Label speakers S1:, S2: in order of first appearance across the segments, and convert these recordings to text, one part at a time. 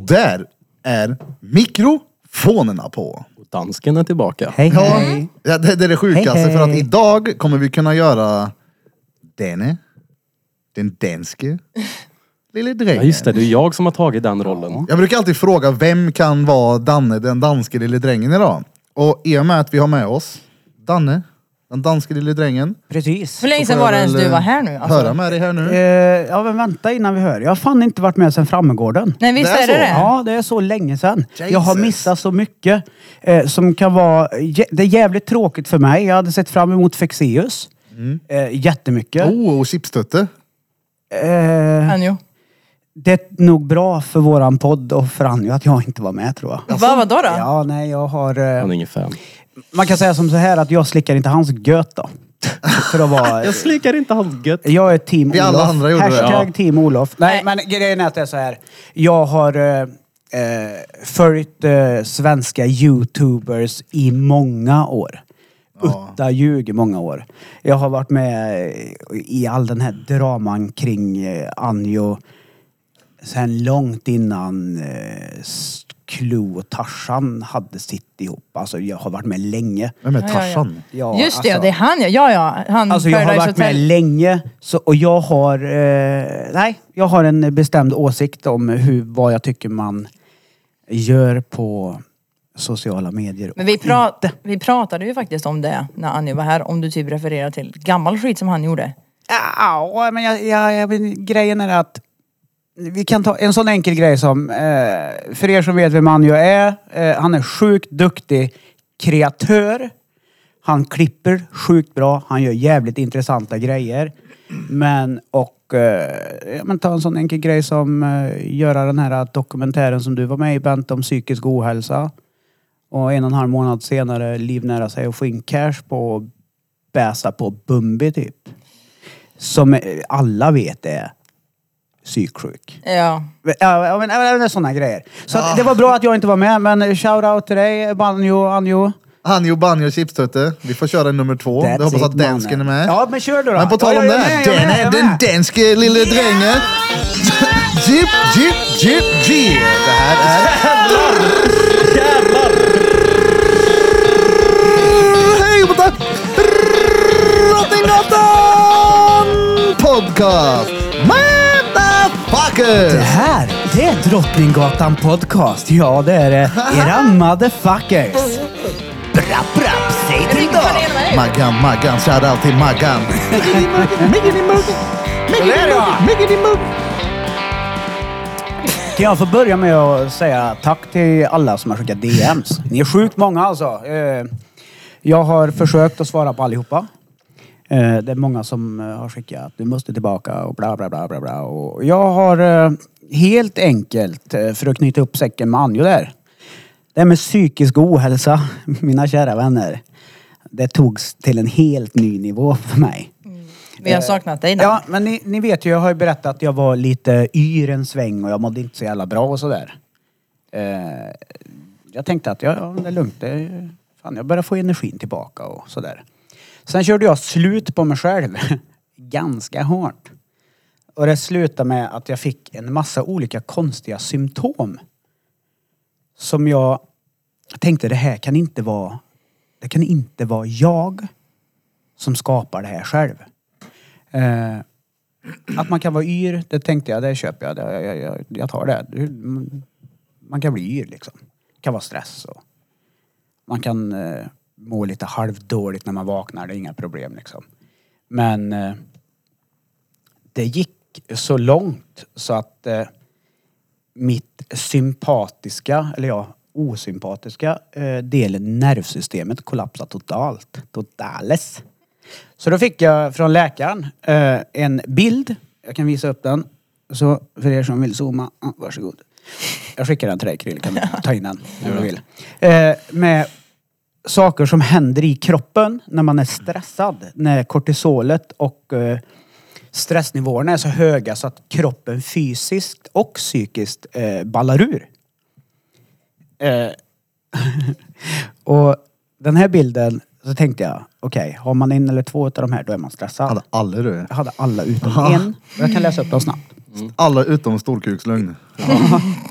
S1: Där är mikrofonerna på.
S2: Och dansken är tillbaka.
S3: Hej,
S1: Ja,
S3: hej.
S1: ja, det, det är det sjukaste
S3: Hej, hej.
S1: för att idag kommer vi kunna göra denne, den danske, lille
S2: Ja,
S1: drängen.
S2: just det, det är jag som har tagit den rollen.
S1: Jag brukar alltid fråga vem kan vara Danne, den danske lille drängen idag? Och i och med att vi har med oss Danne, den danske lille drängen.
S3: Precis.
S4: Hur länge sedan
S1: får jag
S4: var det ens
S1: väl,
S4: du var
S1: eh,
S4: här nu? Alltså?
S1: Höra med dig här
S3: Eh,
S1: nu.
S3: ja, men vänta innan vi hör. Jag har fan inte varit med sedan Frammegården.
S4: Nej visst
S1: Det är
S4: är, det
S1: så?
S4: det?
S3: Ja, det är så länge sedan. Jag har
S1: Jesus.
S3: missat så mycket eh, som kan vara... jä- Det är jävligt tråkigt för mig. Jag hade sett fram emot Fexeus. Eh, jättemycket.
S1: Oh, och chipstutte.
S3: Eh,
S4: Anjo.
S3: det är nog bra för våran podd och för Anjo att jag inte var med tror jag.
S4: Vad vadå då?
S3: Ja, nej, jag har... Eh,
S2: Han är ingen fan.
S3: man kan säga som så här att jag slickar inte hans göt då. För att vara...
S2: Jag slickar inte hans gött.
S3: Jag är team
S1: Vi alla
S3: Olof.
S1: andra gjorde det,
S3: Hashtag
S2: ja.
S3: team Olof. Nej,
S4: Nej.
S3: men grejen är att det är så här. Jag har eh, eh, följt eh, svenska youtubers i många år. Utta ljug i många år. Jag har varit med eh, i all den här draman kring eh, Anjo sen långt innan eh, S- Klo och Tarzan hade sitt ihop. Alltså jag har varit med länge.
S1: Vem är
S4: Ja, ja, ja.
S1: Tarzan?
S3: Ja,
S4: Just det,
S3: alltså-
S4: det är han ja. Ja, ja. Han
S3: Alltså jag har
S4: Paradise
S3: varit med
S4: Hotel.
S3: länge så, och jag har, eh, nej, jag har en bestämd åsikt om hur, vad jag tycker man gör på sociala medier.
S4: Men vi, pra vi pratade ju faktiskt om det när Anjo var här, om du typ refererar till gammal skit som han gjorde.
S3: Ja, men jag, jag, jag, men grejen är att vi kan ta en sån enkel grej som, eh, för er som vet vem Anjo är, eh, han är sjukt duktig kreatör. Han klipper sjukt bra, han gör jävligt intressanta grejer. Men och, eh, ja, men ta en sån enkel grej som eh, göra den här dokumentären som du var med i Bente om psykisk ohälsa. Och en och en halv månad senare livnära sig och få in cash på att bäsa på Bumbi typ. Som eh, alla vet är psyksjuk.
S4: Ja.
S3: Ja, ja, men, ja, men sådana grejer. Så
S1: Ah.
S3: att det var bra att jag inte var med, men shout-out till dig, Banjo, Anjo.
S1: Hanjo, banjo, chipstutte. Vi får köra nummer två.
S3: That's
S1: Jag hoppas att
S3: it, mannen.
S1: dansken är med.
S3: Ja, men kör du då.
S1: Men på tal om
S3: Ja, jag
S1: det,
S3: är med, jag är
S1: den
S3: med, jag
S1: är
S3: är
S1: den
S3: med.
S1: danske lille drängen. Jip, jip, jip, jip. Det här är... Hej på tack! Drottninggatan Podcast!
S3: Det
S1: Motherfuckers!
S3: här, det är Drottninggatan Podcast. Ja, det är det. Era motherfuckers. Brapp, brapp, säg till då.
S1: Maggan, Maggan, shoutout till Maggan.
S3: Sådär ja. Kan jag få börja med att säga tack till alla som har skickat DMs? Ni är sjukt många alltså. Eh, Jag har försökt att svara på allihopa. Eh, Det är många som eh, har skickat du måste tillbaka och bla bla bla bla bla. Och jag har eh, helt enkelt, eh, för att knyta upp säcken med Anjo där. Det här med psykisk ohälsa, mina kära vänner. Det togs till en helt ny nivå för mig.
S4: Vi har saknat dig där.
S3: Ja, men ni, ni vet ju, jag har ju berättat att jag var lite yr en sväng och jag mådde inte så jävla bra och sådär. Eh, jag tänkte att, ja, ja, det är lugnt. Det, fan, jag börjar få energin tillbaka och sådär. Sen körde jag slut på mig själv. Ganska hårt. Och det slutade med att jag fick en massa olika konstiga symptom. Som jag tänkte, det här kan inte vara... Det kan inte vara jag som skapar det här själv. Eh, att man kan vara yr, det tänkte jag, det köper jag. Det, jag, jag, jag tar det. Hur- Man kan bli yr liksom. Det kan vara stress och man kan eh, må lite halvdåligt när man vaknar. Det är inga problem liksom. Men eh, det gick så långt så att eh, mitt sympatiska, eller ja, osympatiska eh, delen nervsystemet kollapsade totalt. Totales. Så då fick jag från läkaren eh, en bild. Jag kan visa upp den. Så för er som vill zooma, ah, varsågod. Jag skickar den till dig Krill, kan du ta in den om du vill. Eh, med saker som händer i kroppen när man är stressad. När kortisolet och eh, stressnivåerna är så höga så att kroppen fysiskt och psykiskt eh, ballar ur. Eh, och den här bilden, så tänkte jag, okej, har man en eller två av de här då är man stressad.
S1: Hade aldrig du.
S3: Jag hade alla utom en. Jag kan läsa upp dem snabbt.
S1: Alla utom storkukslögn.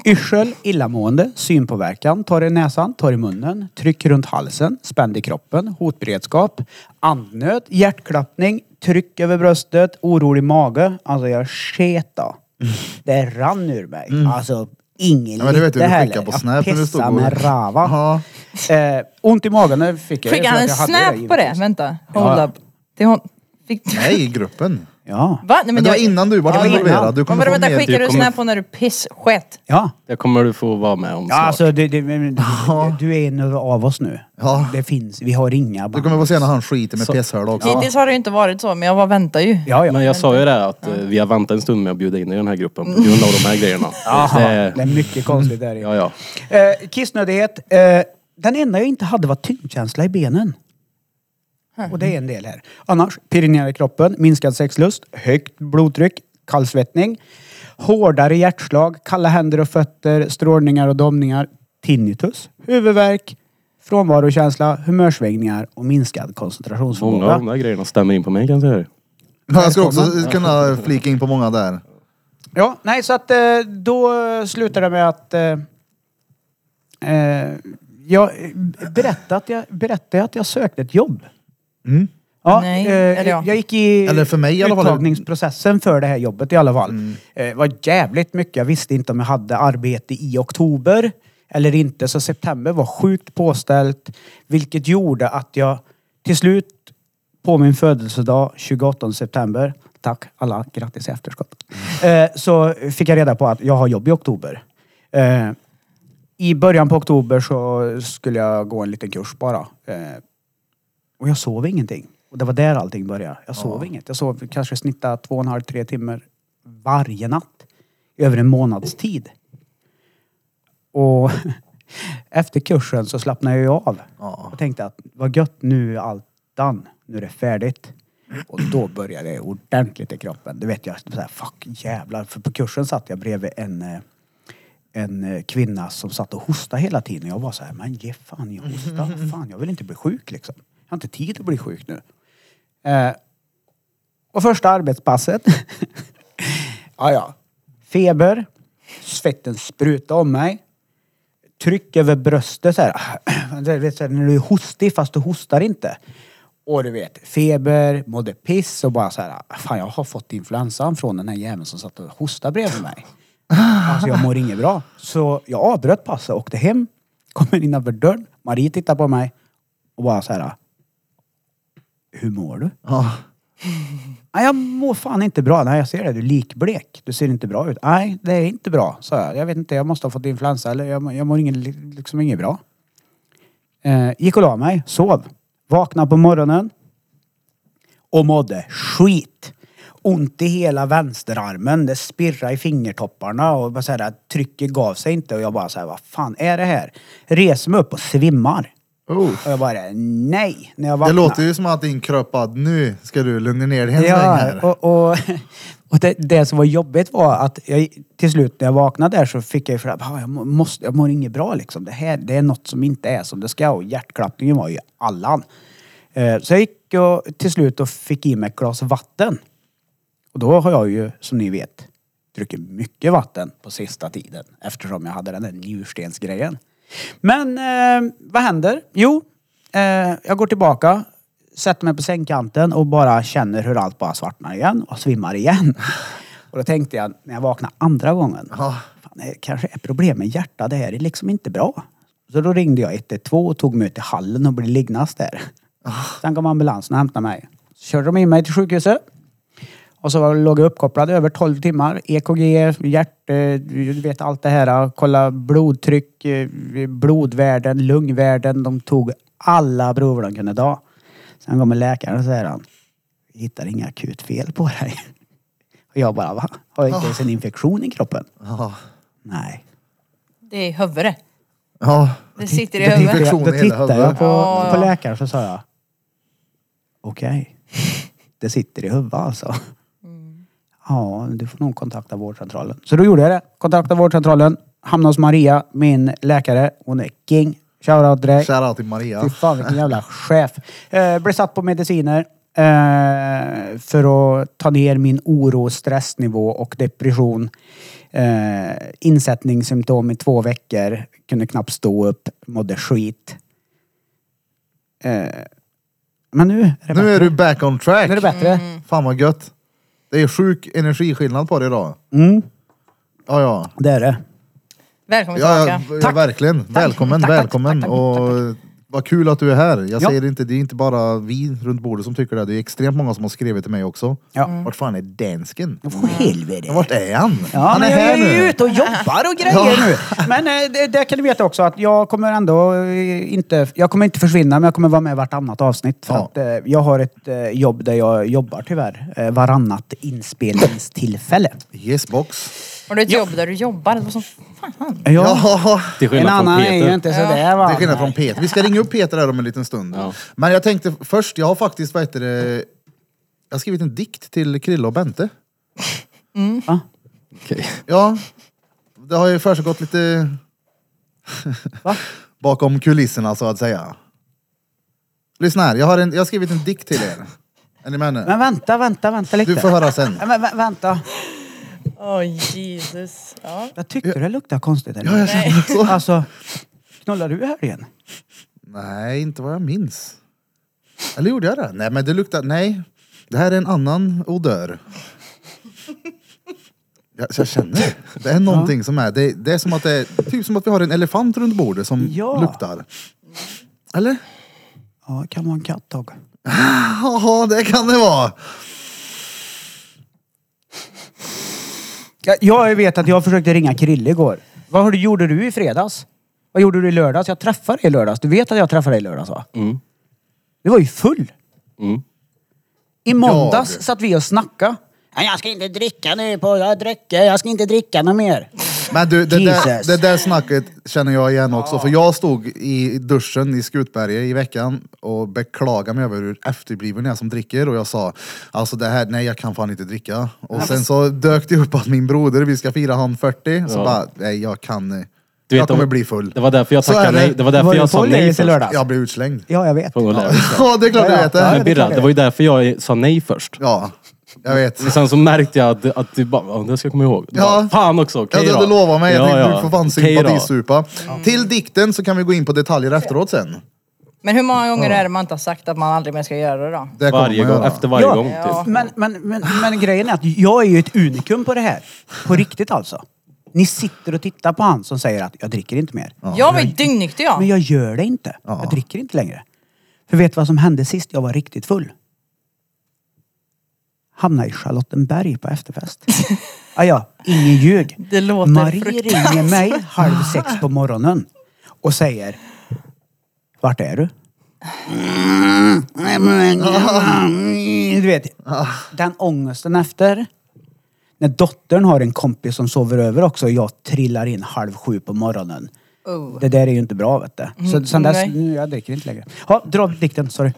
S3: Yrsel, illamående, synpåverkan, torr i näsan, torr i munnen, tryck runt halsen, spänd i kroppen, hotberedskap, andnöd, hjärtklappning, tryck över bröstet, orolig mage. Alltså jag sket då. Det rann ur mig. Alltså ingen
S1: Mm. Ja, men du vet hur
S3: lite
S1: du
S3: heller.
S1: skickar på
S3: Jag
S1: Snap när du stod
S3: pissade
S1: och-
S3: med rava.
S1: Ja.
S3: Eh, ont i magen det fick jag ju
S4: Skickade
S3: för
S4: han
S3: att
S4: en
S3: jag hade
S4: snap på det?
S3: givetvis.
S4: Vänta, hold
S3: Ja.
S4: up. Det hon... Fick...
S1: Nej, i gruppen.
S3: Ja.
S4: Va? Nej, men,
S1: Men det var innan du var
S4: Ja, innan.
S1: involverad. Du kommer
S4: Men
S1: få
S4: vänta,
S1: mer
S4: skickade du
S2: kommer-
S4: snap på när du pisssket?
S3: Ja.
S2: Det kommer du få vara med om
S3: Ja,
S2: snart.
S3: alltså du, du, men- du, du är en av oss nu.
S1: Ja.
S3: Det finns, vi har inga
S1: Du
S3: band.
S1: kommer få se när han skiter med
S2: Så-
S1: pisshörd också.
S4: Hittills har det ju inte varit så, men jag bara väntar ju.
S3: Ja, ja.
S2: Men jag sa ju det att eh, vi har väntat en stund med att bjuda in i den här gruppen på grund av de här grejerna.
S3: Aha,
S2: Det
S3: det...
S2: är-
S3: är mycket konstigt där i.
S2: ja, ja.
S3: Eh, kissnödighet. Eh, den enda jag inte hade var tyngdkänsla i benen. Och det är en del här. Annars, pirringar i kroppen, minskad sexlust, högt blodtryck, kallsvettning, hårdare hjärtslag, kalla händer och fötter, strålningar och domningar, tinnitus, huvudvärk, frånvarokänsla, humörsvängningar och minskad
S2: Många av de
S3: koncentrationsförmåga.
S2: där grejerna stämmer in på mig kan jag säga.
S1: Men jag skulle också kunna flika in på många där.
S3: Ja, nej, så att eh, då slutar det med att... Eh, eh, jag berättade att jag, berättade att jag sökte ett jobb.
S1: Mm.
S3: Ja,
S4: Nej,
S3: eh,
S4: eller ja.
S3: Jag gick i,
S1: Eller för mig i alla fall. Mm.
S3: uttagningsprocessen för det här jobbet i alla fall. Eh, var jävligt mycket. Jag visste inte om jag hade arbete i oktober eller inte. Så september var sjukt påställt. Vilket gjorde att jag till slut på min födelsedag 28 september, tack alla, grattis i efterskott.
S1: Mm.
S3: Eh, så fick jag reda på att jag har jobb i oktober. Eh, I början på oktober så skulle jag gå en liten kurs bara. Eh, och jag sov ingenting. Och det var där allting började. Jag sov inget. Jag sov kanske snitta två och en halv, tre timmar varje natt. I över en månads tid. Och efter kursen så slappnade jag ju av.
S1: Ja.
S3: Och tänkte att vad gött, nu är allt done. Nu är det färdigt. Och då började det ordentligt i kroppen. Du vet jag, så här, fuck jävlar. För på kursen satt jag bredvid en, eh, en eh, kvinna som satt och hostade hela tiden. Jag var så här, men ge fan jag hostar. Fan, jag vill inte bli sjuk liksom. Jag har inte tid att bli sjuk nu. Eh, och första arbetspasset. ja, ja. Feber. Svetten sprutade om mig. Tryck över bröstet så här. Du vet, så här, när du är hostig fast du hostar inte. Och du vet, feber, mådde piss och bara så här. Fan, jag har fått influensan från den här jäveln som satt och hostade bredvid mig. Alltså jag mår inget bra. Så jag avbröt passet och åkte hem. Kommer innanför dörren. Marie tittar på mig och bara så här. Hur mår du?
S1: Ja.
S3: Nej, jag mår fan inte bra. Nej, jag ser det. Du är likblek. Du ser inte bra ut. Nej, det är inte bra, sa jag. Jag vet inte, jag måste ha fått influensa eller jag, jag mår ingen, liksom inget bra. Eh, gick och la mig, sov. Vaknade på morgonen och mådde skit. Ont i hela vänsterarmen, det spirrade i fingertopparna och bara så här, trycket gav sig inte och jag bara så här, vad fan är det här? Reser mig upp och svimmar.
S1: Oh.
S3: Och jag bara, nej! När jag
S1: Det
S3: vaknade.
S1: låter ju som att din kropp att nu ska du lugna ner dig en sväng
S3: Ja,
S1: här.
S3: och, och, och det, det som var jobbigt var att jag, till slut när jag vaknade där så fick jag ju för att "Ah, jag, må- måste, jag mår inget bra liksom. Det här det är något som inte är som det ska och hjärtklappningen var ju allan. Eh, Så jag gick och, till slut och fick i mig ett glas vatten. Och då har jag ju, som ni vet, druckit mycket vatten på sista tiden eftersom jag hade den där njurstensgrejen. Men eh, vad händer? Jo, eh, jag går tillbaka, sätter mig på sängkanten och bara känner hur allt bara svartnar igen och svimmar igen. Och då tänkte jag när jag vaknade andra gången,
S1: Ja.
S3: fan, det kanske är problem med hjärtat, det här är liksom inte bra. Så då ringde jag 112 och tog mig ut till hallen och blev liggandes där. Sen kom ambulansen och hämtade mig. Så körde de in mig till sjukhuset. Och så var- låg jag uppkopplad över 12 timmar. E EKG, hjärt, eh, du vet allt det här. Kolla blodtryck, eh, blodvärden, lungvärden. De tog alla prover de kunde ta. Sen kommer läkaren och säger han, vi hittar inga akut fel på dig. Och jag bara, va? Har jag inte ens en infektion i kroppen?
S1: Ja.
S3: Nej.
S4: Det är i huvudet.
S1: Ja.
S4: Det sitter i
S3: Då tittade
S4: huvudet.
S1: Infektion
S3: jag,
S1: i
S3: då
S1: hela
S3: tittade jag
S1: huvudet.
S3: på,
S4: Ja, ja.
S3: på läkaren så sa jag, okej, det sitter i huvudet alltså.
S4: Mm.
S3: Ja, du får nog kontakta vårdcentralen. Så då gjorde jag det. Kontaktade vårdcentralen, hamnade hos Maria, min läkare. Hon är king. Shoutout till dig.
S1: Shoutout till Maria.
S3: Fy fan vilken jävla chef. Eh, blev satt på mediciner. eh, för att ta ner min oro, stressnivå och depression. Eh, insättningssymptom i två veckor. Kunde knappt stå upp. Mådde skit. Eh, men nu är
S1: Nu
S3: det bättre.
S1: är du back on track.
S3: Nu är det bättre.
S4: Mm.
S1: Fan vad gött. Det är sjuk energiskillnad på dig idag.
S3: Mm,
S1: Ja, ja.
S3: det är det.
S4: Välkommen
S1: Ja,
S4: tillbaka.
S1: ja, ja verkligen. Välkommen,
S4: Tack, tack,
S1: välkommen.
S4: tack, tack,
S1: och vad kul att du är här. Jag
S3: Ja.
S1: säger inte, det är inte bara vi runt bordet som tycker det. Det är extremt många som har skrivit till mig också.
S3: Ja.
S1: Vart fan är dansken?
S3: För helvete.
S1: Ja, Vart är han?
S3: Ja,
S1: han är
S3: men jag
S1: här
S3: är ju
S1: nu.
S3: ute och jobbar och grejer nu. Men eh, det, det kan du veta också att jag kommer ändå eh, inte, jag kommer inte försvinna men jag kommer vara med i vartannat avsnitt. För
S1: Ja.
S3: att, eh, jag har ett eh, jobb där jag jobbar tyvärr eh, varannat inspelningstillfälle.
S1: Yes box.
S4: Har du ett jobb där du jobbar? Det var som, fan, fan.
S1: Ja.
S2: Till
S3: En
S2: skillnad från
S3: annan är ju
S2: Peter.
S3: inte sådär va.
S1: Det är skillnad från Peter. Vi ska ringa upp Peter här om en liten stund.
S2: Ja.
S1: Men jag tänkte först, jag har faktiskt, vad heter det, jag har skrivit en dikt till Krille och Bente.
S3: Va?
S2: Okej.
S1: Ja, det har ju försiggått lite
S3: Va?
S1: bakom kulisserna så att säga. Lyssna här, jag har, en, jag har skrivit en dikt till er. Är ni med nu?
S3: Men vänta, vänta, vänta lite.
S1: Du får höra sen.
S3: Ja, Men, vä- vänta.
S4: Åh Jesus. Ja.
S3: Jag tyckte det luktade konstigt. Eller?
S1: Ja, jag känner också.
S3: Alltså, knullar du här igen?
S1: Nej, inte vad jag minns. Eller gjorde jag det? Nej, men det luktar... Nej, det här är en annan odör. Jag, jag känner det. är någonting som är... Det, det är som att det är... Typ som att vi har en elefant runt bordet som
S3: Ja.
S1: luktar. Eller?
S3: Ja, kan vara en kattdag.
S1: Jaha, det kan det vara.
S3: Jag, jag vet att jag försökte ringa Krille igår. Vad har du- gjorde du i fredags? Vad gjorde du i lördags? Jag träffade dig i lördags. Du vet att jag träffade dig i lördags va?
S2: Mm.
S3: Du var ju full.
S2: Mm.
S3: I måndags
S1: Ja, du.
S3: satt vi och snackade. Nej, jag ska inte dricka nu på... Jag dricker. Jag ska inte dricka något mer.
S1: Men du, det där,
S3: Jesus.
S1: det där snacket känner jag igen också. För jag stod i duschen i Skutberget i veckan och beklagade mig över hur efterbliven jag är som dricker. Och jag sa, alltså det här, nej jag kan fan inte dricka. Och sen så dök det upp att min broder, vi ska fira han 40. Så
S2: Ja.
S1: bara, nej jag kan eh,
S2: Du vet,
S1: Jag kommer
S2: det var-
S1: bli full.
S2: Det var därför jag
S1: Så är
S2: tackade
S1: det.
S2: nej. Det var
S3: Var
S2: därför
S3: du
S2: jag sa
S3: full
S2: nej
S3: i
S2: först.
S3: lördags?
S1: Jag blev utslängd.
S3: Ja, jag vet.
S2: Från att lära sig.
S1: Ja, det är klart du vet
S3: Ja,
S2: Men
S1: det.
S3: det är
S2: Birra,
S3: klart
S2: det var ju därför jag sa nej först.
S1: Ja, jag vet.
S2: Men sen så märkte jag att, att du bara, "Ja, det ska jag komma ihåg. Du
S1: Ja.
S2: Bara, Fan också, okej
S1: Ja, du
S2: då.
S1: hade lovat mig. Jag
S2: Ja,
S1: tänkte
S2: ja.
S1: du får fan
S2: Okej då.
S1: sympatisupa. Till dikten så kan vi gå in på detaljer efteråt sen.
S4: Men hur många gånger är det man inte har sagt att man aldrig mer ska göra det då?
S1: Det kommer
S2: Varje
S1: jag
S2: gång,
S1: göra.
S2: efter varje gång typ.
S4: Ja.
S3: Men, men, men, men grejen är att jag är ju ett unikum på det här. På riktigt alltså. Ni sitter och tittar på han som säger att jag dricker inte mer.
S4: Jag var ju dygnnykter jag.
S3: Men jag gör det inte. Jag dricker inte längre. För vet du vad som hände sist jag var riktigt full? Hamnade i Charlottenberg på efterfest. ah, ja, ingen ljug.
S4: Det låter
S3: Marie
S4: fruktansvärt.
S3: ringer mig halv sex på morgonen och säger Vart är du?
S4: Mm.
S3: Du vet, den ångesten efter. När dottern har en kompis som sover över också och jag trillar in halv sju på morgonen.
S4: Oh.
S3: Det där är ju inte bra vet du. Så sen dess,
S4: nej.
S3: nu, jag dricker inte längre. Ja, dra dikten, sorry.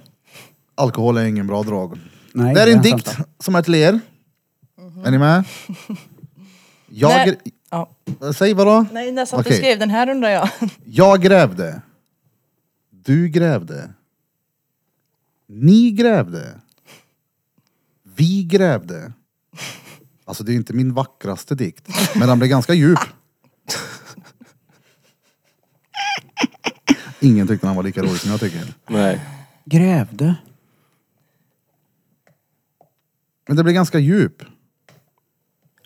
S1: Alkohol är ingen bra drag.
S3: Nej,
S1: det här är en
S3: det är
S1: dikt
S3: sant.
S1: som är till er. Är ni med? Jag...
S4: När-
S1: Gr-
S4: Ja.
S1: Säg vadå?
S4: Nej, när satt
S1: Okej.
S4: du skrev den här undrar jag.
S1: Jag grävde. Du grävde. Ni grävde. Vi grävde. Alltså det är inte min vackraste dikt, men den blev ganska djup. Ingen tyckte den var lika rolig som jag tycker.
S2: Nej.
S3: Grävde.
S1: Men det blev ganska djup.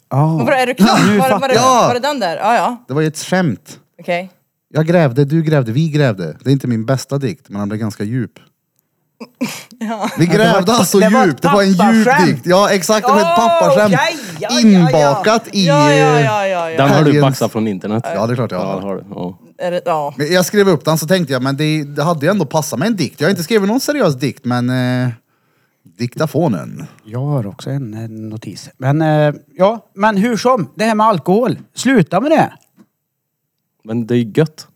S3: Ja.
S4: Vadå, är du klar?
S3: Nu
S4: Var, var,
S3: fattar
S4: det-
S1: Oh. jag.
S4: var det den där? Ja, ja.
S1: Det var ju ett skämt.
S4: Okej.
S1: Jag grävde, du grävde, vi grävde. Det är inte min bästa dikt, men den blev ganska djup. Vi
S3: Ja, det
S1: grävde
S3: var ett-
S1: alltså
S3: det var ett
S1: djupt, det var en djup
S3: pappaskämt.
S1: dikt. Ja exakt, det var ett
S3: Åh,
S1: pappaskämt.
S3: ja, ja, ja,
S1: Inbakat i... eh,
S4: Ja, ja, ja, ja. ja.
S2: Den har du
S1: Helgens-
S2: baxat från internet.
S1: Ja, det är klart jag har.
S2: Ja, den har du. Ja.
S4: Är det, ja.
S1: Men Jag skrev upp den så tänkte jag, men det, det hade ju ändå passat med en dikt. Jag har inte skrivit någon seriös dikt, men... Eh, diktafonen.
S3: Jag har också en, en notis. Men, eh, ja, men hur som, det här med alkohol. Sluta med det.
S2: Men det är ju gött.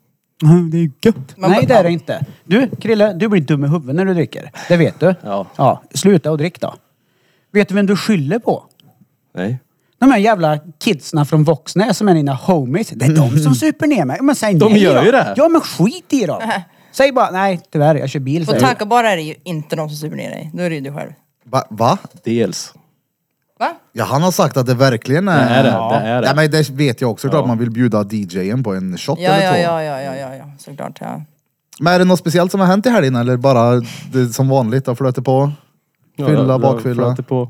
S3: Det är gött.
S4: Men-
S3: Nej, det är det inte. Du, Krille, du blir dum i huvudet när du dricker. Det vet du.
S2: Ja.
S3: ja sluta och drick då. Vet du vem du skyller på?
S2: Nej.
S3: De här jävla kidsna från Mm. Voxnäs som är dina homies. Det är de som super ner mig. Men säg
S2: De
S3: nej
S2: gör
S3: då.
S2: ju det.
S3: Ja, men skit i dem. Säg bara, nej tyvärr, jag kör bil.
S4: På
S3: säger du.
S4: tackabar är det ju inte någon som super ner dig. Då är det ju du själv.
S1: Va? va?
S2: Dels.
S4: Va?
S1: Ja, han har sagt att det verkligen är...
S2: Det är det, det är det.
S1: Ja, men det vet jag också, klart man vill bjuda DJen på en shot
S4: Ja,
S1: eller
S4: ja,
S1: två.
S4: ja, ja, ja, ja, ja, såklart. Ja.
S1: Men är det något speciellt som har hänt i helgen eller bara det, som vanligt har flötit på? Fylla,
S2: jag- jag
S1: bakfylla.
S2: flöter på.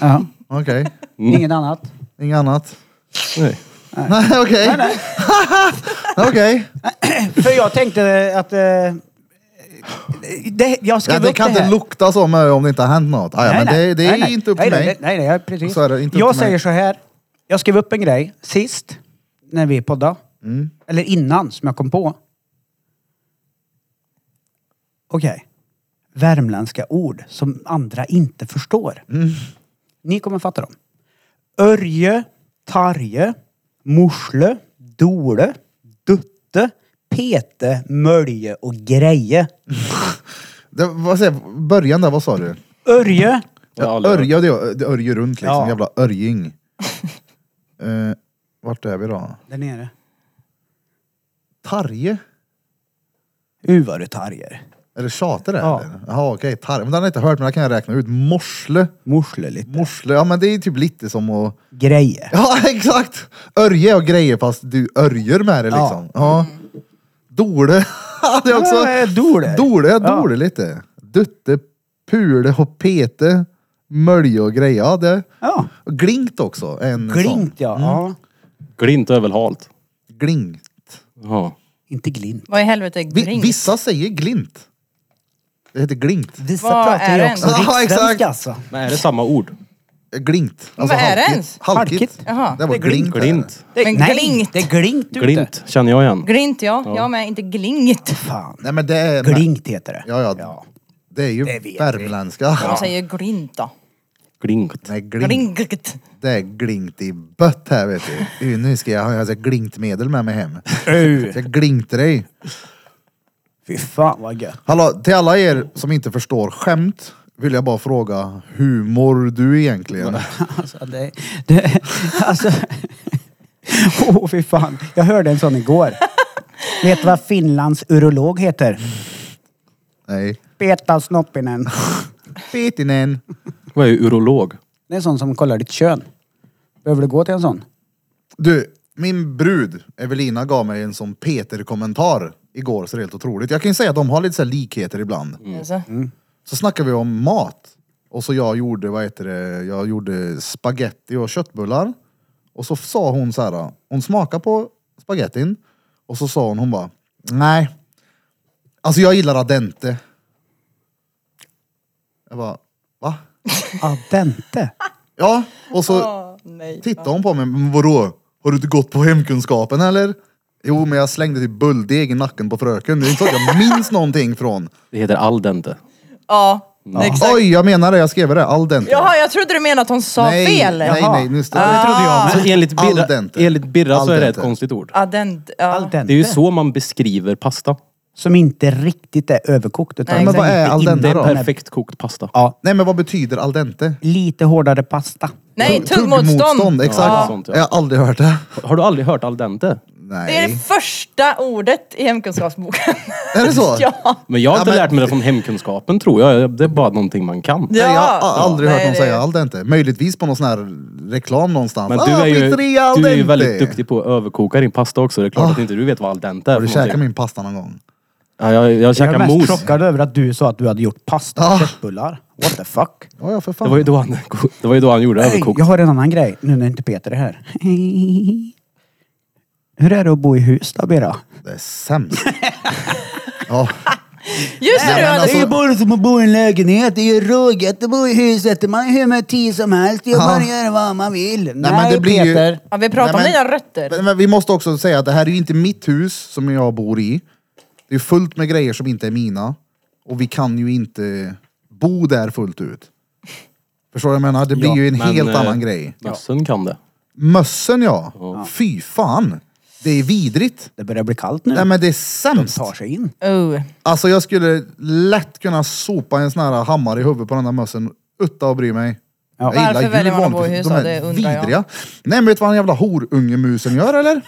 S3: Ja.
S1: Okej,
S3: Inget annat.
S1: inget annat?
S2: Nej.
S1: Nej, okej. Okej.
S3: För jag tänkte att... Eh, det, jag skrev
S1: Ja, det
S3: upp
S1: kan
S3: det
S1: inte
S3: här.
S1: lukta så med om det inte har hänt något. Ah, ja, men det, det är
S3: nej, nej.
S1: inte upp
S3: nej,
S1: till mig.
S3: Nej, nej, nej, precis.
S1: Så är det inte upp
S3: jag
S1: till mig.
S3: säger så här. Jag skrev upp en grej sist, när vi poddade.
S1: Mm.
S3: Eller innan, som jag kom på. Okej. Värmländska ord som andra inte förstår.
S1: Mm.
S3: Ni kommer fatta dem. Örje, tarje, morsle, dole, dutte, pete, mölje och greje.
S1: Det, vad säger, början där, vad sa du?
S3: Örje,
S2: Jag har aldrig hört.
S1: Örje, det är det är Örje runt liksom.
S3: Ja.
S1: Jävla örjing. Eh, vart är vi då?
S3: där nere.
S1: Tarje?
S3: U vad du tarjer.
S1: Är det tjater det?
S3: Ja.
S1: eller? Jaha okej, tarje. Men den har jag inte hört, men det kan jag räkna ut. Morsle.
S3: Morsle lite.
S1: Morsle, ja men det är typ lite som att...
S3: Grejer.
S1: Ja exakt! Örje och grejer fast du örjer med det liksom. Ja. Dole. det är också...
S3: Ja, dole.
S1: Dole, jag
S3: Ja.
S1: dole lite. Dutte, pule och pete. Mölje och grejer. Ja, det.
S3: Ja.
S1: Och Glinkt också. En Sån.
S3: Glint ja. ja.
S2: Glint är väl halt?
S1: Glinkt.
S2: Ja.
S3: Inte glint.
S4: Vad i helvete är
S1: Vi,
S4: grink?
S1: Vissa säger glint. Det heter glint.
S3: Vissa
S4: Vad
S3: pratar
S4: är
S3: ju
S4: det
S3: också
S1: ens? Ja, exakt.
S3: rikssvenska alltså.
S2: Men är det samma ord?
S1: Glinkt.
S4: Men vad är det
S1: halkigt.
S4: ens?
S1: Halkigt.
S3: Halkigt.
S4: Jaha,
S1: Det var
S3: det är glint.
S1: glint. är det.
S2: Glint.
S4: Men
S3: Nej,
S4: glint.
S3: Det är glint ute.
S2: Glint känner jag igen.
S4: Glint ja, jag med. Inte glingt.
S3: Fan.
S1: Nej men det är...
S3: Glint heter det.
S1: Ja, ja. Det är ju
S3: Det vet vi.
S1: värmländska.
S4: De säger glint då.
S2: Glint.
S1: Nej, glint.
S4: Glingt.
S1: Det är glint i bött här vet du. Uh, Nu ska jag ha alltså, glintmedel med mig hem.
S3: Uh.
S1: Jag glinter dig.
S3: Fy fan vad gött.
S1: Hallå, till alla er som inte förstår skämt vill jag bara fråga, hur mår du egentligen?
S3: Alltså det... det alltså... Åh oh, fy fan. Jag hörde en sån igår. Vet du vad Finlands urolog heter?
S1: Nej.
S3: Peta Snoppinen.
S1: Pitinen.
S2: Vad är urolog?
S3: Det är en sån som kollar ditt kön. Behöver du gå till en sån?
S1: Du, min brud Evelina gav mig en sån Peter-kommentar igår så det är helt otroligt. Jag kan ju säga att de har lite så här likheter ibland.
S4: Alltså.
S1: Så snackar vi om mat. Och så jag gjorde, vad heter det, jag gjorde spaghetti och köttbullar. Och så sa hon så här, hon smakade på spagettin. Och så sa hon, hon bara, nej. Alltså jag gillar adente. Jag bara, va?
S3: Adente.
S1: Ja, och så
S4: Åh, nej.
S1: tittade hon på mig, men vadå? Har du inte gått på hemkunskapen eller? Jo, men jag slängde typ bulldeg i nacken på fröken. Det är inte så att jag minns någonting från...
S2: Det heter al dente.
S4: Ja, exakt.
S1: Oj, jag menar det, jag skrev det. Al dente.
S4: Jaha, jag trodde du menade att hon sa
S1: nej,
S4: fel. Ah.
S1: Nej,
S3: Jaha.
S1: nej, nu står
S2: Det trodde jag. Så enligt
S1: Al
S2: Birra,
S1: dente.
S2: enligt Birra så
S1: Al
S2: är det ett
S1: dente.
S2: konstigt ord.
S4: Adent, ja.
S3: Al dente.
S2: Det är ju så man beskriver pasta.
S3: Som inte riktigt är överkokt. Utan
S4: Nej,
S1: Men vad är
S3: inte
S1: al dente
S3: inne
S1: då?
S3: på den här-
S2: Perfekt kokt pasta.
S3: Ja,
S1: Nej, men vad betyder al dente?
S3: lite hårdare pasta.
S4: Nej,
S1: Tugg-
S4: tuggmotstånd.
S1: Exakt.
S2: Ja, sånt, ja.
S1: Jag har aldrig hört det.
S2: Har du aldrig hört al dente?
S4: Det är det
S1: Nej.
S4: första ordet i hemkunskapsboken.
S1: Är det så?
S4: ja.
S2: Men jag har inte
S1: men-
S2: lärt mig det från hemkunskapen tror jag. Det är bara någonting man kan.
S1: Nej, jag har
S4: Ja.
S1: aldrig hört
S4: Nej,
S1: någon
S4: det-
S1: säga al dente. Möjligtvis på någon sån här reklam någonstans.
S2: Men du
S1: ah,
S2: är, ju,
S1: pizzeria al
S2: du är ju
S1: dente.
S2: väldigt duktig på att överkoka din pasta också. Det är klart
S1: Ah.
S2: att inte du vet vad al dente är
S1: Har du
S2: för
S1: käkat
S2: någonting.
S1: min pasta någon gång?
S2: Ja, jag, jag
S3: Jag är
S2: käkade
S3: mest
S2: mos.
S3: chockad över att du sa att du hade gjort pasta och
S1: Ja.
S3: köttbullar. What the fuck?
S1: Ja, ja, för fan.
S2: Det var ju då han, det var ju då han gjorde
S3: Hej,
S2: överkokt.
S3: jag har en annan grej nu när inte Peter är här. Hur är det att bo i hus då Bera?
S1: Det är sämst. ja.
S4: Just det,
S1: Nej,
S4: du
S1: men
S4: hade
S1: alltså-
S4: så-
S3: bara som att bo i en lägenhet. Det är ju ruggigt att bo i huset. Man är hur med tid som helst. Jag
S1: Ja.
S3: göra vad man vill. Nej,
S1: men det blir ju-
S3: Peter.
S4: ja, vi pratar om
S1: Nej, men-
S4: dina rötter.
S1: Men, men vi måste också säga att det här är ju inte mitt hus som jag bor i. Det är fullt med grejer som inte är mina. Och vi kan ju inte bo där fullt ut. Förstår du vad jag menar? Det blir
S2: Ja,
S1: ju en
S2: men,
S1: helt
S2: eh,
S1: annan grej.
S2: Mössen kan det.
S1: Mössen ja. Fy fan. Det är vidrigt.
S3: Det börjar bli kallt nu.
S1: Nej men det är
S3: De
S1: sämst.
S3: tar sig in.
S4: Oh.
S1: Alltså jag skulle lätt kunna sopa en sån här hammare i huvudet på den där mössen. Utta och bry mig.
S3: Ja.
S1: Jag gillar
S4: Varför
S1: djur
S4: väljer man att bo i
S1: vanligtvis.
S4: hus
S1: De
S4: då?
S1: är
S4: Det undrar jag.
S1: vidriga. Nej men vet du vad den jävla horungemusen gör eller?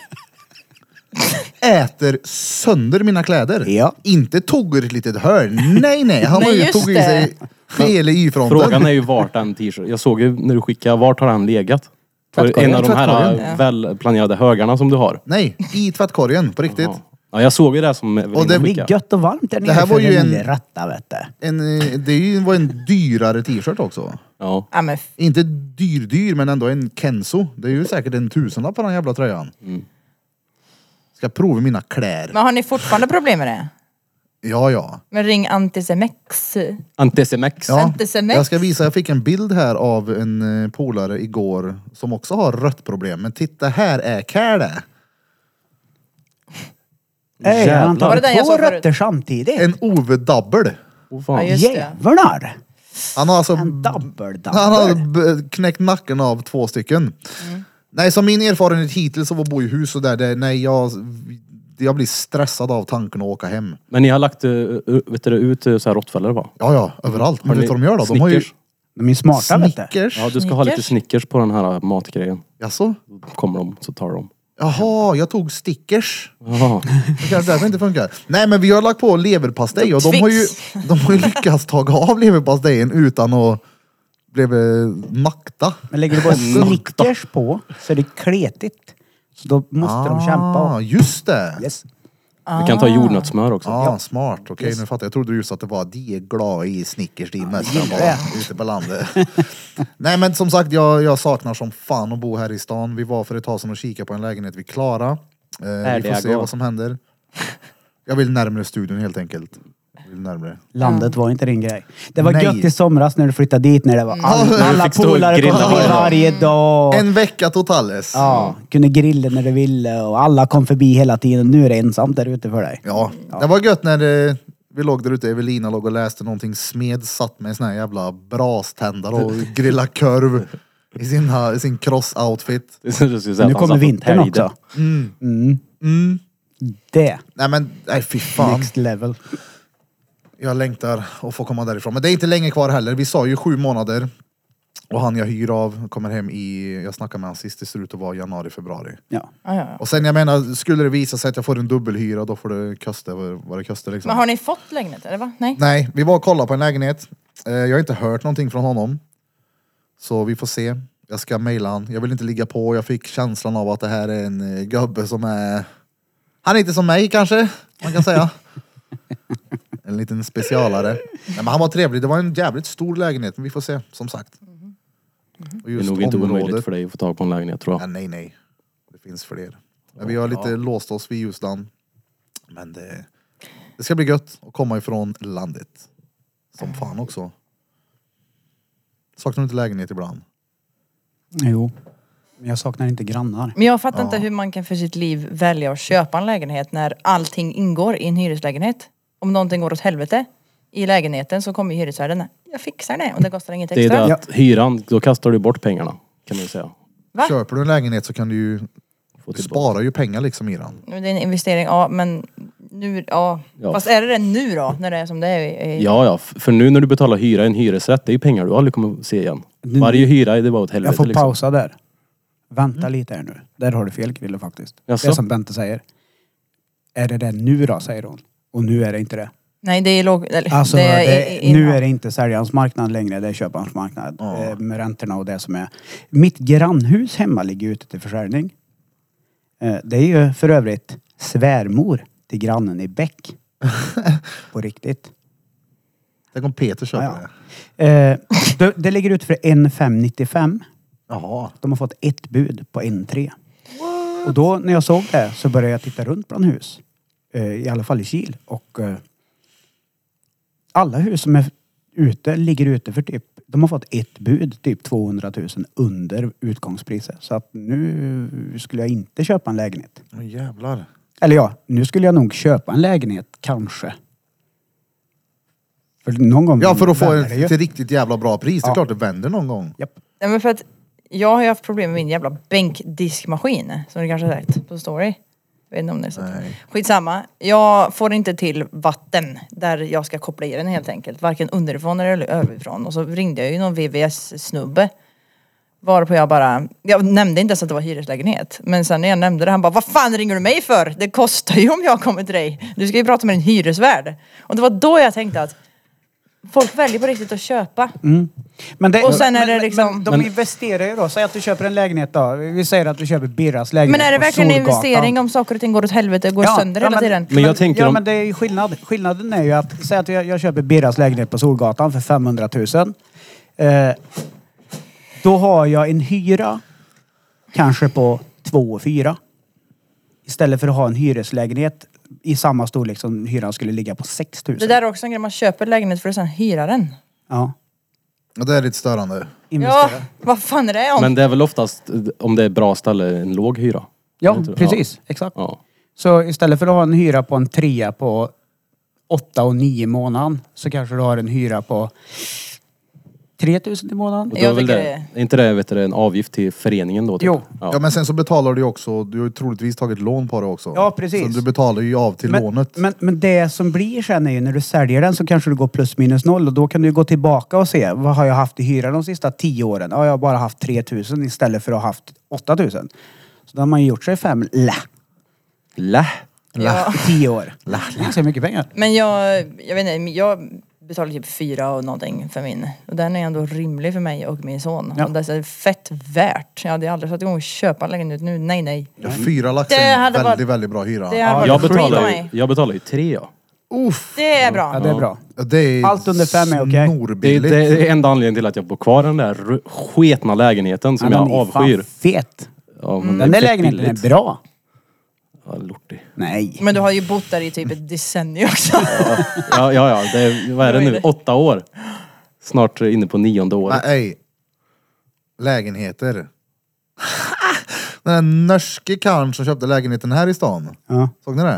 S1: äter sönder mina kläder.
S3: Ja.
S1: Inte tog ur ett litet hörn. Nej, nej. Han var
S4: Nej,
S1: ju
S4: just
S1: tog i
S4: det.
S1: sig hela Y-fronten.
S2: Frågan är ju vart den t-shirten... Jag såg ju när du skickade, vart har den legat? För
S1: Tvättkorgen,
S2: en av de här
S1: tvättkorgen.
S2: äh, välplanerade högarna som du har.
S1: Nej, i tvättkorgen. På riktigt.
S2: Ja. Ja, jag såg ju det som Evelina
S1: det-
S3: Det
S2: skickade.
S3: blir gött och varmt där nere
S1: Det här
S3: för
S1: var ju
S3: den
S1: en-
S3: lille ratta vet du.
S1: En, eh, det är ju- var en dyrare t-shirt också.
S2: Ja.
S4: Ja, men f-
S1: Inte dyr-dyr, men ändå en Kenzo. Det är ju säkert en tusenlapp på den jävla tröjan.
S2: Mm.
S1: Ska prova mina kläder.
S4: men har ni fortfarande problem med det?
S1: Ja, ja.
S4: Men ring Antisemex.
S2: Antisemex.
S1: ja.
S4: Antisemex.
S1: Jag ska visa, jag fick en bild här av en eh, polare igår som också har rött problem. Men titta här är Kärle.
S3: Ey, han
S2: Jävlar.
S4: Var det
S3: tar
S4: den jag
S3: två
S4: såg förut?
S3: rötter samtidigt.
S1: En Ove Double.
S2: Åh,
S4: Ja,
S2: fan.
S4: just det.
S3: Jävlar!
S1: Han har alltså
S3: En double double.
S1: Han hade b- knäckt nacken av två stycken. Nej, som min erfarenhet hittills så var bo i hus och där, det, nej jag, jag blir stressad av tanken att åka hem.
S2: Men ni har lagt eh, vet du, det, ut eh, så här råttfällor va?
S1: Ja, ja, överallt. Men
S2: Har
S1: vet du
S2: ni
S1: vad de gör då? De har ju
S2: Snickers?
S3: De är ju smarta vet du.
S1: Snickers.
S2: Ja, du ska ha lite Snickers på den här eh, matgrejen.
S1: Jaså?
S2: Då kommer de, så tar de.
S1: Jaha, jag tog stickers.
S2: Jaha.
S1: Det kanske därför inte funkar. Nej, men vi har lagt på leverpastej och de har ju, de har ju lyckats ta av leverpastejen utan att bli eh, makta.
S3: Men lägger du bara Snickers på så är det kletigt. Så då måste de kämpa.
S1: Ah, just det.
S3: Yes.
S2: Vi kan ta
S4: Ah.
S2: jordnötssmör också.
S1: Ja, smart. Okej, nu fattar jag. Jag trodde just att det var de är glada i Snickers, de är mest
S3: gillar
S1: bara ute på landet. Nej, men som sagt, jag, jag saknar som fan att bo här i stan. Vi var för ett tag sedan och kikade på en lägenhet vid Klara. Eh, vi
S2: Ärliga
S1: får se
S2: gå.
S1: vad som händer. Jag vill närmare studion helt enkelt. Jag vill närmare.
S3: Landet var inte din grej. Det var
S1: Nej.
S3: gött i somras när du flyttade dit när det var all,
S2: du
S3: alla
S2: fick stå och
S3: polare kom
S2: grilla varje
S3: förbi
S2: dag.
S3: varje dag.
S1: En vecka totales. Ja.
S3: Ja, kunde grilla när du ville och alla kom förbi hela tiden. Nu är det ensamt där ute för dig.
S1: det var gött när eh, vi låg där ute, Evelina låg och läste någonting. Smed satt med en sån här jävla braständare och grillade korv i sin, sin cross-outfit.
S2: Jag skulle säga att
S3: nu
S2: han
S3: kommer
S2: satt och
S3: vintern
S2: täljde.
S3: också. Mm. Det,
S1: Nej men, nej fy fan.
S3: next level.
S1: Jag längtar att få komma därifrån. Men det är inte länge kvar heller. Vi sa ju sju månader. Och han jag hyr av kommer hem i, jag snackade med han sist, det ser ut att vara januari, februari.
S3: Ja.
S4: Ja, ja, ja.
S1: Och sen jag menar, skulle det visa sig att jag får en dubbelhyra då får det kosta vad vad det kostar liksom.
S4: Men har ni fått lägenhet eller va? Nej?
S1: Nej, vi var och kollade på en lägenhet. Eh, Jag har inte hört någonting från honom. Så vi får se. Jag ska mejla han. Jag vill inte ligga på. Jag fick känslan av att det här är en eh, gubbe som är... Han är inte som mig kanske, man kan säga. en liten specialare. Nej, men han var trevlig. Det var en jävligt stor lägenhet, men vi får se, som sagt. Och
S2: Det är
S1: just
S2: nog inte omöjligt
S1: området-
S2: för dig att få tag på en lägenhet tror
S1: Ja,
S2: jag.
S1: nej, nej. Det finns fler. Men vi har lite låst oss vid Ljusnan. Men det, det ska bli gött att komma ifrån landet. Som fan också. Saknar du inte lägenhet ibland?
S3: Jo. Men jag saknar inte grannar.
S4: Men jag fattar inte hur man kan för sitt liv välja att köpa en lägenhet när allting ingår i en hyreslägenhet. Om någonting går åt helvete i lägenheten så kommer ju hyresvärden. Jag fixar det och det kostar inget
S2: Det är
S4: extra.
S2: det att hyran, då kastar du bort pengarna. Kan man ju säga.
S4: Va?
S1: Köper du en lägenhet så kan du ju...
S2: Få
S1: Du
S2: tillbaka.
S1: sparar ju pengar liksom i den.
S4: Men Det är en investering, ja men nu, ja.
S2: Ja.
S4: Fast är det det nu då? När det är som det är? i- i-
S2: Ja, ja. F- För nu när du betalar hyra i en hyresrätt, det är ju pengar du aldrig kommer se igen.
S3: Nu-
S2: Varje hyra är det bara åt helvete.
S3: Jag får
S2: liksom. Mm.
S3: pausa där. Vänta lite här nu. Där har du fel Krille faktiskt.
S2: Jaså?
S3: Det är som Bente säger. Är det det nu då, säger hon. Och nu är det inte det.
S4: Nej det är låg... Eller,
S3: Alltså, det
S4: är i- i-
S3: nu är det inte säljarens marknad längre, det är köparens marknad. Eh, Med räntorna och det som är. Mitt grannhus hemma ligger ute till försäljning. Eh, Det är ju för övrigt svärmor till grannen i Bäck. På riktigt.
S1: Tänk om Peter köper
S3: Ja, ja.
S1: det.
S3: Eh, Det, det ligger ute för 1,595.
S1: Jaha.
S3: De har fått ett bud på en tre. Och då när jag såg det så började jag titta runt bland hus. Eh, I alla fall i Kil. Och eh, alla hus som är ute ligger ute för typ, de har fått ett bud, typ 200 000 under utgångspriset. Så att nu skulle jag inte köpa en lägenhet.
S1: Åh jävlar.
S3: Eller ja, nu skulle jag nog köpa en lägenhet, kanske. För någon gång
S1: Ja, för att få
S3: vänder det ju.
S1: ett till riktigt jävla bra pris. Det är
S3: Mm. Ja.
S1: klart det vänder någon gång.
S3: Japp.
S4: Nej men för att jag har ju haft problem med min jävla bänkdiskmaskin. Som du kanske har sett på story. Jag vet inte om det är så. Skitsamma. Jag får inte till vatten där jag ska koppla i den helt enkelt. Varken underifrån eller överifrån. Och så ringde jag ju någon VVS-snubbe. Varpå jag bara, jag nämnde inte ens att det var hyreslägenhet. Men sen när jag nämnde det, han bara, vad fan ringer du mig för? Det kostar ju om jag kommer till dig. Du ska ju prata med din hyresvärd. Och det var då jag tänkte att folk väljer på riktigt att köpa.
S3: Men det,
S4: Och sen är
S3: men-
S4: det liksom-
S3: Men de
S2: Men-
S3: investerar ju då. Säg att du köper en lägenhet då. Vi säger att du köper Birras lägenhet
S4: Men är det
S3: på
S4: verkligen en
S3: Solgatan.
S4: investering om saker och ting går åt helvete och går sönder hela
S3: men,
S4: tiden?
S2: Men jag tänker
S3: ja,
S2: om-
S3: men det är ju skillnad. Skillnaden är ju att, säg att jag, jag köper Birras lägenhet på Solgatan för 500 000. Eh, då har jag en hyra kanske på 2 4. Istället för att ha en hyreslägenhet i samma storlek som hyran skulle ligga på 6 000.
S4: Det där är också en grej, man köper lägenhet för att sen hyra den.
S3: Ja.
S1: Ja, Det är lite störande.
S3: Investera.
S4: Ja, vad fan är det om?
S2: Men det är väl oftast, eh, om det är bra ställe, en låg hyra?
S3: Ja,
S2: Eller inte?
S3: precis. Exakt.
S2: Ja.
S3: Så istället för att ha en hyra på en trea på åtta och nio månaden så kanske du har en hyra på 3000 i månaden.
S2: Och
S4: Jag
S2: då är väl
S4: tycker
S2: det, är inte det vet du, en avgift till föreningen då? Typ?
S3: Jo.
S1: Ja.
S2: Ja.
S1: men sen så betalar du ju också, du har ju troligtvis tagit lån på det också.
S3: Ja, precis.
S1: Så du betalar ju av till
S3: Men,
S1: lånet.
S3: men, men det som blir sen är ju när du säljer den så kanske du går plus minus noll och då kan du gå tillbaka och se vad har jag haft i hyra de sista tio åren? Ja, jag har bara haft 3000 istället för att ha haft 8000. Så då har man ju gjort sig fem lä
S2: Lä!
S4: Ja.
S3: i tio år. Ganska mycket pengar.
S4: Men jag, jag vet inte, jag betalar typ fyra och någonting för min. Och den är ändå rimlig för mig och min son.
S3: Ja.
S4: Och det är fett värt. Jag hade aldrig satt igång och köpa en lägenhet nu. Nej, nej.
S1: Ja, Fyra lax
S4: Det
S1: är en
S4: hade
S1: väldigt,
S4: varit-
S1: väldigt bra hyra.
S4: Det hade varit
S2: Jag
S4: skit av
S2: betalar, ju,
S4: mig.
S2: jag betalar ju tre ja.
S1: Uff,
S4: Det är bra.
S3: Ja, det är bra.
S1: Ja, det är
S3: Allt under fem är okej.
S2: Det,
S1: snorbilligt.
S2: det är enda anledningen till att jag bor kvar i den där ru- sketna lägenheten som
S3: Ja,
S2: jag
S3: den är fan
S2: avskyr.
S3: fet.
S2: Ja, men det är
S3: Den där
S2: fett
S3: lägenheten
S2: billigt.
S3: Mm. är bra.
S2: Ja, lortig.
S3: Nej.
S4: Men du har ju bott där i typ ett decennium också.
S2: Ja, ja, ja. Det är, vad är det
S4: Vad är
S2: nu?
S4: det?
S2: Åtta år. Snart inne på nionde året.
S1: Nej. Lägenheter. Den där norske karln som köpte lägenheten här i stan.
S3: Ja.
S1: Såg ni det?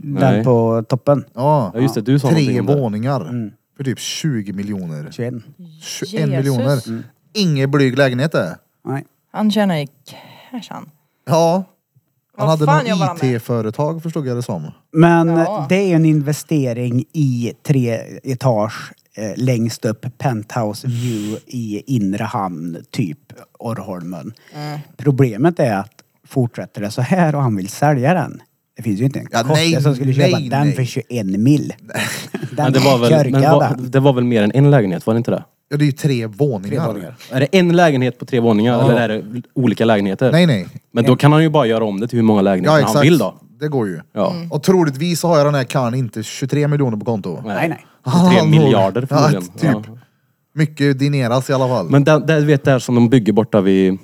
S3: Den
S2: Nej.
S3: på toppen.
S1: Ja.
S2: Ja, just det. Du sa
S1: Tre
S2: någonting om det.
S1: våningar.
S3: Mm.
S1: För typ 20 miljoner.
S3: 21.
S1: 21
S4: Jesus.
S1: miljoner.
S4: Mm.
S1: Ingen blyg lägenhet det.
S3: Nej.
S4: Han tjänar ju cash han.
S1: Ja. Han
S4: Vad
S1: hade
S4: fan jobbar
S1: något
S4: han med?
S1: IT-företag förstod jag det som.
S3: Men
S4: Ja.
S3: eh, det är ju en investering i tre etage eh, längst upp, penthouse view i inre hamn, typ Orrholmen. Problemet är att fortsätter det så här och han vill sälja den. Det finns ju inte en
S1: Ja,
S3: kotte
S1: nej,
S3: som skulle köpa
S1: nej,
S3: den
S1: nej.
S3: för 21 mil.
S2: Men
S3: Den
S2: det, var väl, men
S3: körka
S2: var,
S3: den.
S2: det var väl mer än en lägenhet, var det inte det?
S1: Ja, det är ju tre våningar.
S2: Är det en lägenhet på tre våningar eller är det olika lägenheter?
S1: Nej, nej.
S2: Men då kan han ju bara göra om det till hur många lägenheter
S1: Ja, exakt.
S2: han vill då.
S1: Det går ju.
S2: Ja.
S1: Och troligtvis så har jag den här karln inte 23 miljoner på konto.
S3: Nej, nej. Ah,
S1: Han
S2: Tre
S1: har-
S2: miljarder
S1: ja,
S2: förmodligen.
S1: typ.
S2: Ja.
S1: Mycket dineras i alla fall.
S2: Men det, det, du vet där som de bygger borta vid,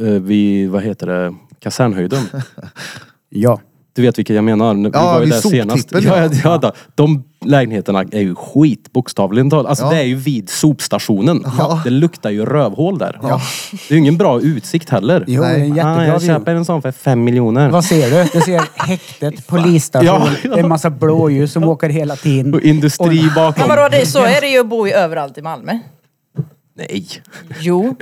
S2: eh, vid vad heter det, kasernhöjden.
S3: Ja.
S2: Du vet vilka jag menar. Vi
S1: Ja,
S2: var ju
S1: vid
S2: där senast.
S1: soptippen,
S2: Ja,
S1: ja.
S2: ja, ja, då. De lägenheterna är ju skit bokstavligen talat. Alltså
S1: Ja.
S2: det är ju vid sopstationen. Det luktar ju rövhål där. Det är ju ingen bra utsikt heller.
S3: Jo, det är en jättebra
S2: ah, jag
S3: view.
S2: köper en sån för fem miljoner.
S3: Vad ser du? Du ser häktet, polisstation,
S2: Ja, ja.
S3: det är en massa blåljus som åker hela tiden.
S2: Och industri bakom.
S4: Men vadå, det, så är det ju att bo i överallt i Malmö.
S2: Nej.
S4: Jo.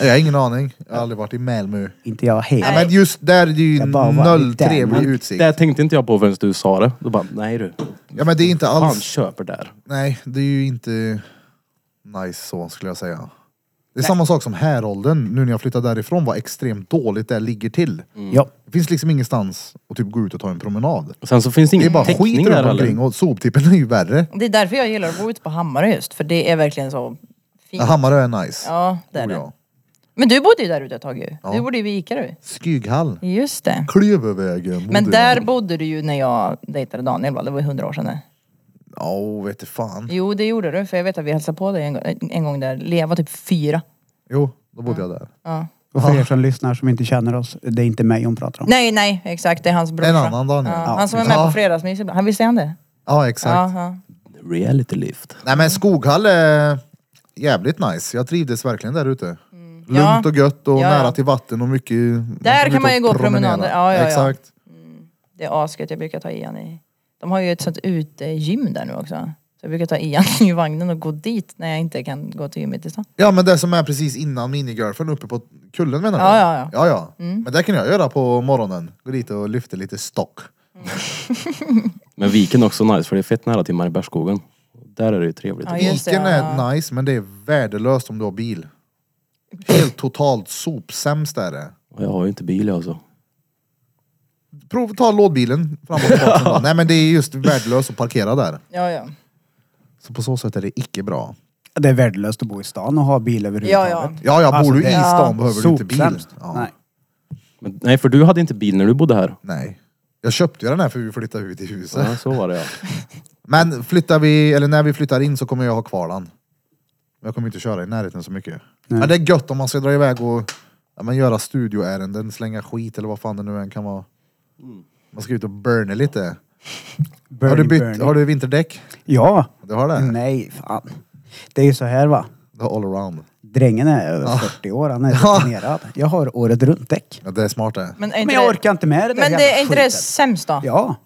S1: Jag har ingen aning. Jag har aldrig varit i Malmö.
S3: Inte jag helt.
S1: Ja, men just där är det ju
S3: Jag bara var i
S1: noll
S3: Danmark.
S1: trevlig utsikt.
S2: Det tänkte inte jag på förrän du sa det. Då bara, nej du.
S1: Ja men det är inte
S2: Han
S1: alls...
S2: köper där.
S1: Nej, det är ju inte nice så skulle jag säga. Det är samma sak som Häråldern, nu när jag flyttade därifrån, vad extremt dåligt det ligger till.
S2: Mm.
S3: Ja.
S1: Det finns liksom ingenstans att typ gå ut och ta en promenad.
S2: Och Sen så finns det
S1: Det är
S2: ingen
S1: bara skit
S2: täckning där
S1: runt
S2: heller.
S1: omkring och soptippen är ju värre.
S4: Det är därför jag gillar att bo ute på Hammarö just. För det är verkligen så
S1: Ja,
S4: fint.
S1: Hammarö är nice.
S4: Ja, det är
S1: Oh,
S4: det.
S1: ja.
S4: Men du bodde ju där ute ett tag ju. Du bodde ju vid Ica du.
S1: Skyghall.
S4: Just det.
S1: Klövervägen. bodde
S4: Men
S1: jag.
S4: där bodde du ju när jag dejtade Daniel va? Det var ju hundra år sedan det.
S1: Ja, vet du fan.
S4: Jo det gjorde du för jag vet att vi hälsade på dig en, gång- en gång där. Lea var typ fyra.
S1: Jo, då bodde jag där.
S4: Ja.
S3: Och för er som lyssnar som inte känner oss, det är inte mig hon pratar om.
S4: Nej nej exakt det är hans brorsa.
S1: En annan Daniel.
S4: Ja,
S1: Ja,
S4: han som är med
S1: precis.
S4: på fredagsmys ibland. Han visste han det?
S1: Ja, exakt.
S4: Ja, ja.
S2: Reality lift.
S1: Nej men Skoghall är jävligt nice. Jag trivdes verkligen där ute. Lugnt
S4: Mm. Ja.
S1: och gött och
S4: Ja, ja.
S1: nära till vatten och mycket...
S4: Där
S1: ut
S4: kan man ju
S1: och
S4: gå
S1: promenera.
S4: promenader. Ja, ja, ja.
S1: Exakt.
S4: Det är asgött. Jag brukar ta i han i... De har ju ett sånt utegym där nu också. Så jag brukar ta i han i vagnen och gå dit när jag inte kan gå till gymmet i stan.
S1: Ja men det som är precis innan minigolfen uppe på kullen menar du?
S4: Ja, ja, Mm.
S1: ja,
S4: ja.
S1: ja. Men det kan jag göra på morgonen. Gå dit och lyfta lite stock.
S2: Men viken är också nice för det är fett nära till Mariebergsskogen.
S4: Ja, just det,
S1: Viken
S4: ja.
S1: är nice men det är värdelöst om du har bil. Helt totalt sopsämst är det.
S2: Och Jag har ju inte bil jag alltså.
S1: Prova ta lådbilen framåt. bakåt då. Nej men det är just värdelöst att parkera där.
S4: Ja, ja.
S1: Så på så sätt är det icke bra.
S3: Det är värdelöst att bo i stan och ha bil överhuvudtaget.
S4: Ja, ja.
S1: Ja, ja,
S3: Alltså,
S1: bor du
S3: det
S1: i
S3: är
S1: stan behöver du inte bil.
S3: Sopsämst.
S1: Ja.
S3: Nej.
S2: Men, nej, för du hade inte bil när du bodde här.
S1: Nej. Jag köpte ju den här för vi flyttade ut i huset.
S2: Ja, så var det ja.
S1: Alltså, Men flyttar vi, eller när vi flyttar in så kommer jag ha kvar den. Jag kommer inte köra i närheten så mycket. Men det är gött om man ska dra iväg och ja, men göra studioärenden, slänga skit eller vad fan det nu än kan vara.
S3: Mm.
S1: Man ska ut och burna lite.
S3: Burning,
S1: har, du bytt,
S3: burning.
S1: har du vinterdäck?
S3: Ja.
S1: Du har det?
S3: Nej, fan. Det är ju så här va.
S1: Du har all around.
S3: Drängen är över 40 år, han är rutinerad. Jag har året runt däck.
S1: Ja, det är smart det.
S4: Men, är inte
S3: Men jag
S4: det-
S3: orkar inte med det där
S4: Men det
S3: jävla
S4: är inte det
S3: skiten.
S4: sämst då? Ja.
S3: Ja.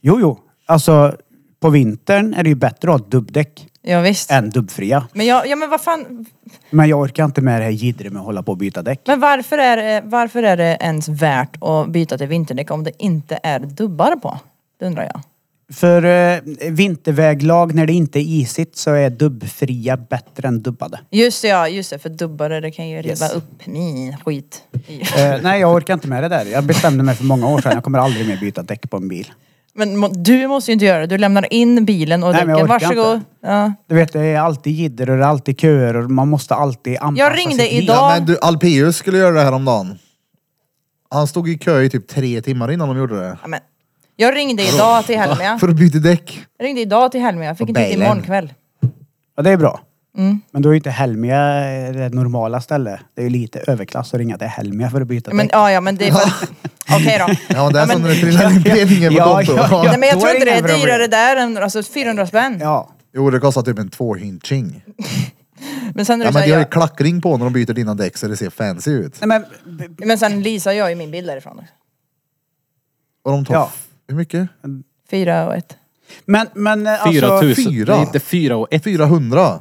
S3: Jo, jo. Alltså, på vintern är det ju bättre att ha dubbdäck
S4: visst.
S3: än dubbfria.
S4: Men jag, ja men vad fan.
S3: Men jag orkar inte med det här jiddret med att hålla på och byta däck.
S4: Men varför är, det, varför är det ens värt att byta till vinterdäck om det inte är dubbar på? Det undrar jag.
S3: För eh, vinterväglag, när det inte är isigt, så är dubbfria bättre än dubbade.
S4: Just det, ja, just det, för dubbare det kan ju riva
S3: Yes.
S4: upp min skit. i-
S3: Eh, nej, jag orkar inte med det där. Jag bestämde mig för många år sedan. Jag kommer aldrig mer byta däck på en bil.
S4: Men må- du måste ju inte göra det. Du lämnar in bilen och
S3: Nej, men jag
S4: däcken.
S3: orkar
S4: Varsågod.
S3: inte.
S4: Ja.
S3: Du vet, det är alltid jidder och det är alltid köer och man måste alltid anpassa
S4: Jag ringde
S3: sitt liv.
S4: idag.
S1: Ja, men du, Alpius skulle göra det här om dagen. Han stod i kö i typ tre timmar innan de gjorde det.
S4: Ja, men. Jag ringde idag till Helmia.
S1: För att byta däck.
S4: Jag ringde idag till Helmia. Jag fick
S1: Och
S4: inte till
S1: Bailen.
S4: imorgon kväll.
S3: Ja, det är bra.
S4: Mm.
S3: Men då är ju inte Helmia det normala stället. Det är ju lite överklass att ringa till Helmia för att byta
S4: Ja, Men,
S3: däck.
S4: ja, ja, men det är för... Okej då.
S1: Ja, det är
S4: Ja,
S1: som
S4: men-
S1: när det trillar in penningen på
S3: Ja,
S1: kontot.
S3: ja, ja.
S4: Nej, men jag
S3: då
S4: tror
S3: är
S4: inte det
S3: ingen
S4: är
S3: problem.
S4: dyrare där än alltså 400 spänn.
S3: Ja.
S1: Jo, det kostar typ en tvåhintring.
S4: Men sen är
S1: Ja,
S4: det
S1: men de
S4: så
S1: har
S4: här,
S1: ju klackring på när de byter dina däck så det ser fancy ut.
S3: Nej, men, b- b-
S4: jag, men sen Lisa gör ju min bil därifrån. också.
S1: Och de tar...
S3: Ja.
S1: Hur mycket?
S4: Fyra och ett.
S3: men, men eh, alltså...
S2: 4000.
S1: fyra.
S2: Nej, inte fyra och ett.
S1: 400?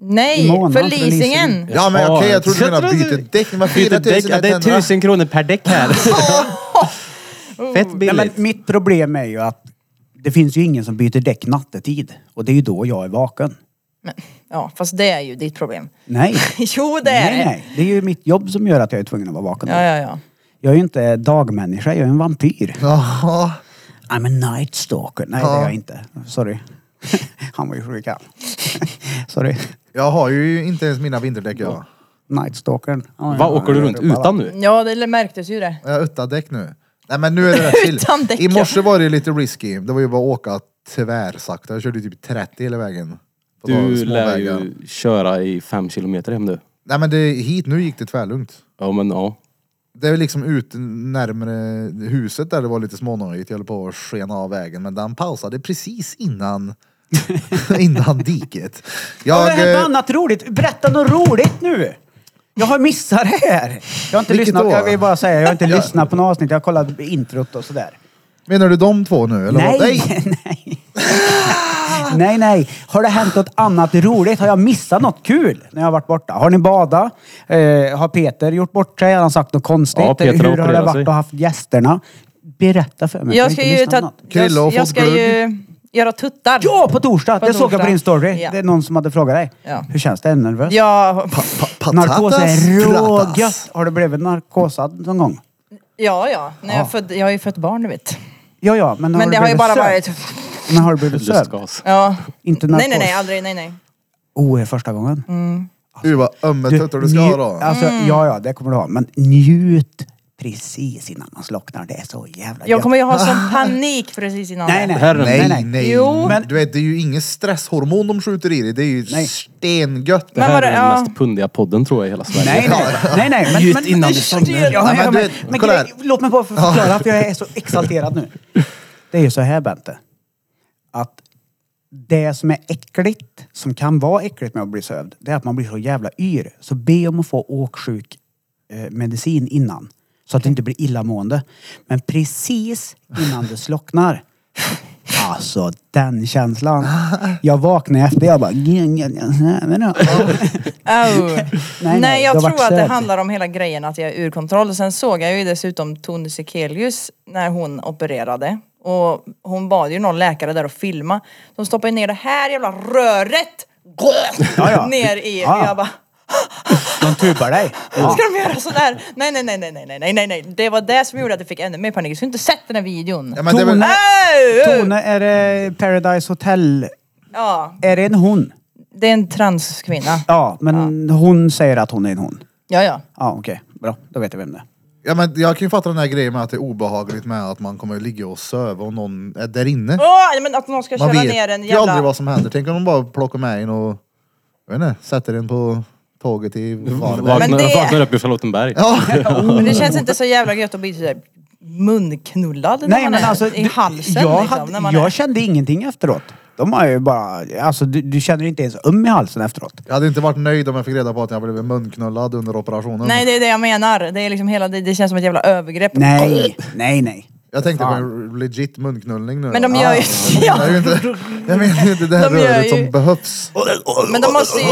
S4: Nej,
S3: I månaden
S4: för
S3: för
S4: leasingen.
S3: leasing.
S1: Ja, men okej, jag trodde du
S2: Jag
S1: menade
S2: trodde-
S1: byter däck. Men
S2: Byta däck, ja, det är
S1: 4100.
S2: tusen kronor per däck här. Fett
S3: Nej,
S2: billigt.
S3: men mitt problem är ju att det finns ju ingen som byter däck nattetid. Och det är ju då jag är vaken.
S4: Men, ja, fast det är ju ditt problem.
S3: Nej.
S4: Jo, det är
S3: nej,
S4: det.
S3: nej. Det är ju mitt jobb som gör att jag är tvungen att vara vaken.
S4: Ja, ja, ja.
S3: Jag är ju inte dagmänniska, jag är en vampyr.
S1: Jaha.
S3: I'm a night stalker. Nej, det
S1: Ja.
S3: är jag inte. Sorry. Han var ju sjuk han. Sorry.
S1: Jag har ju inte ens mina vinterdäck jag.
S3: Night stalkern. Ja, ja,
S2: Vad åker du
S3: ja,
S2: runt
S3: det är bara-
S2: utan nu?
S4: Ja, det märktes ju det.
S1: Jag har utan däck nu. Nej men nu är det rätt chill.
S4: Utan däck,
S1: I morse var det lite risky. Det var ju bara att åka tvärsakta. Jag körde typ 30 hela vägen. På de
S2: Du
S1: små
S2: lär
S1: vägar.
S2: ju köra i fem kilometer hem du.
S1: Nej men det, hit nu gick det tvärlugnt.
S2: Ja men ja.
S1: Det är liksom ut närmare huset där det var lite smånöjigt. Jag höll på att skena av vägen men den pausade precis innan, innan diket.
S3: Har det
S1: Jag,
S3: hänt något
S1: eh,
S3: annat roligt? Berätta något roligt nu! Jag har missat det här! Jag har inte
S1: Vilket
S3: lyssnat,
S1: då?
S3: jag vill bara säga, jag har inte lyssnat på något avsnitt. Jag har kollat introt och sådär.
S1: menar du de två nu? Eller
S3: Nej,
S1: Vad? Nej!
S3: nej. nej, nej. Har det hänt något annat roligt? Har jag missat något kul när jag har varit borta? Har ni badat? Eh, har Peter gjort bort sig? Har han sagt något konstigt?
S2: Ja, Peter har
S3: Hur har det
S2: opererat sig.
S3: varit att haft gästerna? Berätta för mig.
S4: Jag
S3: har
S4: ska
S3: inte
S4: ju
S3: missat
S4: ta...
S3: något.
S1: Krille har
S4: Jag, jag
S1: fått
S4: ska
S1: glögg.
S4: ju göra tuttar.
S3: Ja, på torsdag!
S4: På
S3: det såg jag
S4: torsdag.
S3: på din story.
S4: Ja.
S3: Det är någon som hade frågat dig.
S4: Ja.
S3: Hur känns det? Är du nervös?
S4: Ja,
S1: Pa- patatas
S3: Narkos är
S1: gratas.
S3: rågött! Har du blivit narkosad någon gång?
S4: ja. ja. När jag, född, jag har ju fött barn, du vet.
S3: Ja, ja, men har
S4: Men
S3: du
S4: det har ju
S3: blivit
S4: bara
S3: sövd?
S4: varit...
S3: Men har du blivit sövd?
S2: Lustgas.
S4: Ja.
S3: Inte narkos?
S4: Nej, nej, nej, aldrig. Nej, nej.
S3: Oh, är första gången?
S1: Du vad ömma tuttar du ska
S3: nju-
S1: ha då.
S3: Alltså,
S4: Mm.
S3: Ja, ja, det kommer du ha. Men njut precis innan man slocknar. Det är så jävla
S4: Jag kommer ju ha sån panik precis innan.
S3: Nej,
S4: det.
S3: nej.
S2: Det här är en-
S1: Nej,
S3: nej.
S1: nej.
S4: Jo.
S1: Men... Du vet, det är ju inget stresshormon de skjuter i dig. Det är ju
S3: Nej.
S1: stengött.
S2: Det här
S4: vadå,
S2: är den
S4: ja.
S2: mest pundiga podden tror jag i hela Sverige.
S3: Nej, nej, nej, nej. Men,
S2: Njut
S3: men,
S2: innan du
S3: Ja,
S2: somnar.
S3: ja,
S1: men
S3: ja,
S1: du
S3: men,
S1: vet,
S3: men,
S1: kolla
S3: grej-
S1: här.
S3: låt mig bara få förklara för jag är så exalterad nu. Det är ju så här Bente. Att det som är äckligt, som kan vara äckligt med att bli sövd, det är att man blir så jävla yr. Så be om att få åksjuk eh, medicin innan. Så att du inte blir illamående. Men precis innan du slocknar. Alltså den känslan. Jag vaknade efter, jag bara...
S4: Au. Oh. nej,
S3: nej,
S4: jag
S3: du har
S4: tror
S3: varit
S4: att det
S3: sövd.
S4: handlar om hela grejen att jag är ur kontroll. Sen såg jag ju dessutom Tone Sekelius när hon opererade. Och hon bad ju någon läkare där att filma. De stoppade ju ner det här jävla röret
S3: Ja, ja.
S4: ner i...
S3: Ja, ja.
S4: Jag bara,
S3: De tubar dig. Ja.
S4: ska de göra sådär? Nej, nej, nej, nej, nej, nej, nej, nej, nej. Det var det som gjorde att jag fick ännu mer panik. Jag skulle inte sett den här videon.
S1: Ja, men det är väl,
S3: Tone-
S4: Au!
S3: Tone, är det Paradise Hotel?
S4: Ja,
S3: Är det en hon?
S4: det är en transkvinna.
S3: Ja, men hon säger att hon är en hon.
S4: Ja, ja.
S3: Ja, okej. Bra, då vet jag vem det är.
S1: ja, men jag kan ju fatta den här grejen med att det är obehagligt med att man kommer ligga och söva och någon är där inne.
S4: Åh, nej, men att någon ska
S1: Man
S4: köra
S1: vet
S4: ner en
S1: ju aldrig
S4: jävla...
S1: vad som händer. Tänk om de bara plockar med en och jag vet inte, sätter en på tåget till Varberg.
S4: Men
S2: Vaknar,
S4: det-
S2: vaknar upp i Charlottenberg.
S1: Ja.
S4: Men det känns inte så jävla gött att bli sådär munknullad när man är i halsen.
S3: alltså, jag,
S4: liksom,
S3: hade-
S4: när man
S3: jag
S4: är.
S3: kände ingenting efteråt. De har ju bara, alltså du, du känner inte ens öm i halsen efteråt.
S1: Jag hade inte varit nöjd om jag fick reda på att jag blev munknullad under operationen.
S4: Nej, det är det jag menar. Det, är liksom hela, det, det känns som ett jävla övergrepp.
S3: Nej, nej, nej.
S1: Jag tänkte på
S3: Fan.
S1: en legit munknullning nu. Ah,
S4: Men de gör ju...
S1: Jag menar ju inte, jag menar ju inte det här
S4: De gör
S1: röret
S4: ju-
S1: som behövs.
S4: Men de måste ju...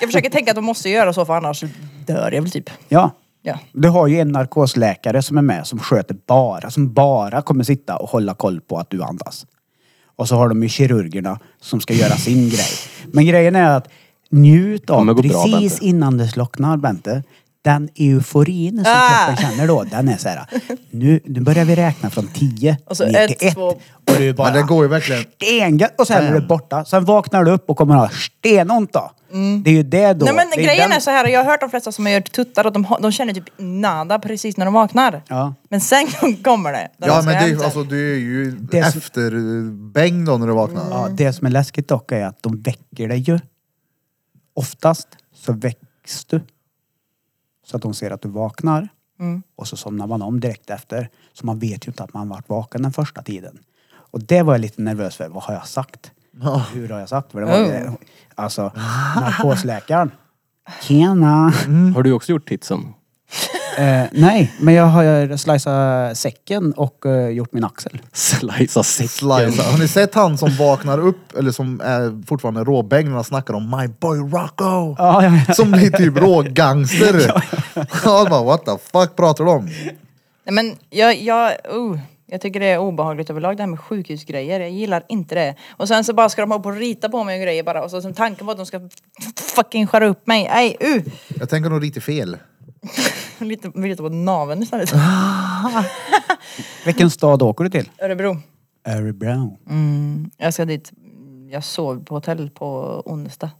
S4: Jag försöker tänka att de måste göra så för annars dör jag väl typ.
S3: Ja.
S4: Ja.
S3: Du har ju en narkosläkare som är med som sköter bara, som bara kommer sitta och hålla koll på att du andas. Och så har de ju kirurgerna som ska göra sin grej. Men grejen är att njut av
S2: kommer gå bra,
S3: precis
S2: Bente.
S3: innan det slocknar Bente. Den euforin som
S4: Ah!
S3: kroppen känner då, den är så här. Nu, nu börjar vi räkna från 10
S4: Och så
S3: ner
S4: ett,
S3: till 1.
S4: två.
S3: Och du är bara
S1: Men det går ju verkligen.
S3: stengött och sen är du borta. Sen vaknar du upp och kommer ha stenont då. Det är ju det då.
S4: Mm. Nej men
S3: det
S4: grejen
S3: den-
S4: är så här, jag har hört de flesta som har gjort tuttar att de, har- de känner typ nada precis när de vaknar.
S3: Ja.
S4: Men sen kommer det. när
S1: Ja
S4: de ska
S1: men det,
S4: hem
S1: är-
S4: sen.
S1: alltså, du är ju
S3: Det som-
S1: efter eh, bäng då när du vaknar.
S3: Ja, det som är läskigt dock är att de väcker dig ju. Oftast så väcks du. Så att de ser att du vaknar. Och så somnar man om direkt efter. Så man vet ju inte att man varit vaken den första tiden. Och det var jag lite nervös för. Vad har jag sagt? Hur har jag sagt? För det var,
S4: Oh.
S3: Alltså, narkosläkaren. Tjena!
S2: Har du också gjort titsen?
S3: Eh, nej, men jag har slicat säcken och eh, gjort min axel.
S2: Slicea säcken.
S1: Slice. Har ni sett han som vaknar upp, eller som är fortfarande råbäng när han snackar om My boy Rocco?
S3: Ja, ja, ja.
S1: Som blir typ rågangster. Ja, bara, what the fuck pratar de om?
S4: Nej men jag, jag, oh, jag tycker det är obehagligt överlag det här med sjukhusgrejer. Jag gillar inte det. Och sen så bara ska de hålla på och rita på mig och grejer bara. Och så som tanken på att de ska fucking skära upp mig. Nej, uh.
S1: Jag tänker nog lite fel.
S4: Lite, lite på naveln istället.
S3: Vilken stad åker du till?
S4: Örebro.
S3: Örebro.
S4: Jag ska dit. Jag sov på hotell på onsdag.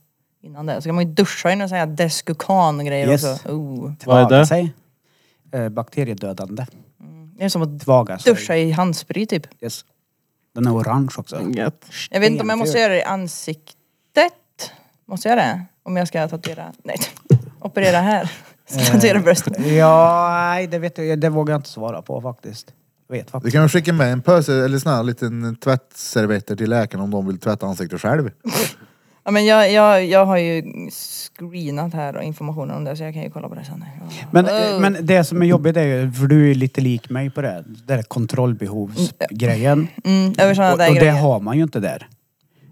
S4: Innan det. Så kan man ju duscha in och säga deskukan och grejer
S3: Yes.
S4: också. Oh.
S2: Vad är
S3: Tvaga
S2: det?
S3: sig. Eh, bakteriedödande.
S4: Det är som att
S3: Tvaga sig.
S4: duscha i handsprit typ.
S3: Yes. Den är orange också.
S2: Gött.
S4: Jag vet inte om jag måste göra det i ansiktet. Måste jag det? Om jag ska tatuera... Nej. Operera här.
S3: Eh.
S4: Tatuera bröstet.
S3: Ja, nej, det, vet jag, det vågar jag inte svara på faktiskt. Jag vet
S1: Du
S3: faktiskt.
S1: kan väl skicka med en pöse eller sån här liten tvättservetter till läkaren om de vill tvätta ansiktet själv.
S4: Ja, men jag, jag, jag har ju screenat här och informationen om det så jag kan ju kolla på det Mm. sen. Ja.
S3: Men, eh, men det som är jobbigt är ju, för du är ju lite lik mig på det, här, det där kontrollbehovsgrejen.
S4: Mm, över sådana
S3: Och, och
S4: där
S3: det
S4: grejer.
S3: har man ju inte där.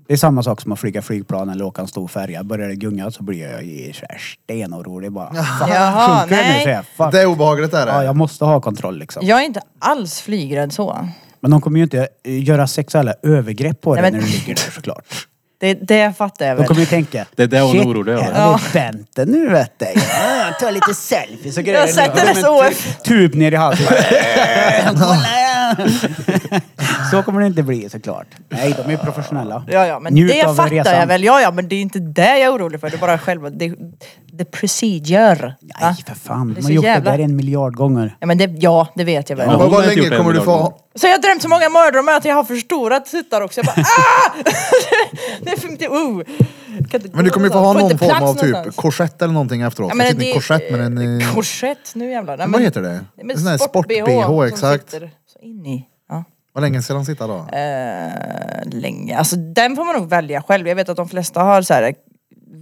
S3: Det är samma sak som att flyga flygplan eller åka en stor färja. Börjar det gunga så blir jag ju så här stenorolig bara. Fan,
S4: Jaha,
S3: sjunker det nu
S4: nej.
S3: så jag, fuck.
S1: Det är obehagligt är det.
S3: Ja, jag måste ha kontroll liksom.
S4: Jag är inte alls flygrädd så.
S3: Men de kommer ju inte eh, göra sexuella övergrepp på dig
S4: Nej,
S3: när
S4: men-
S3: du ligger där såklart.
S4: Det, det fattar jag
S3: De
S4: väl.
S3: kommer ju tänka,
S2: Det är det hon är
S3: shit,
S2: orolig över.
S3: här är Bente nu vet du. Ja, ta lite selfies och grejer.
S4: Jag har sett
S3: Nu
S4: hennes
S3: kommer en
S4: OF.
S3: tu- Tup ner i halsen. Kolla! så kommer det inte bli såklart. Nej, de är ju professionella.
S4: Ja, ja, men
S3: Njut
S4: det
S3: av
S4: fattar
S3: resan.
S4: jag väl. Ja, ja, men det är inte det jag är orolig för. Det är bara själva... Det, the procedure. va?
S3: Nej, för fan.
S4: Det
S3: De har
S4: är så
S3: gjort
S4: jävla-
S3: det där en miljard gånger.
S4: Ja, men det, ja, det vet jag väl.
S2: Ja.
S1: Men
S2: hon har
S1: vad
S2: inte
S1: länge
S2: gjort det
S1: kommer du
S2: en miljard
S1: få...
S2: gånger.
S4: Så jag har drömt så många mardrömmar att jag har förstorat tuttar också. Jag bara ah! det är för mycket, oh. Kan inte
S1: Men du kommer ju få
S4: gå
S1: ha
S4: någonstans. Får
S1: någon form av
S4: inte plats
S1: typ
S4: någonstans.
S1: korsett eller någonting efteråt.
S4: Ja,
S1: Jag sitter i
S4: det-
S1: korsett men en... eh,
S4: Korsett, nu jävlar. Nej,
S1: Vad heter det?
S4: Nej, men
S1: Sån här
S4: sport-BH
S1: sport-BH,
S4: som
S1: exakt.
S4: sitter Så in i. Ja.
S1: Vad länge ska den sitta då?
S4: Eh, länge. Alltså den får man nog välja själv. Jag vet att de flesta har så här eh,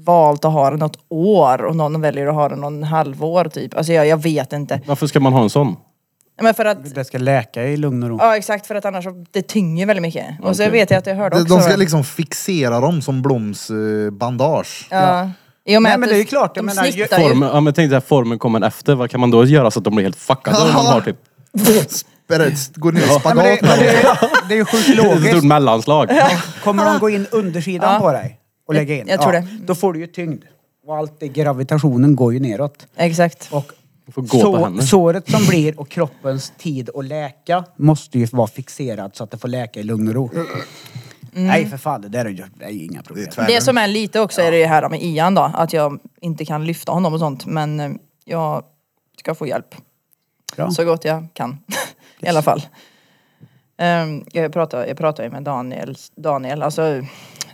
S4: valt att ha den något år och någon väljer att ha den någon halvår typ. Alltså jag, jag vet inte.
S2: Varför ska man ha en sån?
S4: Men för att,
S3: Det ska läka i lugn och ro.
S4: ja exakt för att annars så- det tynger väldigt mycket. Och så
S2: Okej.
S4: vet jag att jag hörde
S1: De,
S4: också.
S1: de ska
S4: va?
S1: liksom fixera dem som Bloms eh, bandage.
S4: Ja. I och med
S3: Nej,
S4: att
S3: men
S4: du-
S3: det är ju klart, jag
S4: De
S3: menar, ju-
S4: snittar ju.
S2: Formen, ja, men tänk dig att formen kommer efter. Vad kan man då göra så att de blir helt fuckade? Om man har typ
S1: spärrar ut, går ner i
S3: Nej, men det,
S1: spagat med
S3: men det,
S1: dem.
S3: det är ju sjukt
S2: Ett stort
S3: logiskt.
S2: mellanslag.
S3: Kommer de gå in undersidan
S4: Ja.
S3: på dig och lägga in?
S4: Jag tror
S3: ja,
S4: det.
S3: Då får du ju tyngd. Och allt det, gravitationen går ju neråt.
S4: Exakt.
S3: Och
S2: får gå på henne.
S3: såret som blir och kroppens tid att läka måste ju vara fixerad så att det får läka i lugn och ro.
S4: Mm.
S3: Nej för fan, det där är ju, det är ju inga problem.
S1: Det är tvärtom.
S4: Det som är lite också är det ju här med Ian då, att jag inte kan lyfta honom och sånt. Men eh, jag ska få hjälp.
S3: Bra.
S4: Så gott jag kan. I alla fall. Ehm, jag pratar jag pratar ju med Daniel, Daniel, alltså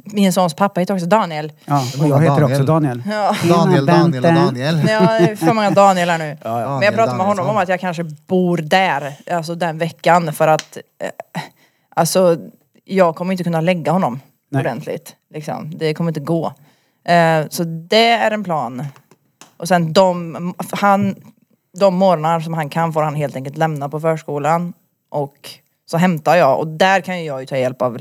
S4: min sons pappa heter också Daniel.
S3: Ja, och jag heter också Daniel.
S4: Ja.
S1: Daniel, Daniel och Daniel.
S4: Nej, Jag är för många Daniel här nu.
S1: ja.
S4: Men jag pratade
S1: Daniel
S4: med honom om
S1: Danielsson.
S4: att jag kanske bor där, alltså den veckan för att eh, alltså jag kommer inte kunna lägga honom
S3: Nej.
S4: ordentligt. Liksom. Det kommer inte gå. Eh, så det är en plan. Och sen de, han, de morgnar som han kan får han helt enkelt lämna på förskolan och så hämtar jag och där kan ju jag ju ta hjälp av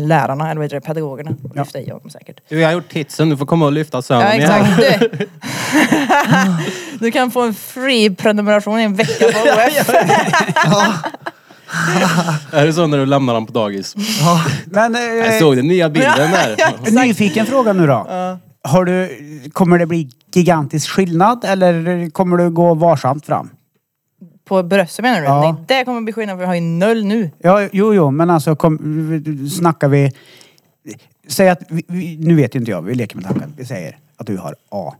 S4: lärarna, eller vad heter det, pedagogerna. Och lyfta i honom säkert.
S2: Du, jag har gjort titsen. Du får komma och lyfta
S4: Ja,
S2: sömnen
S4: exakt. Du. du kan få en free prenumeration i en vecka på OF.
S2: Är det så när du lämnar honom på dagis?
S3: Men,
S2: Jag
S3: eh,
S2: såg den nya bilden där.
S3: En Nyfiken fråga nu då. Har du, kommer det bli gigantisk skillnad eller kommer du gå varsamt fram?
S4: På bröstet menar du?
S3: Ja.
S4: Nej, det kommer bli skillnad för jag har ju noll nu.
S3: Ja, jo, jo, men alltså kom, snackar vi... Säg att, vi, vi, nu vet inte jag, vi leker med tanken. Vi säger att du har A.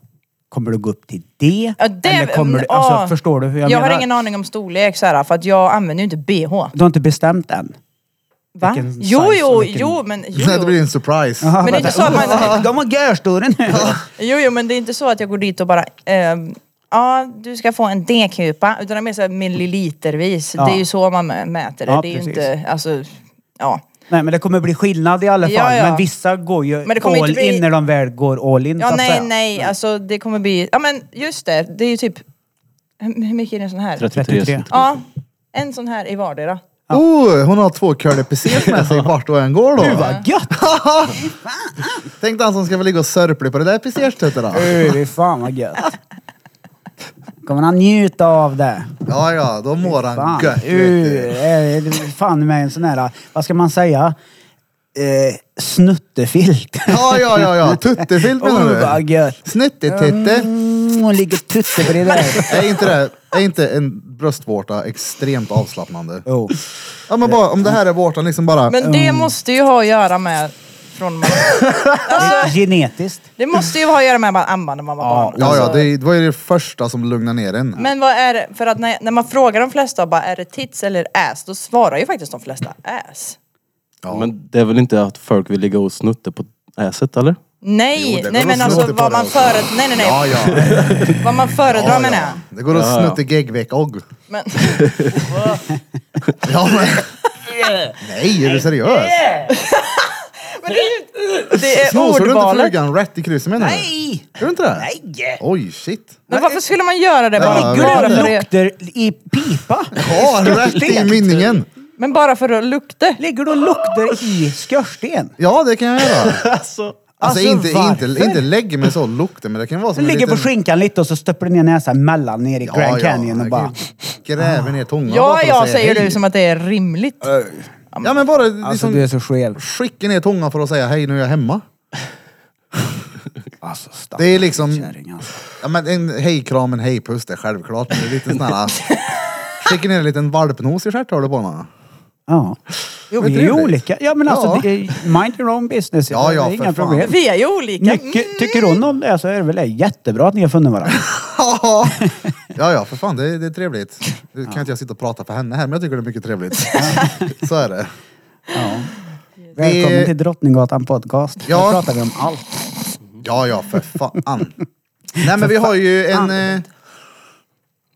S3: Kommer du gå upp till D?
S4: Ja, det,
S3: eller kommer du, alltså,
S4: ja.
S3: Förstår du hur jag,
S4: Jag,
S3: menar?
S4: har ingen aning om storlek så här, för att jag använder ju inte bh.
S3: Du har inte bestämt än?
S4: Va?
S3: Vilken
S4: Jo,
S3: size
S4: jo,
S3: och vilken-
S4: jo, men jo,
S1: Nej, det blir
S4: jo.
S1: en surprise.
S4: Men det är inte så att man...
S3: De var görstora nu!
S4: Jo, jo, men det är inte så att jag går dit och bara... ehm, Ja, du ska få en D-kupa. Utan det är mer så här millilitervis.
S3: Ja.
S4: Det är ju så man mä- mäter det.
S3: Ja,
S4: det är ju
S3: precis.
S4: inte, alltså, ja.
S3: Nej men det kommer bli skillnad i alla fall.
S4: Ja, ja.
S3: Men vissa går ju
S4: Men det kommer
S3: all
S4: inte bli-
S3: in när de väl går all in så
S4: Ja,
S3: att
S4: nej,
S3: säga.
S4: nej,
S1: Mm.
S4: alltså det kommer bli, ja men just det, det är ju typ, hur hur mycket är det en sån här?
S2: 33.
S3: 33.
S4: Ja, en sån här i vardera.
S1: Oh, hon har två curly PCs med sig vart och en går då.
S3: Vad gött!
S1: Tänk dig han som ska väl ligga och sörpla på det där PCs-stötet då.
S3: Öh, fy fan vad gött. Kommer han njuta av det?
S1: Ja, ja, då mår han
S3: Fan.
S1: gött. vet du.
S3: Uh, är det fan med en sån här, vad ska man säga? Eh, snuttefilt.
S1: Ja, ja, ja, ja. Tuttefilt
S3: Åh,
S1: menar
S3: vad
S1: du?
S3: gött.
S1: Snuttetitte.
S3: Mm, hon ligger tutte på det där.
S1: Är inte, det, är inte en bröstvårta extremt avslappnande?
S3: Jo.
S1: Ja, men bara, om det här är vårtan liksom bara...
S4: Men det måste ju ha att göra med, från man,
S1: Alltså,
S3: Genetiskt.
S4: det måste ju ha att göra med man använder när man var barn.
S1: Ja, ja,
S4: Alltså,
S1: det, det var ju det första som lugnade ner en.
S4: Men vad är det, för att när, när man frågar de flesta bara är det tits eller ass, då svarar ju faktiskt de flesta ass.
S2: Men det är väl inte att folk vill ligga och snutta på äset eller?
S4: Nej,
S1: Jo, det
S4: nej
S1: går
S4: men
S1: att
S4: alltså
S1: snutta på
S4: vad
S1: det
S4: man
S1: också.
S4: föredrar, nej nej nej,
S1: Ja, ja.
S4: vad man föredrar
S1: Ja,
S4: menar
S1: ja.
S4: jag.
S1: Det går att
S2: Ja, ja.
S1: snutta geggveck och.
S4: Men,
S1: Ja, men... Nej, är du seriös?
S4: men det är ju, det är
S1: Snosar du inte
S4: ordvalet.
S1: flugan rätt i krysset menar du?
S3: Nej!
S1: Gör du inte det?
S3: Nej!
S1: Oj, shit.
S4: Men varför skulle man göra det?
S1: Ja,
S4: Bara,
S1: men-
S4: bara
S3: Gud,
S4: för
S3: det
S4: det?
S3: luktar i pipa.
S1: Ja, rätt i mynningen.
S4: Men bara för att lukta?
S3: Ligger du och luktar i skorsten?
S1: Ja, det kan jag göra.
S2: Alltså.
S1: Alltså,
S3: Alltså,
S1: inte,
S3: varför?
S1: inte, inte lägga mig så lukten, men det kan vara
S3: Du
S1: som
S3: ligger på
S1: liten-
S3: skinkan lite och så stoppar du ner näsan mellan ner i Grand Canyon och
S1: jag
S3: bara...
S1: Gräver ner tungan bara
S4: Ja,
S1: för att
S4: ja,
S1: säga
S4: säger
S1: hej.
S4: du som att det är rimligt.
S1: Ja, men bara liksom,
S3: Alltså du är så skev.
S1: skicka ner tungan för att säga hej, nu är jag hemma.
S3: Alltså stackars
S1: Det är liksom,
S3: kärring alltså.
S1: ja, men en hejkram, en hejpuss, det är självklart. Men det är lite sån här, skicka ner en liten valpnos i stjärthålet på honom.
S3: Ja. Jo,
S1: Men
S3: vi är ju
S1: trevligt.
S3: olika. Ja men alltså,
S1: Ja.
S3: det är, mind your own business.
S1: Ja, ja,
S3: det är
S1: för
S3: inga
S1: fan. Mm.
S3: problem.
S4: Vi är ju olika.
S3: Mycket, tycker hon om det så är det väl jättebra att ni har funnit varandra.
S1: ja, ja, för fan, det, är- det är trevligt. Nu kan inte jag sitta och prata för henne här, men jag tycker det är mycket trevligt. Så är det.
S3: Ja. Välkommen till Drottninggatan podcast.
S1: Ja.
S3: Här pratar vi om allt.
S1: Ja, ja, för fan. Nej, men vi har ju en... Eh,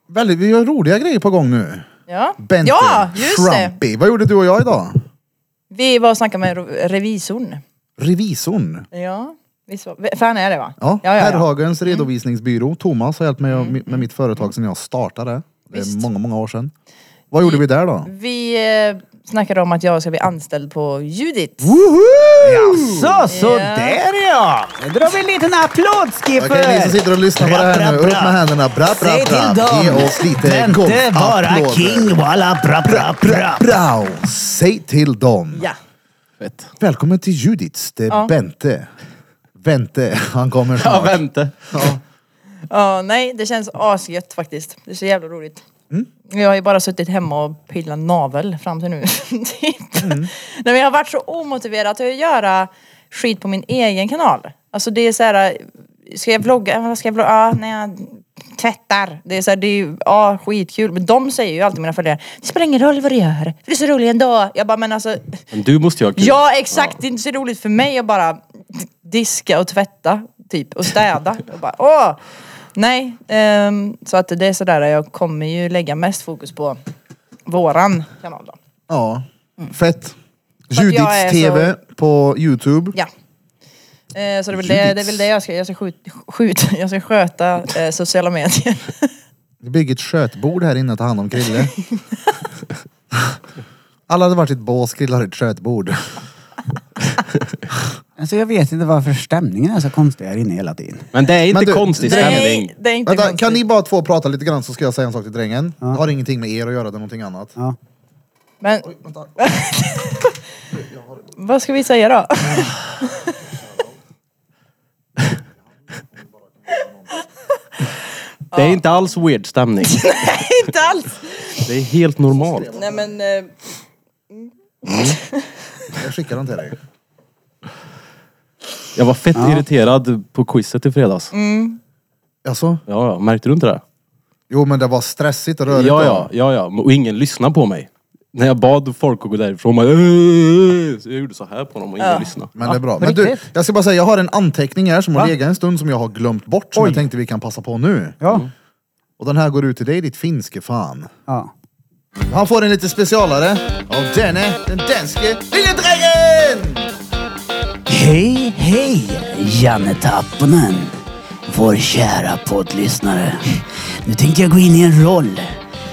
S1: väldigt, vi har roliga grejer på gång nu.
S4: Ja,
S1: Bentley,
S4: ja just det.
S1: Trumpy. Vad gjorde du och jag idag?
S4: Vi var och snackade med re- revisorn.
S1: Revisorn.
S4: Ja, visst var För han är det va?
S1: Ja,
S4: ja, ja, ja.
S1: Herrhagens redovisningsbyrå. Thomas har hjälpt mig med, med mitt företag sedan jag startade. Det är
S4: Visst.
S1: många, många år sedan. Vad gjorde vi där då?
S4: Vi eh, snackade om att jag ska bli anställd på Judit.
S3: Jaså, så
S4: Ja.
S3: där ja! Nu drar vi en liten applåd Skipper!
S1: Okej, ni som sitter och lyssnar på det här nu, upp med händerna. Bra, bra,
S3: Säg till
S1: bra. Ge
S3: dem!
S1: oss lite
S3: Vänta bara
S1: golfapplåder.
S3: king, walla, bra, bra, bra!
S1: Bra! Säg till dem.
S4: Ja.
S2: Fett.
S1: Välkommen till Judits, det är
S4: Ja.
S1: Bente. Vente, han kommer
S2: Ja,
S1: snart.
S2: vänta.
S4: Ja, nej, det känns asgött faktiskt. Det är så jävla roligt. Jag har ju bara suttit hemma och pillat navel fram till nu. typ. Nej, men jag har varit så omotiverad till att göra skit på min egen kanal. Alltså det är så här, ska jag vlogga? Vad Ska jag vlogga? Ja, när jag tvättar. Det är så här, det är ju, ja, skitkul. Men de säger ju alltid mina följare, det spelar ingen roll vad du gör, för det är så roligt ändå. Jag bara, men alltså,
S2: Men du måste ju ha kul.
S4: ja exakt, det är inte så roligt för mig att bara diska och tvätta typ och städa. Jag bara, åh! Nej, ehm, så att det är sådär jag kommer ju lägga mest fokus på våran kanal då.
S1: Ja, fett.
S4: För att jag
S1: Judits
S4: är
S1: TV på Youtube.
S4: Ja. Eh, så det är, väl det, det är väl det jag ska, jag ska skjuta, skjuta jag ska sköta eh, sociala medier.
S1: Det bygger ett skötbord här inne att ta hand om Krille. Alla hade varit i ett bås, Krille hade ett skötbord.
S3: Alltså jag vet inte varför stämningen är så konstig här inne hela tiden.
S2: Men det är inte
S1: Men du-
S2: konstig stämning.
S4: Nej, det är inte
S1: Vänta,
S4: konstigt.
S1: kan ni bara två prata lite grann så ska jag säga en sak till drängen. Det har ingenting med er att göra, det är någonting annat.
S3: Ja.
S4: Men... Vad ska vi säga då?
S2: Det är inte alls weird stämning.
S4: inte alls!
S2: Det är helt normalt.
S4: Nej men... Eh,
S1: Jag skickar den till dig.
S2: Jag var fett irriterad på quizet i fredags.
S4: Mm.
S1: Alltså?
S2: Ja, ja, märkte du inte det?
S1: Jo men det var stressigt och
S2: Ja,
S1: rörigt.
S2: ja, ja, ja. Och ingen lyssnade på mig. När jag bad folk att gå därifrån, bara, "Åh!" så jag gjorde så här på dem och ingen lyssnade.
S1: Men det är bra.
S3: på
S1: Men du,
S3: riktigt?
S1: jag ska bara säga, jag har en anteckning här som har legat en stund som jag har glömt bort som jag tänkte vi kan passa på nu.
S3: Ja.
S1: Och den här går ut till dig ditt finske fan.
S3: ja.
S1: Han får en lite specialare av denne, den danske lille drängen!
S3: Hej, hej! Janne Tapponen, vår kära poddlyssnare. Nu tänkte jag gå in i en roll.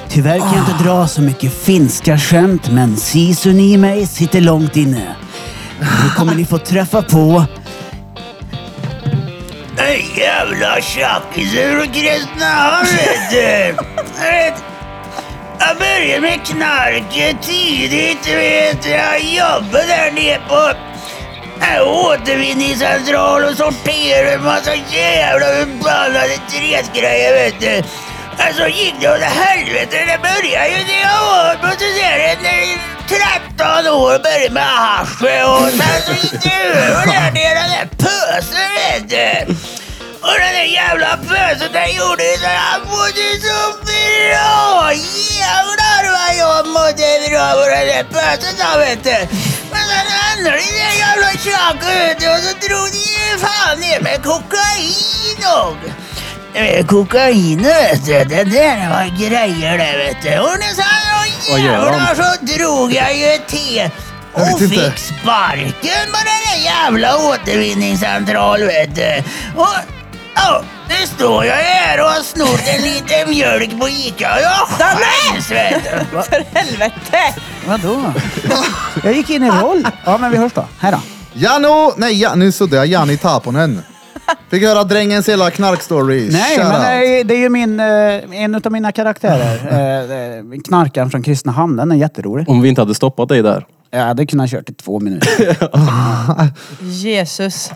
S3: Tyvärr kan jag inte dra så mycket finska skämt, men sisun i mig sitter långt inne. Nu kommer ni få träffa på... Hej jävla tjackisar och kristna hörru! Jag började med knarket tidigt, vet jag. Jobbade där nere på här återvinningscentral och sorterar en massa jävla förbannade träskgrejer vet du. Alltså gick det åt helvete. Det började ju när jag var på sådär när 13 eh, år började med hasch eh, och sen så gick det över där till den där pösen vet du. Och den där jävla pösen den gjorde ju så han mådde så bra. Jävlar vad jag mådde bra på den där pösen då vet du. Men sen hamnade i den jävla tjacka vet du och så drog ni ju fan ner med kokain och... Eh, Kokain vet du, det där var grejer det vet du. Och när sen och
S2: Vad gör han?
S3: jävlar så drog jag ju till
S1: Jag vet
S3: och
S1: inte.
S3: fick sparken på den där jävla återvinningscentralen vet du. Och, ja, nu står jag här och har snott en liten mjölk på Ica och jag skäms vet du.
S4: för helvete!
S3: Vadå? Jag gick in i roll. Ja, men vi hörs då. Hej då.
S1: Jano, nej ja, nu sådär, Jani Taponen. Fick höra drängens hela knarkstory.
S3: Nej,
S1: Shout
S3: men
S1: out.
S3: det är, det är ju min, eh, en av mina karaktärer. Eh, eh, Knarkaren från Kristinehamn, den är jätterolig.
S2: Om vi inte hade stoppat dig där.
S3: Jag hade kunnat kört i två minuter.
S4: Jesus.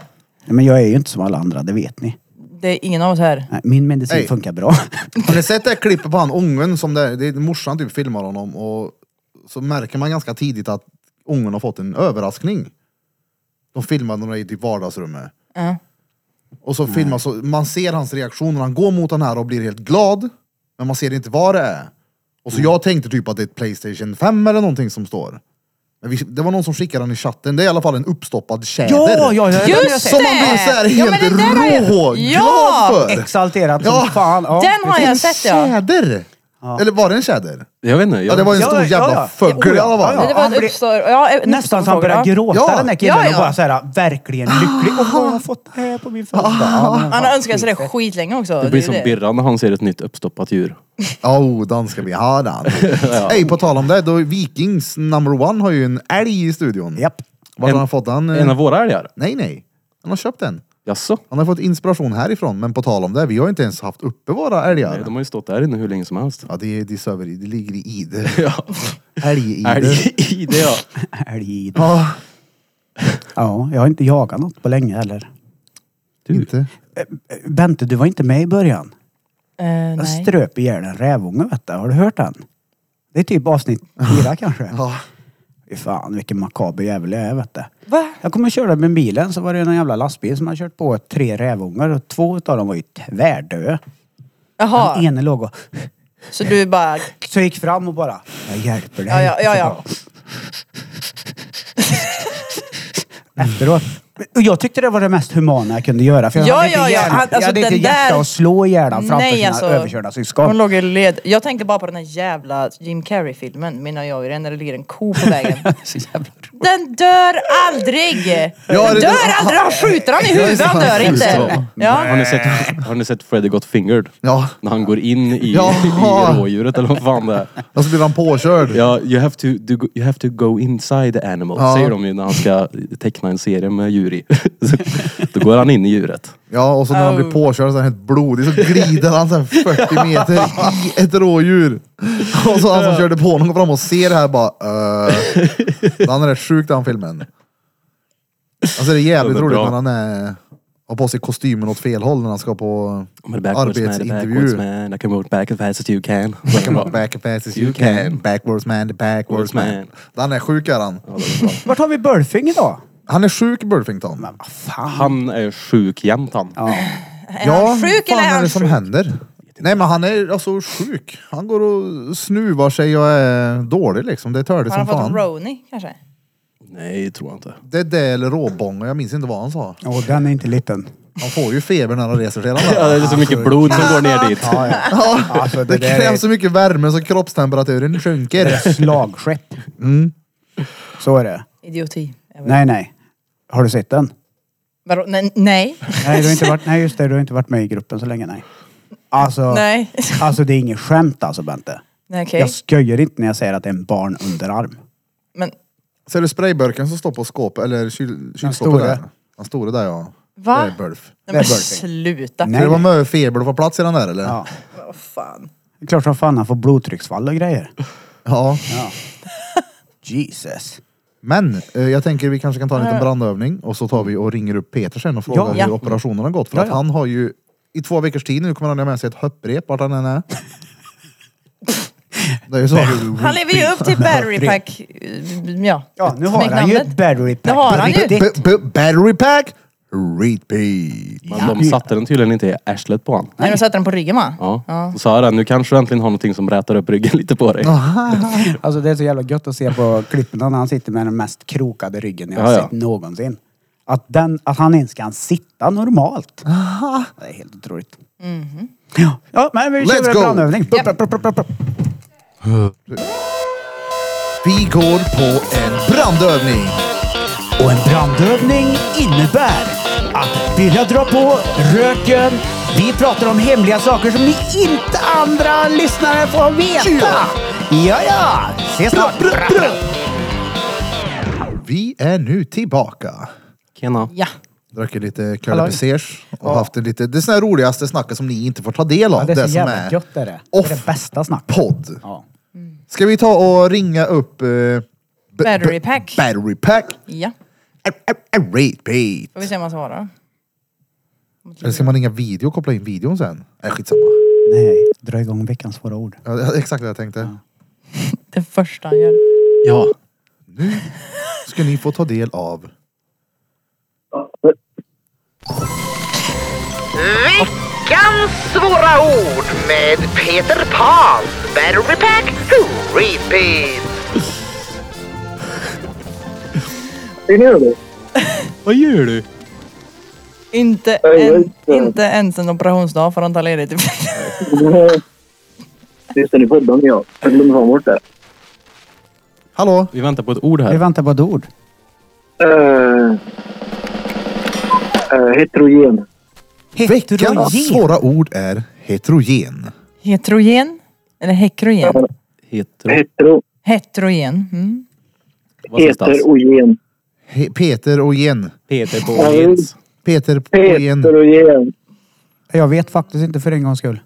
S3: Nej, Men jag är ju inte som alla andra, det vet ni.
S4: Det är ingen av oss här.
S3: Nej, Min medicin
S1: Hej.
S3: funkar bra.
S1: Har ni sett det här klippet på han ungen som det, det är morsan typ filmar honom och så märker man ganska tidigt att ungen har fått en överraskning. De filmar när de är i typ vardagsrummet.
S4: Ja.
S1: Och så filmar så man ser hans reaktion när han går mot den här och blir helt glad. Men man ser inte vad det är. Och så jag tänkte typ att det är ett Playstation 5 eller någonting som står. Men vi, det var någon som skickade den i chatten, det är i alla fall en uppstoppad tjäder.
S4: Just
S1: Som man blir såhär
S4: det! Ja,
S1: helt
S4: men den där har jag-
S1: råglad
S4: Ja!
S1: för!
S3: Exalterat
S1: Ja.
S3: som fan. Ja.
S4: Den har jag
S1: en
S4: sett ja.
S1: tjäder! Eller var det en tjäder?
S2: Jag vet inte.
S1: Ja, det var en
S5: Ja,
S1: stor
S5: ja,
S1: jävla
S5: ja.
S1: fuggel i alla fall.
S5: Ja,
S4: Men det var
S5: han
S4: en
S5: blev-
S4: uppstår... Ja, en
S5: Nästan så han
S4: uppståndsfråga,
S5: började
S4: ja.
S5: gråta
S1: Ja. Ah.
S5: den där killen
S4: Ja, ja.
S5: och bara såhär, verkligen lycklig. Åh, vad har jag fått det här på min födelsedag?
S4: Han har önskat sig det skitlänge också.
S2: Det blir
S4: är
S2: som
S4: ju det.
S2: Birran när han ser ett nytt uppstoppat djur.
S1: Oh, den ska vi ha den. Ey, på tal om det, då Vikings number one har ju en älg i studion.
S5: Japp.
S1: Var
S2: En-
S1: har han fått den? eh?
S2: En av våra älgar?
S1: Nej, nej. Han har köpt den.
S2: Jaså?
S1: Han har fått inspiration härifrån, men på tal om det, vi har ju inte ens haft uppe våra älgar.
S2: Nej, de har ju stått där inne hur länge som helst.
S1: Ja, det, är- det, är söver, det ligger i Ide.
S2: Ja.
S1: Älg-Ide.
S2: Älg i det ja.
S5: Älg.
S1: Ja,
S5: Ja, jag har inte jagat något på länge heller.
S1: inte.
S5: Bente, du var inte med i början.
S4: Eh,
S5: Jag
S4: nej.
S5: ströp ihjäl en rävunge vet du. Har du hört den? Det är typ avsnitt fyra kanske.
S1: Ja.
S5: Fy fan vilken makaber jävel jag är vet du.
S4: Va?
S5: Jag kommer köra med bilen så var det en jävla lastbil som hade kört på tre rävungar och två utav dem var ju tvärdöda. Den
S4: Jaha,
S5: ene låg och
S4: så du bara...
S5: så jag gick fram och bara Jag hjälper dig.
S4: Ja, ja, ja, ja.
S5: Efteråt. Och jag tyckte det var det mest humana jag kunde göra. För jag
S4: Ja,
S5: hade inte,
S4: ja, ja.
S5: hjärna-
S4: Han-
S5: jag
S4: alltså,
S5: hade inte
S4: den
S5: hjärta
S4: där-
S5: att slå ihjäl honom framför
S4: Nej,
S5: sina
S4: alltså.
S5: överkörda syskon.
S4: Hon låg i led. Jag tänkte bara på den här jävla Jim Carrey-filmen, Mina jag är när det ligger en ko på vägen.
S5: Så jävla roligt.
S4: Den dör aldrig!
S1: Ja, det-
S4: dör aldrig! Han skjuter han i huvudet, han dör inte!
S2: Har,
S4: Ja.
S2: ni sett, har ni sett Freddy Got Fingered?
S1: Ja,
S2: När han går in i,
S1: Ja.
S2: i rådjuret eller vad fan det är.
S1: och så blir han påkörd.
S2: Ja, you, have to, du, you have to go inside the animal,
S1: Ja.
S2: säger de ju när han ska teckna en serie med djur i. Så, Då går han in i djuret.
S1: Ja, och så när han
S2: Oh.
S1: blir påkörd så är han helt blodig så glider han så här 40 meter i ett rådjur. Och så han som körde på honom går fram och ser det här bara uh, Han är rätt sjuk den filmen. Alltså det är jävligt
S2: Ja, men
S1: roligt
S2: bra.
S1: när han är, har på sig kostymen åt fel håll när han ska på
S2: I'm a backwards man, a backwards
S1: arbetsintervju.
S2: man, I can walk back as fast as you can.
S1: Back as fast as
S2: You
S1: you
S2: can.
S1: can, backwards man, the backwards
S2: Backwards
S1: man.
S2: man.
S1: Han är sjuk är han.
S5: Vart har vi Burfing idag?
S1: Han är sjuk Burfington.
S5: Men vad fan.
S2: Han är sjuk jämt han.
S4: Är han sjuk eller är
S1: fan är
S4: han
S1: det som
S4: sjuk?
S1: händer? Nej men han är alltså sjuk. Han går och snuvar sig och är dålig liksom. Det är törligt
S4: Har han
S1: som
S4: fått en
S1: fan.
S4: Roni kanske?
S2: Nej, tror jag inte.
S1: Det är det eller råbånga, jag minns inte vad han sa.
S5: Åh, den är inte liten.
S1: Han får ju feber när han reser sig.
S2: Ja,
S1: redan.
S2: det är så mycket blod som går ner dit.
S5: Ja, ja. Alltså, det,
S1: Det
S5: där är
S1: krävs så mycket värme så kroppstemperaturen sjunker.
S5: ett slagskepp. Mm. Så är det.
S4: Idioti. Jag vet.
S5: Nej, nej. Har du sett den?
S4: Vadå? Nej. Nej.
S5: Nej, du har inte varit, nej just det, du har inte varit med i gruppen så länge, nej. Alltså,
S4: Nej.
S5: alltså det är inget skämt alltså Bente.
S4: Nej, okej.
S5: Jag skojar inte när jag säger att det är en barnunderarm.
S4: Men
S1: Ser du sprayburken som står på skåpet, eller kyl, kylskåpet
S5: stora.
S1: där? Den stora där ja.
S4: Va?
S1: Det är Burf.
S4: Nej, men
S5: burping.
S4: sluta.
S1: Ska
S5: Nej.
S1: det vara med feber och få plats i den där eller?
S5: Ja.
S4: Vad fan.
S5: Det är klart som fan han får blodtrycksfall och grejer.
S1: ja.
S5: Jesus.
S1: Men eh, jag tänker vi kanske kan ta en liten brandövning och så tar vi och ringer upp Peter sen och frågar
S5: Ja.
S1: hur
S4: Ja.
S1: operationen har gått. För
S5: Ja,
S1: att
S5: ja.
S1: han har ju i två veckors tid nu kommer han ha med sig ett hopprep vart han än är. Det är ju så.
S4: Han lever ju upp till battery pack. eh, Ja.
S5: Ja, nu har han ju ett
S4: Smeknamnet.
S5: battery pack
S4: Det har
S5: på
S4: han ju.
S5: riktigt.
S1: B- b- Battery pack, repeat.
S2: Men de satte den tydligen inte i arslet på han.
S4: Nej, de satte den på ryggen va?
S2: Ja. Så sa han, nu kanske du äntligen har någonting som rätar upp ryggen lite på dig.
S5: Alltså det är så jävla gött att se på klippen när han sitter med den mest krokade ryggen jag
S2: Ja,
S5: har
S2: ja.
S5: sett någonsin. Att, den, att han ens kan sitta normalt. Det är helt otroligt. Ja, ja, men vi
S1: Let's
S5: kör en
S1: go.
S5: brandövning.
S4: Ja.
S5: Pop, pop, pop, pop, pop.
S1: Vi går på en brandövning.
S5: Och en brandövning innebär att Birra drar på röken. Vi pratar om hemliga saker som ni inte andra lyssnare får veta. Ja, ja. Ses snart.
S1: Vi är nu tillbaka.
S2: Tjena.
S4: Ja.
S1: Druckit lite
S5: Halloj.
S1: curlypeseers och haft det lite, det är såna här roligaste snacket som ni inte får ta del av.
S5: Ja, det är så
S1: som
S5: jävla
S1: är
S5: gött är det. Det är det
S1: off
S5: bästa snacket.
S1: podd.
S5: Ja.
S1: Ska vi ta och ringa upp eh, b- b-
S4: Battery pack.
S1: Battery pack.
S4: Ja.
S1: Rate beat.
S4: Får vi se om han svarar.
S1: Eller ska man ringa video och koppla in videon sen? Nej, Äh, skitsamma.
S5: Nej, dra igång veckans svåra ord.
S1: Ja, det- exakt det jag tänkte.
S4: Det första han gör.
S2: Ja.
S1: Ska ni få ta del av...
S3: Veckans svåra ord med Peter Pan. Battery pack, repeat.
S2: Vad gör du?
S4: Inte, en, inte ens en operationsdag får han ta ledigt.
S6: Just det, ni poddar med jag. Jag glömde fan bort det.
S1: Hallå?
S2: Vi väntar på ett ord
S5: Vi
S2: här.
S5: väntar på ett ord.
S6: Uh, uh, heterogen.
S1: Veckans
S5: Heterogen.
S1: svåra ord är heterogen.
S4: Heterogen? Eller hekrogen?
S2: Hetero.
S6: Hetero.
S4: Heterogen. Mm.
S2: Vad sägs det?
S6: Heterogen.
S1: He- Peter och gen.
S2: Peter på
S6: Ja,
S2: Jens.
S1: Peter på gen.
S6: Heterogen.
S5: Jag vet faktiskt inte för en gångs skull.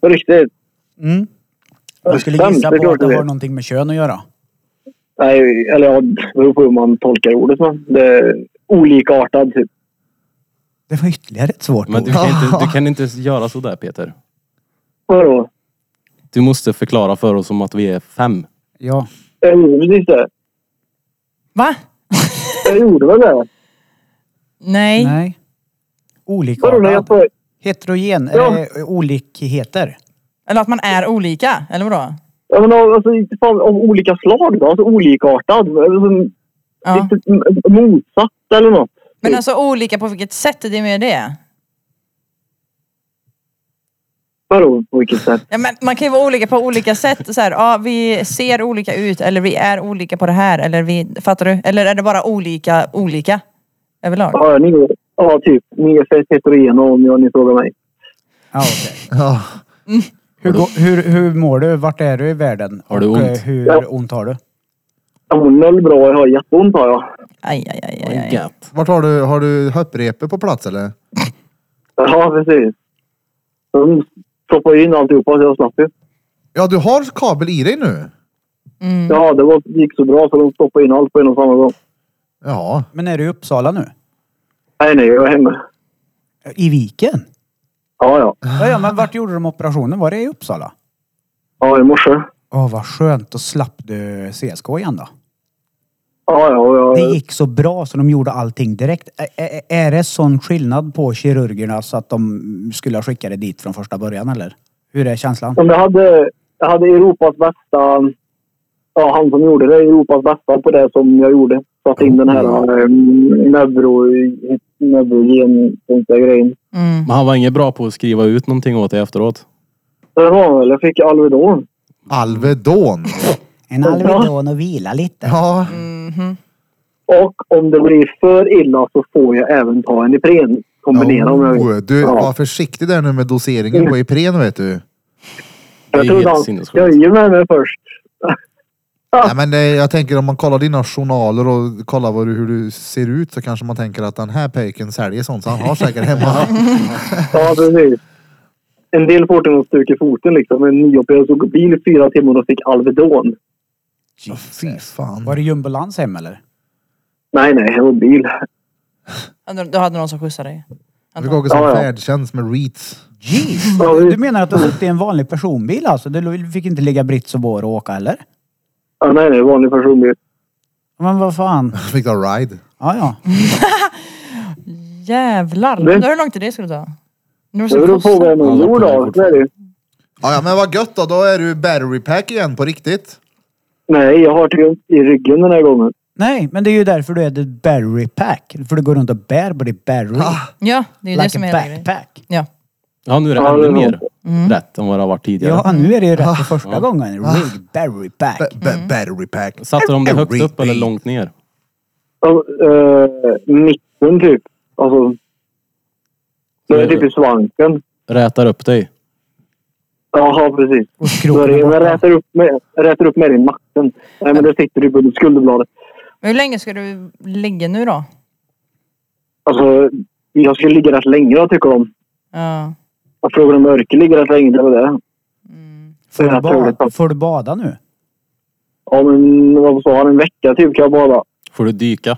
S6: På riktigt.
S5: Mm. Jag skulle
S6: Skämt,
S5: gissa
S6: det är
S5: på
S6: klart
S5: att det
S6: du
S5: har
S6: vet.
S5: någonting med kön att göra.
S6: Nej, eller ja, det beror på hur man tolkar ordet. Men det är olikartad typ.
S5: Det var ytterligare ett svårt
S2: Men
S5: ord.
S2: du kan, inte, du kan inte göra sådär Peter.
S6: Vadå?
S2: Du måste förklara för oss om att vi är fem.
S5: Ja.
S6: Jag gjorde precis det.
S4: Va?
S6: Jag gjorde väl det?
S4: Nej.
S5: Nej.
S6: Vadå när jag
S5: Olikartad.
S6: sa...
S5: Heterogen.
S6: Ja.
S5: Eller eh, olikheter.
S4: Eller att man är olika, eller vadå?
S6: Ja men alltså inte fan om olika slag då. Alltså olikartad. Alltså,
S4: Ja.
S6: Lite m- motsatt eller något.
S4: Men alltså olika på vilket sätt, det är mer det.
S6: Vadå på vilket sätt?
S4: Ja, men man kan ju vara olika på olika sätt. Så här, ja, vi ser olika ut eller vi är olika på det här. Eller vi, fattar du? Eller är det bara olika, olika? Överlag.
S6: Ja, ni, ja typ. Ni är fett heterogena om jag- ni frågar mig.
S5: Ja, okej.
S1: Ja.
S5: hur, går- hur, hur mår du? Vart är du i världen?
S2: Har du
S5: Och, eh,
S2: ont?
S6: Ja.
S5: Hur ont har du?
S6: Jag mår noll bra. Jag har jätteont har jag.
S4: Aj, aj, aj, aj, aj.
S2: Gött.
S1: Vart har du, har du hopprepet på plats eller?
S6: Ja, precis. De proppar ju in alltihopa så jag slapp ju.
S1: Ja, du har kabel i dig nu?
S4: Mm.
S6: Ja, det var, gick så bra så de stoppade in allt på en och samma gång.
S1: Ja.
S5: Men är du i Uppsala nu?
S6: Nej, nej, jag är hemma.
S5: I Viken?
S6: Ja, ja.
S5: Ja, ja, men vart gjorde de operationen? Var det i Uppsala?
S6: Ja, i morse.
S5: Åh, vad skönt. Då slapp du CSK igen då.
S6: Ja, ja. och
S5: Det
S6: Jag,
S5: gick så bra så de gjorde allting direkt. Ä- ä- Är det sån skillnad på kirurgerna så att de skulle ha skickat det dit från första början eller? Hur är känslan?
S6: om jag, hade, jag hade Europas bästa... Ja, han som gjorde det. Europas bästa på det som jag gjorde. Satt in den
S5: Mm.
S6: här um, neuro... Neurogen... Den där grejen.
S4: Mm.
S2: Men han var inget bra på att skriva ut någonting åt dig efteråt.
S6: Så det var väl. Jag fick Alvedon.
S1: Alvedon.
S5: En Alvedon och vila lite.
S1: Ja.
S4: Mhm.
S6: Och om det blir för illa så får jag även ta en Ipren. Kombinera om jag
S2: Oh,
S1: Jo,
S6: vill.
S1: oh, Du,
S6: Ja. Mm.
S1: var försiktig där nu med doseringen på Ipren vet du.
S2: Det är
S6: Jag trodde
S2: helt
S6: han
S2: sinnessjukt.
S6: skojade med mig först.
S1: Nej, men eh, jag tänker om man kollar dina journaler och kollar vad du, hur du ser ut så kanske man tänker att den här pöjken säljer sånt så han har säkert hemma.
S6: Ja, precis. En del får den att stuka i foten liksom. En niopererad såg bil i fyra timmar och fick Alvedon.
S1: Fy
S5: Var
S1: fan.
S5: det jumbolans hem eller?
S6: Nej, nej, det var bil.
S4: Ja, Du du hade någon som skjutsade dig.
S1: Vi går
S6: Ja,
S1: som
S6: ja.
S1: färdtjänst med Reeds.
S5: Jeez!
S6: Ja, vi-
S5: Du menar att du suttit i en vanlig personbil alltså? Du fick inte ligga brits och bår och åka heller?
S6: Ja, nej, nej, vanlig personbil.
S5: Men vad fan?
S1: Fick ta ride.
S5: Ja, ja.
S4: Jävlar. Undrar hur långt det skulle ta. Nu
S6: Det beror på vem man
S2: Ja,
S6: bor
S2: det är
S6: då.
S2: fortfarande.
S6: Så är det. ju.
S1: Ja, ja, men vad gött då. Då är du battery pack igen på riktigt.
S6: Nej, jag har typ ont i ryggen den här gången.
S5: Nej, men det är ju därför du är the berry pack. För du går runt och bär på ditt berry.
S4: Ja, det är ju det
S5: like
S4: som
S5: a
S4: är grejen.
S5: backpack.
S4: Ja.
S2: Ja, nu är det
S6: Ja, det
S2: ännu
S6: är
S2: mer
S6: nog-
S2: rätt än vad det har varit tidigare.
S5: Ja, nu är det ju rätt för första gången. Rig berry pack.
S1: Ba- ba- battery pack.
S2: Satte de det högt upp eller
S1: Everything.
S2: långt ner?
S6: Ja, eh, mitten typ. Alltså. Det är typ i svanken.
S2: Rätar upp dig.
S6: Jaha, precis.
S5: Och
S6: Då är
S5: skroten
S6: det,
S5: är
S6: jag
S5: borta.
S6: rätar upp med, rätar upp med i nacken. Nej, men det sitter typ under skulderbladet.
S4: Men Hur länge ska du ligga nu då?
S6: Alltså, jag skulle ligga rätt länge jag tycker de.
S4: Ja.
S6: Jag frågade om Örke ligger rätt länge, det var det.
S5: Mm. Får du,
S6: Jag tror det
S5: bada,
S6: tar-
S5: får du bada nu?
S6: Ja men vad sa han, en vecka typ kan jag bada.
S2: Får du dyka?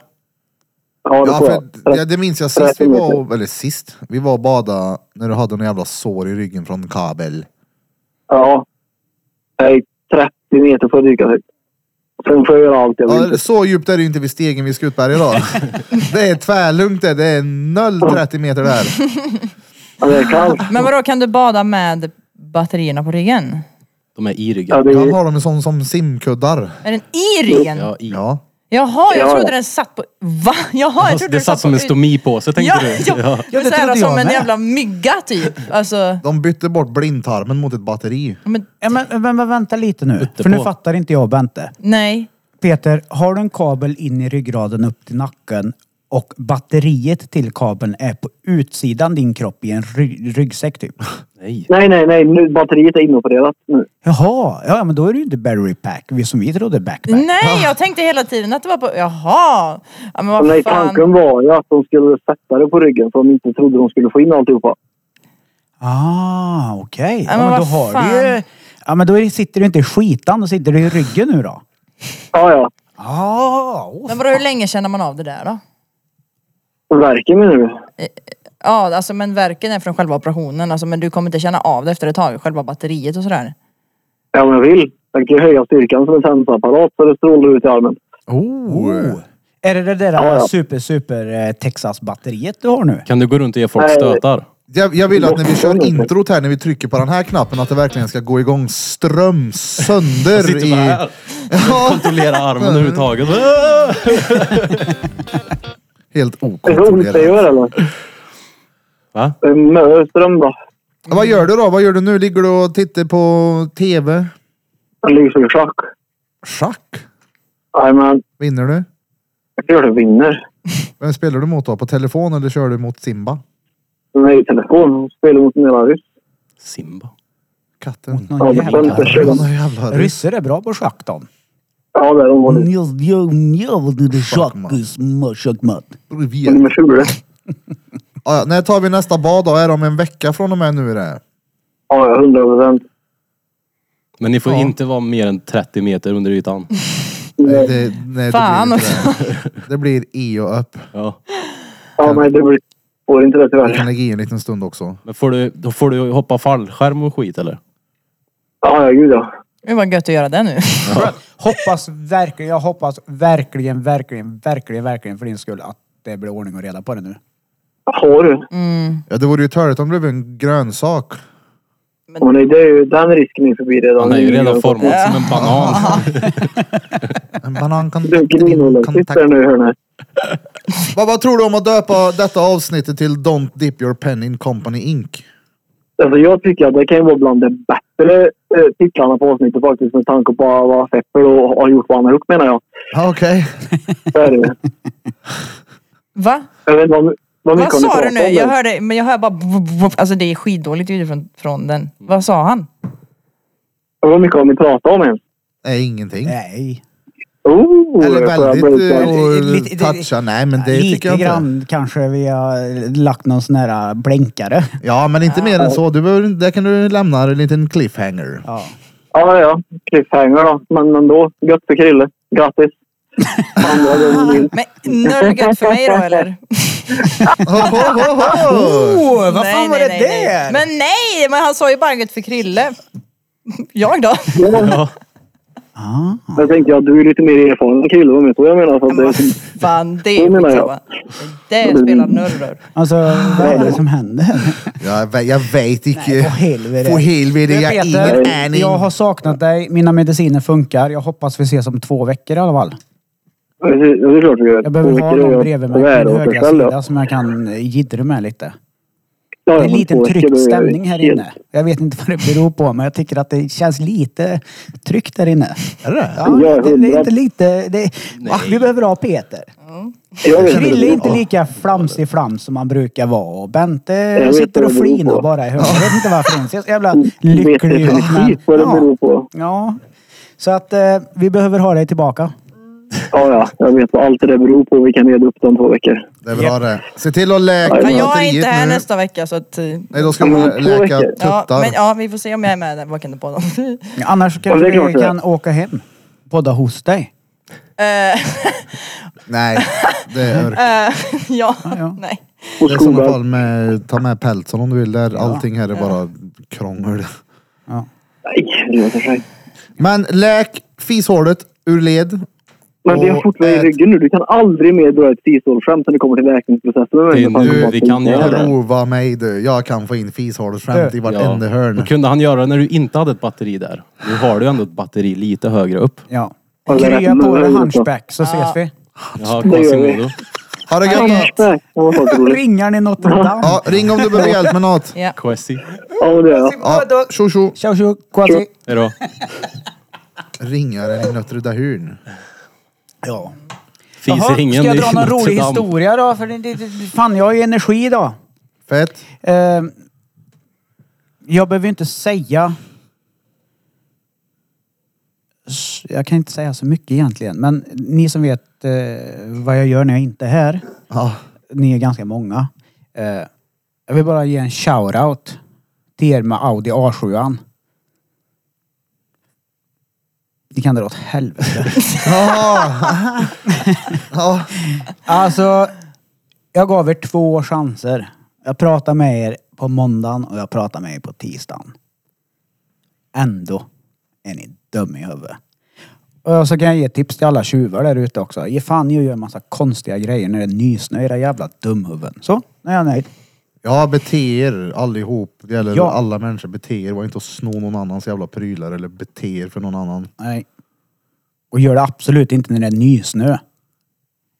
S6: Ja det
S1: Ja,
S6: får
S1: för,
S6: jag.
S1: ja, det minns jag sist vi var och, eller sist, vi var och badade när du hade någon jävla sår i ryggen från kabel.
S6: Ja. Jag är 30 meter för att dyka typ. Sen får jag göra allt jag vill.
S1: Ja, så djupt är det ju inte vid stegen vid Skutberg idag. Det är tvärlugnt det. Det är 0,30 meter där.
S6: Ja, det är kallt.
S4: Men vadå, kan du bada med batterierna på ryggen?
S2: De är i ryggen.
S6: Ja, det
S1: Jag
S6: är,
S1: har dem som, som simkuddar.
S4: Är den i ryggen?
S2: Ja, i.
S1: Ja.
S4: Jaha, jag
S6: Ja,
S4: trodde
S6: ja.
S4: den satt på... Va? Jaha, jag
S2: Alltså,
S4: trodde
S2: det
S4: den
S2: satt
S4: satt
S2: som
S4: på
S2: en
S4: ut-
S2: stomipåse tänkte
S4: Ja,
S2: du?
S4: ja.
S2: Ja.
S4: ja
S5: det
S4: så här,
S5: trodde
S4: som
S5: jag
S4: en
S5: med.
S4: jävla mygga typ. Alltså,
S1: De bytte bort blindtarmen mot ett batteri.
S4: men
S5: Ja, men, men, men vänta lite nu.
S2: Uppe
S5: För nu
S2: på.
S5: fattar inte jag Bente.
S4: nej.
S5: Peter, har du en kabel in i ryggraden upp till nacken och batteriet till kabeln är på utsidan din kropp i en ry- ryggsäck typ.
S2: Nej.
S6: Nej, nej, nej. Nu, batteriet är inopererat nu.
S5: Jaha, ja men då är det ju inte battery pack vi- som vi trodde backpack.
S4: Nej, jag tänkte hela tiden att det var på... Jaha! Ja, men vad
S6: nej,
S4: fan.
S6: tanken var ju att de skulle sätta det på ryggen för de inte trodde de skulle få in alltihopa.
S5: Ah, okej. Ja,
S4: men
S5: men
S4: vad
S5: då har du
S4: fan.
S5: ju... Ja men då är- sitter du inte i skitan, då sitter du i ryggen nu då.
S6: Ja, ja.
S5: Ah, åh,
S4: Men vadå, hur länge känner man av det där då?
S6: Verkar mig nu.
S4: Ja, alltså men verken är från själva operationen. Alltså, men du kommer inte känna av det efter ett tag. Själva batteriet och sådär.
S6: Ja, men jag vill. Jag kan ju höja styrkan som en tennapparat så det strålar ut i armen.
S1: Oh.
S5: Oh. Är det det där
S6: Ja, ja.
S5: super, super eh, Texas-batteriet du har nu?
S2: Kan du gå runt och ge folk
S6: Nej.
S2: stötar?
S1: Jag, jag vill att när vi kör introt här, när vi trycker på den här knappen, att det verkligen ska gå igång ström
S2: Jag
S1: sönder
S2: sitter
S1: i...
S2: bara här.
S1: Ja,
S2: Kontrollera armen överhuvudtaget.
S1: helt
S6: Är det ont det
S1: okontrollerat.
S6: gör eller?
S2: Va?
S6: Eh, Mörström då.
S1: Ja, Vad gör du då? Vad gör du nu? Ligger du och tittar på TV?
S6: En livsförsök.
S1: Schack?
S6: Jajamän.
S1: Vinner du?
S6: Jag tror det vinner.
S1: Vem spelar du mot då? På telefon eller kör du mot Simba?
S6: Nej, i telefon. Spelar mot en jävla ryss.
S2: Simba.
S1: Katten?
S6: Ja,
S5: Någon
S6: det
S5: jävla
S6: känns-
S1: Han
S5: ryss.
S1: är jävla ryss.
S5: Ryssar är bra på schack de.
S6: Ja, det är de håller.
S1: Schackmatt.
S5: Schackmatt.
S1: Vi är-
S6: Nummer 20.
S1: Ja, ja, när tar vi nästa bad då? Är det om en vecka från och med nu? Är det?
S6: Ja, ja, 100 procent.
S2: Men ni får
S1: Ja.
S2: inte vara mer än 30 meter under ytan.
S1: Nej, det, nej,
S4: Fan
S1: det blir inte det. Det blir i och upp.
S2: Ja.
S6: Ja, nej, det blir... Får inte det
S1: Vi
S6: tyvärr.
S1: kan lägga i en liten stund också.
S2: Men får du, då får du hoppa fallskärm och skit eller?
S6: Ja, ja, gud ja.
S4: Det var gött att göra det nu.
S5: Hoppas verkligen, jag hoppas verkligen, verkligen, verkligen, verkligen för din skull att det blir ordning och reda på det nu.
S6: Har du?
S1: Ja, det vore ju törligt om det blev en grönsak.
S6: Åh, nej, det är ju den risken är förbi redan.
S2: Han är ju redan
S6: Jag-
S2: formad som en banan.
S1: En banan kan...
S6: Du grinolyckligt
S1: kontakt-
S6: där nu hörni.
S1: Vad, vad tror du om att döpa detta avsnittet till Don't Dip Your Pen in Company Inc?
S6: Alltså jag tycker att det kan ju vara bland de bättre eh, titlarna på avsnittet faktiskt med tanke på vad Seppel och har gjort vad han har gjort menar jag.
S1: Ja, Okej.
S6: Så är det ju.
S4: Va?
S6: Jag vet inte vad, vad mycket
S4: Vad
S6: har
S4: sa
S6: ni
S4: du
S6: pratat
S4: nu?
S6: om, men-
S4: Jag hörde, men jag hör bara... Alltså det är skitdåligt ljud från, från den. Vad sa han?
S6: Vad mycket har ni pratat om ens?
S1: Nej, ingenting.
S5: Nej.
S6: Oh,
S1: Eller
S6: jag får jag
S1: väldigt
S6: börja-
S1: eh,
S5: det-
S1: och
S5: lite- det-
S1: toucha. Nej, men det tycker
S5: Lite
S1: jag inte.
S5: grann kanske vi har lagt någon sån här blänkare.
S1: Ja, men inte mer än så. Du behöver, där kan du lämna en liten cliffhanger.
S5: Ja.
S6: Ja, ja. Cliffhanger då. Men ändå. Gött för Krille. Grattis. Andra gången in.
S4: Men noll gött för mig då eller?
S1: Ho, ho, ho, ho.
S5: Oh, vad
S4: Nej,
S5: fan var
S4: nej,
S5: det
S4: nej, nej.
S5: där?
S4: Men nej! Men han sa ju bara gött för Krille. Jag då?
S2: Ja.
S6: Jag tänkte jag du är lite mer erfaren än Krille. Vad jag menar? Så att
S4: Men vad
S6: det,
S4: fan, det är
S6: Det menar jag.
S4: skitsamma. Det spelar nörror.
S5: Alltså, vad är det som händer?
S1: Jag, vä- jag vet inte.
S5: Nej, på helvete.
S1: På helvete,
S5: Du,
S1: jag har
S5: Peter,
S1: ingen aning.
S5: Jag har saknat dig, mina mediciner funkar. Jag hoppas vi ses om två veckor i alla fall.
S6: det är klart vi gör.
S5: Jag behöver ha någon bredvid mig på min högra sida
S6: sida.
S5: som jag kan eh, jiddra med lite. Det är en liten tryckt stämning här inne. Jag vet inte vad det beror på, men jag tycker att det känns lite tryckt där inne. Är det
S6: Ja,
S5: ja, det? Det är
S6: hundra.
S5: inte lite... Det, Va? vi behöver ha Peter.
S6: Jag vet inte.
S5: Krille är inte lika flamsig flams som han brukar vara och Bente
S6: vet
S5: sitter
S6: vad
S5: och
S6: det beror
S5: flinar
S6: på.
S5: bara i huvudet. Jag vet inte varför hon ser så jävla
S6: Vet
S5: lycklig ut. men-
S6: definitivt vad det beror på.
S5: Ja. Så att eh, vi behöver ha dig tillbaka.
S6: Ja, ja. Jag vet vad allt det där beror på. Vi kan reda upp det om två veckor.
S1: Det är bra det. Se till att läka
S4: Ja,
S6: Men
S4: jag är inte här
S1: batteriet nu.
S4: nästa vecka så att... eh,
S1: Nej, då ska
S6: Ja,
S1: du
S6: men två
S1: läka
S6: veckor.
S4: Ja, men,
S1: tuttar.
S4: ja, vi får se om jag är med den veckan på dem.
S5: Annars
S6: Ja, det
S5: kanske
S6: är klart
S5: vi
S6: det.
S5: kan åka hem. Podda hos dig.
S1: Nej, det är örk.
S4: ja,
S5: ja.
S4: nej.
S6: Och
S1: Det är som
S6: skolan.
S1: fall med, ta med pälsen om du vill. Där allting här är bara krångel.
S6: Nej, det låter sig.
S1: Men läk fishålet ur led.
S6: Men det är
S1: Och
S6: fortfarande i
S1: ät-
S6: ryggen nu. Du kan aldrig mer dra ett fishålskämt när det kommer till läkningsprocessen. med mig,
S2: Det är
S6: med tanke
S2: nu
S6: på att
S2: vi
S6: det
S2: kan
S6: inte är
S2: göra
S6: det.
S2: det.
S1: Prova mig du. Jag kan få in fishålet skämt i vartenda
S2: Då
S1: hörn.
S2: kunde han göra det när du inte hade ett batteri där. Nu har du ändå ett batteri lite högre upp.
S5: Ja.
S6: Eller
S5: Krya på dig
S6: möl,
S5: hunchback så ses vi.
S2: Jaha, Quasimodo.
S1: Ha det gött då.
S6: Hunchback. Ja, vad roligt.
S5: Ringar i Notre Dame.
S1: Ja, ring om du behöver hjälp med något.
S4: Ja.
S2: Quasi.
S6: Ja, men det gör jag.
S1: Ja, tjo tjo.
S5: Tjo tjo, kvasi.
S2: Hejdå.
S1: Ringaren i Notre Dahun.
S5: Ja.
S2: Finns
S5: Jaha,
S2: ingen
S5: ska jag
S2: i
S5: dra någon
S2: Notre
S5: rolig
S2: Dame.
S5: historia då? För det, det, det, fan, jag har ju energi idag.
S1: Fett.
S5: Eh, jag behöver ju inte säga... S- Jag kan inte säga så mycket egentligen. Men ni som vet eh, vad jag gör när jag inte är här.
S1: Ja,
S5: Ni är ganska många. Eh, jag vill bara ge en shout-out till er med Audi A7. an Ni kan dra åt helvete.
S1: ja.
S5: Alltså, jag gav er två chanser. Jag pratade med er på måndagen och jag pratade med er på tisdagen. Ändå är ni dum i huvudet. Och så kan jag ge tips till alla tjuvar där ute också. Ge fan i att göra en massa konstiga grejer när det är nysnö, era jävla dumhuvuden. Så, nu är jag nöjd.
S1: ja bete er allihop. Det gäller
S5: Ja.
S1: alla människor. Bete er. Var inte och sno någon annans jävla prylar eller bete er för någon annan.
S5: Nej. Och gör det absolut inte när det är nysnö,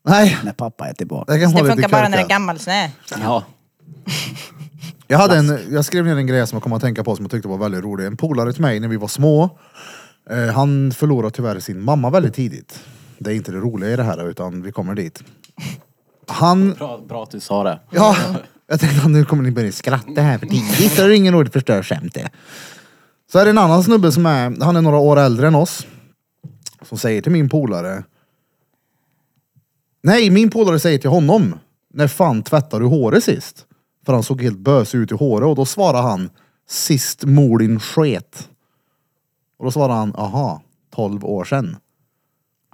S1: Nej,
S5: när pappa är tillbaka.
S1: det kan
S4: Det
S1: vara lite
S4: funkar bara när det är
S1: korkat.
S4: gammal snö.
S2: Ja.
S1: Jag, hade en, jag skrev ner en grej som jag kom att tänka på som jag tyckte var väldigt rolig. En polare till mig när vi var små, eh, han förlorade tyvärr sin mamma väldigt tidigt. Det är inte det roliga i det här utan vi kommer dit. Han,
S2: Bra, bra att du sa det.
S1: ja, jag tänkte att nu kommer ni börja skratta här för tidigt, då är det ingen roligt förstörskämt det. Så är det en annan snubbe som är, han är några år äldre än oss, som säger till min polare, Nej, min polare säger till honom, när fan tvättade du håret sist? För han såg helt bös ut i håret och då svarar han, sist mor din sket. Och då svarar han, aha, 12 år sedan.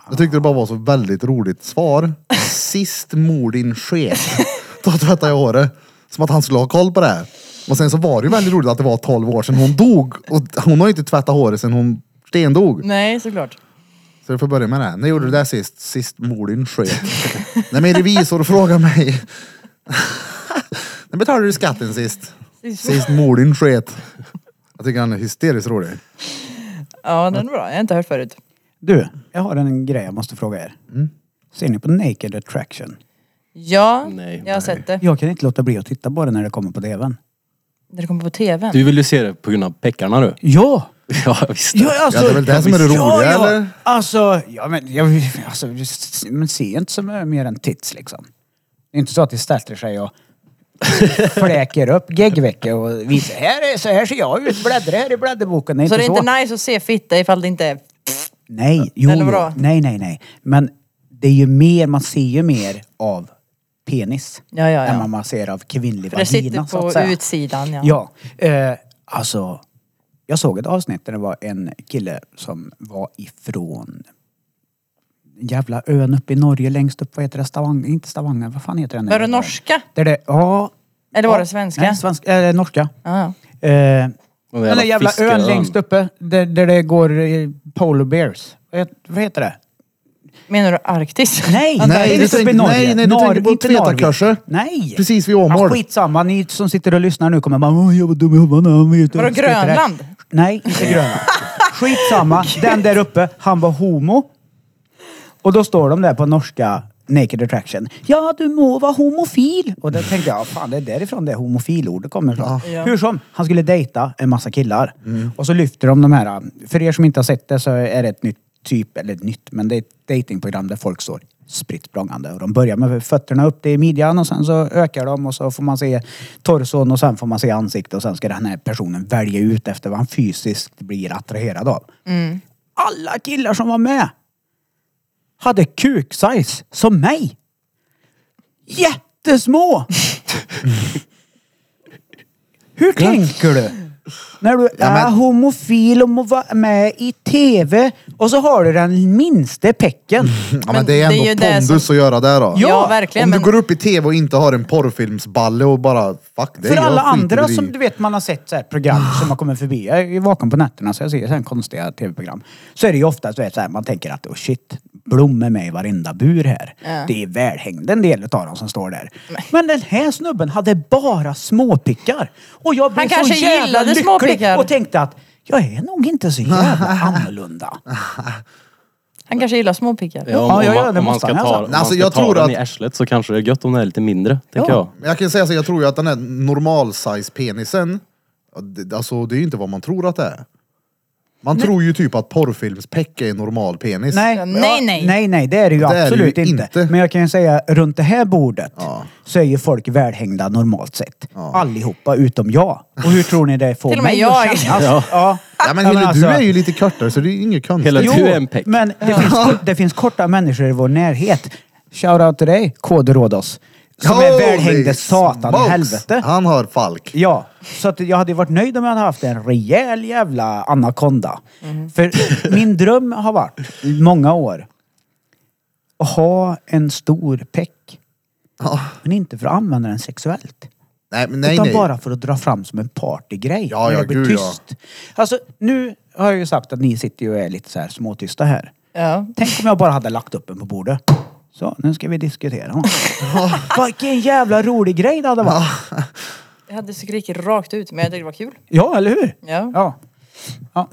S1: Jag tyckte det bara var så väldigt roligt svar. Sist mor din sket, då tvättade jag håret. Som att han skulle ha koll på det här. Och sen så var det ju väldigt roligt att det var 12 år sedan hon dog. Och hon har ju inte tvättat håret sedan hon stendog.
S4: Nej, såklart.
S1: Så du får börja med det. här. När gjorde du det sist? Sist mor din sket. När min revisor frågar mig. När betalade du skatten sist? Sist mor din sket. Jag tycker han är hysteriskt rolig.
S4: Ja, den är bra. Jag har inte hört förut.
S5: Du, jag har en grej jag måste fråga er. Ser ni på Naked Attraction?
S4: Ja,
S2: Nej,
S4: jag har sett det.
S5: Jag kan inte låta bli att titta på det när det kommer på TVn.
S4: När det kommer på tvn.
S2: Du vill ju se det på grund av peckarna du.
S5: Ja!
S2: Ja, visst.
S5: Ja, alltså,
S1: Ja, det är väl det som är det
S5: visst.
S1: roliga,
S5: ja, ja.
S1: eller?
S5: Alltså, ja, men, jag, alltså, man ser inte så mycket mer än tits liksom. Det är inte så att det ställer sig och fläker upp geggveckor och visar här är, så här ser jag ut, bläddra här i blädderboken. Det är
S4: Så det
S5: inte
S4: är
S5: så.
S4: inte nice att se fitta ifall det inte är...
S5: Nej, jo,
S4: Eller
S5: jo.
S4: vadå?
S5: nej, nej, nej. Men det är ju mer, man ser ju mer av penis
S4: Ja, ja,
S5: än
S4: ja.
S5: vad man ser av kvinnlig
S4: För det sitter
S5: vagina så att
S4: på
S5: säga.
S4: utsidan, ja.
S5: Ja, eh, alltså. Jag såg ett avsnitt där det var en kille som var ifrån jävla ön uppe i Norge längst upp, vad heter det, Stavanger, inte Stavanger, vad fan heter den?
S4: Var det norska?
S5: Där det, ja.
S4: Eller var
S5: Ja,
S4: det svenska?
S5: Nej, svensk, eh, norska.
S4: Ja, ja.
S5: Eh,
S2: Den där
S5: den där jävla ön
S2: fiskeön.
S5: längst uppe där, där det går eh, polar bears. Vad het- Vad heter det?
S4: Menar du Arktis?
S5: Nej,
S1: Nej,
S5: det är
S1: du
S5: inte uppe i
S1: tänker-
S5: Norge.
S1: nej, nej, du
S5: Norr-
S1: tänker på
S5: inte Norge.
S1: Tvetakurser.
S5: Nej!
S1: Precis vid Åmål.
S5: Ja, skitsamma, ni som sitter och lyssnar nu kommer bara Åh, jag var dum i huvudet. han vet
S4: Vadå,
S5: inte, skiter i det."
S4: Grönland?
S5: Nej, inte Grönland. Skitsamma, den där uppe, han var homo. Och då står de där på norska Naked Attraction. Ja, du må vara homofil. Och då tänkte jag, fan det är därifrån det homofilordet kommer ifrån.
S4: Ja.
S5: Hur som, han skulle dejta en massa killar. Och så lyfter de de här, för er som inte har sett det så är det ett nytt typ, eller ett nytt, men det är ett datingprogram där folk står spritt språngande. Och de börjar med fötterna upp till midjan och sen så ökar de och så får man se torson och sen får man se ansikte och sen ska den här personen välja ut efter vad han fysiskt blir attraherad av. Alla killar som var med hade kuksize som mig. Jättesmå! Hur tänker du? När du är homofil och må vara med i TV och så har du den minsta pecken.
S1: Ja, men
S4: Men
S1: det är
S4: det är
S1: ändå
S4: ju det
S1: pondus att göra det då.
S4: Ja, verkligen,
S1: Om du
S4: men-
S1: går upp i tv och inte har en porrfilmsballe och bara fuck det.
S5: För
S1: jag
S5: alla
S1: skiter i
S5: andra
S1: det.
S5: som du vet man har sett så här program som har kommit förbi. Jag är ju vaken på nätterna så jag ser så här konstiga tv-program. Så är det ju ofta så, vet, så här, man tänker att oh shit, blommor med i varenda bur här.
S4: Ja.
S5: Det är välhängd en del av dem som står där. Men den här snubben hade bara småpickar. Och jag blev
S4: Han
S5: så
S4: kanske
S5: jävla
S4: gillade
S5: lycklig
S4: småpickar.
S5: Och tänkte att jag är nog inte så jävla annorlunda.
S4: Han kanske gillar små piggar.
S2: Ja, om,
S5: Ja, ja, ja,
S2: om, man-
S5: det
S2: om man
S5: måste
S2: ska
S5: han
S2: ta,
S5: alltså.
S2: om
S1: Men
S2: man
S1: alltså,
S2: ska
S1: jag
S2: ta
S1: tror
S2: den
S1: att-
S2: i arslet så kanske det är gött om den är lite mindre, tänker jag.
S1: Men jag kan säga så, jag tror ju att den här normal-size-penisen, ja, det- alltså det är ju inte vad man tror att det är. Man tror ju typ att porrfilmspäck är en normal penis.
S4: Ja,
S5: Nej,
S4: nej, nej.
S5: nej, nej, det är det ju
S1: är det
S5: absolut
S1: ju
S5: inte.
S1: inte.
S5: Men jag kan ju säga, runt det här bordet
S1: Ja.
S5: så är ju folk välhängda normalt sett. Allihopa utom jag. Och hur tror ni det får
S4: Till och med
S5: mig
S4: jag.
S5: att kännas?
S2: Ja.
S5: Ja.
S1: Ja, men, Hille,
S5: alltså-
S1: du är ju lite kortare så det är ju inget konstigt.
S2: Hela-
S1: Jo,
S2: Du är en peck.
S5: men det, finns, det finns korta människor i vår närhet. Shoutout till dig, KD Rhodos. Som är
S1: holy
S5: välhängde satan i
S1: smokes.
S5: helvete.
S1: Han har falk.
S5: Ja, så att jag hade varit nöjd om jag hade haft en rejäl jävla anakonda. För min dröm har varit, i många år, att ha en stor peck. Men inte för att använda den sexuellt.
S1: Nej, men nej,
S5: utan
S1: nej.
S5: bara för att dra fram som en partygrej.
S1: Ja,
S5: När
S1: ja,
S5: det blir
S1: gud, ja.
S5: tyst. Alltså, nu har jag ju sagt att ni sitter ju och är lite så här småtysta här.
S4: Ja.
S5: Tänk om jag bara hade lagt upp den på bordet. Så, nu ska vi diskutera. Vilken jävla rolig grej det hade varit.
S4: Jag hade skrikit rakt ut men jag tyckte det var kul.
S5: Ja, eller hur?
S4: Ja.
S5: Ja. ja.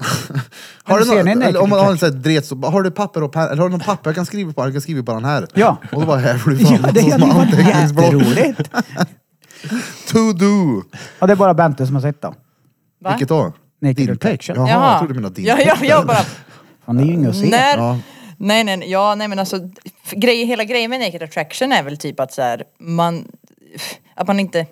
S1: Har du,
S5: Ser ni en
S1: någon, eller om man har en
S5: nakenpikett?
S1: sån här dret, så, bara, har du papper och penna? Eller har du någon papper jag kan skriva på? Jag kan skriva på den här.
S5: Ja.
S1: Och då bara här får du fram
S5: Ja,
S1: ja,
S5: det hade ju
S1: som
S5: varit
S1: anteckningsblock.
S5: jätteroligt.
S1: To do.
S5: Ja, det är bara Bente som har sett dem.
S4: Va?
S1: Vilket då?
S5: Naked
S1: Din peck?
S5: attraction.
S1: Jaha, jag trodde du menade din
S4: ja,
S1: peck.
S4: ja, jag bara,
S5: Fan, det är ju inget att se.
S4: när,
S1: Ja.
S4: nej, nej, nej, ja, nej men alltså f- grej, hela grejen med naked attraction är väl typ att så här, man, f- att man inte,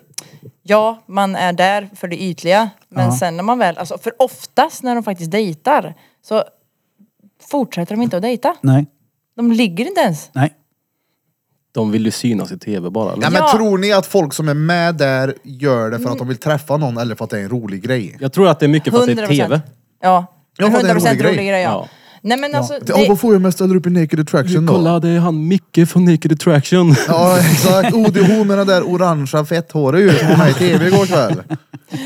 S4: ja man är där för det ytliga men sen när man väl, alltså för oftast när de faktiskt dejtar så fortsätter de inte att dejta.
S5: Nej,
S4: De ligger inte ens.
S5: nej.
S2: De vill ju synas i tv bara. eller?
S1: Nej, men
S4: Ja. Mm.
S1: tror ni att folk som är med där gör det för att de vill träffa någon eller för att det är en rolig grej?
S2: Jag tror att det är mycket för att det är
S4: 100%.
S2: tv.
S4: Ja.
S1: Ja, för det är en
S4: 100%
S1: rolig
S4: rolig
S1: grej.
S4: grej. ja.
S2: Ja.
S4: Nej men alltså.
S1: Ja, vad får jag om jag ställer upp i Naked Attraction då?
S2: Kolla, det är han Micke från Naked Attraction.
S1: Ja exakt, ODH med det där orangea fetthåret ju som var med i tv igår kväll.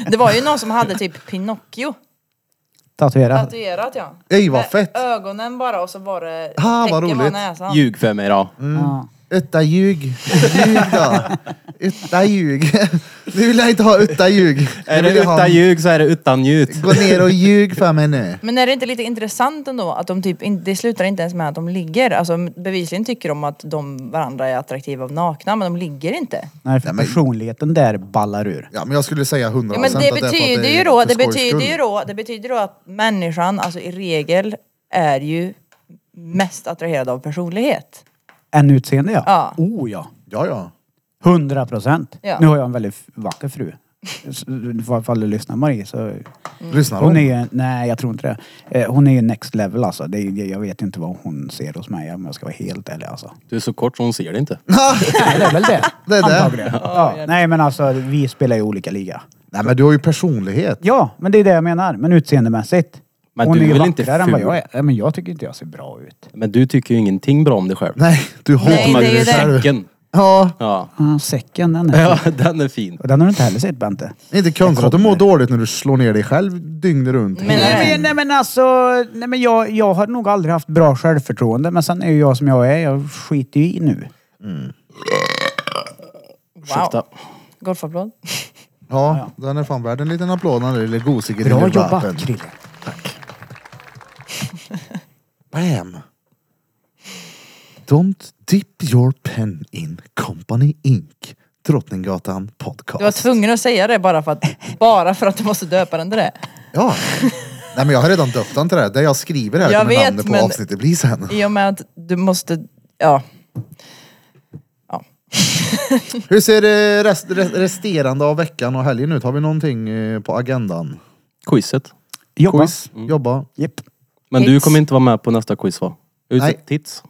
S4: Det var ju någon som hade typ Pinocchio
S5: Tatuerad.
S4: tatuerat ja.
S1: Ej vad
S4: Med
S1: fett!
S4: Ögonen bara och så var det
S1: Ah, vad
S4: täcker
S1: roligt.
S4: man näsan.
S2: Ljug för mig då.
S1: Mm.
S5: Ja.
S1: Utta ljug! Ljug då! Utta ljug! Nu vill jag inte ha utta ljug! Nu
S2: Är det
S1: vill jag ha-
S2: utan ljug så är det utan njut.
S1: Gå ner och ljug för mig nu!
S4: Men är det inte lite intressant ändå att de typ, in- det slutar inte ens med att de ligger. Alltså bevisligen tycker de att de varandra är attraktiva av nakna men de ligger inte.
S5: Nej, för
S1: Nej, men-
S5: personligheten där ballar ur.
S1: Ja men jag skulle säga 100%
S4: Ja, men
S1: att
S4: det
S1: är för att
S4: betyder
S1: är
S4: ju då,
S1: för
S4: det
S1: skojs
S4: betyder ju
S1: skull.
S4: då, det betyder då att människan alltså i regel är ju mest attraherad av personlighet.
S5: En utseende ja.
S4: Ja.
S5: Oh ja.
S1: Ja ja.
S5: Hundra procent.
S4: Ja.
S5: Nu har jag en väldigt vacker fru. S- Ifall du lyssnar Marie så...
S4: Mm.
S1: Lyssnar
S5: Hon är
S1: hon?
S5: ju, nej jag tror inte det. Eh, Hon är ju next level alltså. Det, är- jag vet inte vad hon ser hos mig om jag ska vara helt ärlig alltså.
S2: Du är så kort så hon ser det inte.
S5: Nej, det är väl det.
S1: Det är det.
S5: Antagligen. Ja. Nej men alltså vi spelar ju olika liga.
S1: Nej men du har ju personlighet.
S5: Ja, men det är det jag menar. Men utseendemässigt.
S2: Men
S5: hon
S2: du
S5: är ju
S2: är väl inte
S5: vackrare än vad
S2: ful?
S5: jag är. Nej, men jag tycker inte jag ser bra ut.
S2: Men du tycker ju ingenting bra om dig själv.
S1: Nej, du har
S4: Nej,
S2: Förutom att
S4: det är
S2: du
S4: ju det.
S2: säcken.
S1: Ja,
S2: Ja.
S5: Ah, säcken den är
S2: ja,
S5: fin.
S2: den är fin.
S5: Och den har du inte heller sett Bente.
S1: inte konstigt att du mår dåligt när du slår ner dig själv dygnet runt.
S4: Men-
S5: Nej men, nej, men alltså, nej, men jag, jag har nog aldrig haft bra självförtroende. Men sen är ju jag som jag är. Jag skiter ju i nu.
S2: Ursäkta.
S4: Golfapplåd.
S1: Ja, den är fan värd en liten applåd när det är lite gosig
S5: Bra jobbat Krille.
S1: Bam! Don't dip your pen in Company Inc. Drottninggatan podcast.
S4: Du var tvungen att säga det bara för att, bara för att du måste döpa den till det.
S1: Ja. Nej men jag har redan döpt den till det. här. Det jag skriver här
S4: Jag
S1: kommer
S4: vet,
S1: namnet på
S4: men-
S1: avsnittet bli sen.
S4: I och med att du måste, ja.
S1: Hur ser det rest, rest, resterande av veckan och helgen ut? Har vi någonting eh, på agendan?
S2: Quizet.
S5: Jobba.
S1: Quiz? Jobba?
S5: Japp.
S2: Men du
S4: Tits.
S2: kommer inte vara med på nästa quiz va? Utsett
S1: Nej.
S2: Tits.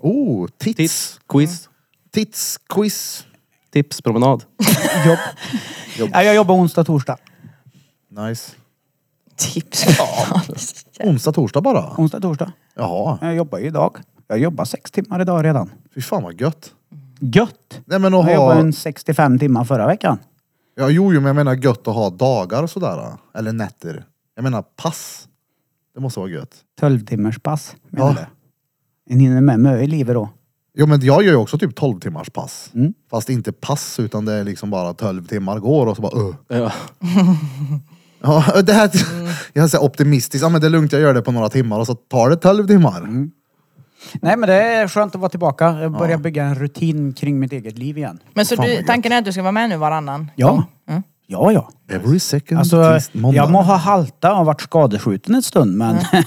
S1: Oh, tits!
S2: Tits. Quiz.
S1: Tits quiz!
S2: Tips. Promenad.
S5: Jobb. Ja, jag jobbar onsdag, torsdag.
S1: Nice.
S4: Tips.
S1: Onsdag, torsdag bara?
S5: Onsdag, torsdag.
S1: Jaha,
S5: Jag jobbar ju idag. Jag jobbar sex timmar idag redan.
S1: fy fan vad gött.
S5: Gött!
S1: Nej men att
S5: Jag jobbade
S1: ha...
S5: en 65 timmar förra veckan.
S1: Ja, jo, jo, men jag menar gött att ha dagar och sådär. Eller nätter. Jag menar pass. Det måste vara gött.
S5: 12 timmars pass menar
S1: Ja.
S5: du? En hinner med mig i livet då.
S1: Jo men jag gör ju också typ 12 timmars pass.
S5: Mm.
S1: Fast inte pass utan det är liksom bara 12 timmar går och så bara uh.
S2: Ja.
S1: Ja, det
S5: Mm.
S1: här, jag är så här optimistisk. Ja men det är lugnt, jag gör det på några timmar och så tar det 12 timmar.
S5: Nej men det är skönt att vara tillbaka. Jag börjar bygga en rutin kring mitt eget liv igen.
S4: Men så
S1: Fan, vad
S4: du,
S1: gött.
S4: tanken är att du ska vara med nu varannan?
S5: Ja.
S4: Mm.
S5: Ja, ja.
S1: Every second
S5: Alltså,
S1: tills måndag.
S5: jag må ha halta och varit skadeskjuten ett stund men...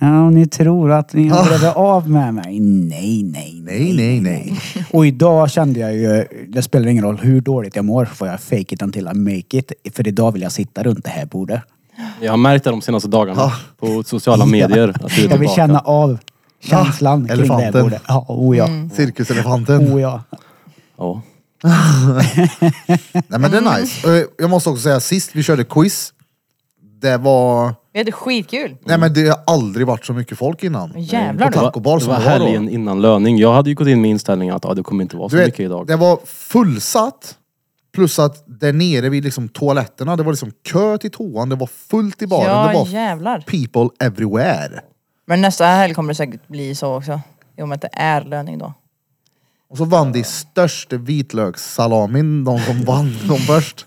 S5: ja, ni tror att ni har blivit av med mig. Nej, Ah. nej,
S1: Nej, nej, nej.
S5: Och idag kände jag ju, det spelar ingen roll hur dåligt jag mår, får jag fake it until I make it. För idag vill jag sitta runt det här bordet.
S2: Jag har märkt det de senaste dagarna
S1: Ja.
S2: på sociala medier. Att du är
S5: Jag
S2: tillbaka.
S5: vill känna av känslan kring det här
S1: elefanten.
S5: bordet. Ja, oh ja.
S1: Mm. Cirkuselefanten.
S5: Oh ja.
S2: Ja.
S1: Nej men det är nice.
S5: Mm.
S1: Eh, Jag måste också säga, sist vi körde quiz, det var...
S4: Vi hade skitkul.
S1: Nej men det har aldrig varit så mycket folk innan.
S4: Jävlar
S1: På
S4: du.
S1: Taco Bar
S2: Det
S1: som
S2: var
S1: det var då.
S2: helgen innan löning. Jag hade ju gått in med inställningen att ah, det kommer inte vara så
S1: Du vet,
S2: mycket idag.
S1: det var fullsatt. Plus att där nere vid liksom toaletterna, det var liksom kö till toan, det var fullt i baren, det
S4: Ja
S1: var
S4: jävlar.
S1: people everywhere.
S4: Men nästa helg kommer det säkert bli så också. I och med att det är löning då.
S1: Och så vann de största vitlökssalamin, de som vann de först.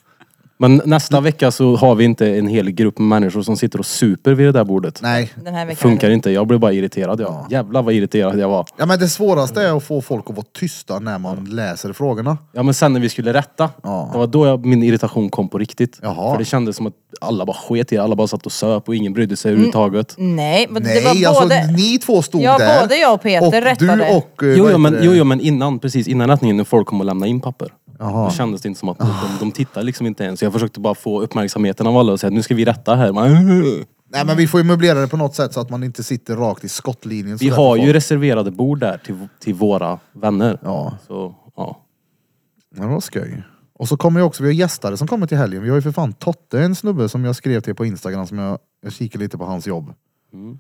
S2: Men nästa vecka så har vi inte en hel grupp människor som sitter och super vid det där bordet.
S1: Nej.
S4: Den här
S2: Det
S4: veckan.
S2: funkar inte. Jag blev bara irriterad. Ja. Jävlar vad irriterad jag var.
S1: Ja men det svåraste är att få folk att vara tysta när man läser frågorna.
S2: Ja men sen när vi skulle rätta.
S1: Ja.
S2: Det var då jag, min irritation kom på riktigt.
S1: Jaha.
S2: För det kändes som att alla bara sket i det. Alla bara satt och söp och ingen brydde sig överhuvudtaget.
S4: Nej, men det
S1: Nej,
S4: var
S1: alltså
S4: både...
S1: ni två stod
S4: Ja,
S1: där.
S4: både jag och Peter
S1: och
S4: rättade.
S1: Du och... eh,
S2: Jo,
S1: vad
S2: jo,
S1: heter
S2: men,
S1: det?
S2: jo, jo men innan, precis innan rättningen när folk kom och lämnade in papper.
S1: Jaha.
S2: Då kändes det inte som att de, de tittade liksom inte ens. Jag försökte bara få uppmärksamheten av alla och säga att nu ska vi rätta här. Man,
S1: Nej men vi får ju möblera det på något sätt så att man inte sitter rakt i skottlinjen.
S2: vi
S1: sådär
S2: har
S1: för
S2: ju
S1: folk.
S2: reserverade bord där till, till våra vänner.
S1: Ja,
S2: Så, ja.
S1: men det var skoj. Och så kommer ju också, vi har gästare som kommer till helgen. Vi har ju för fan Totte, en snubbe som jag skrev till på Instagram som jag, jag kikar lite på hans jobb.
S2: Mm.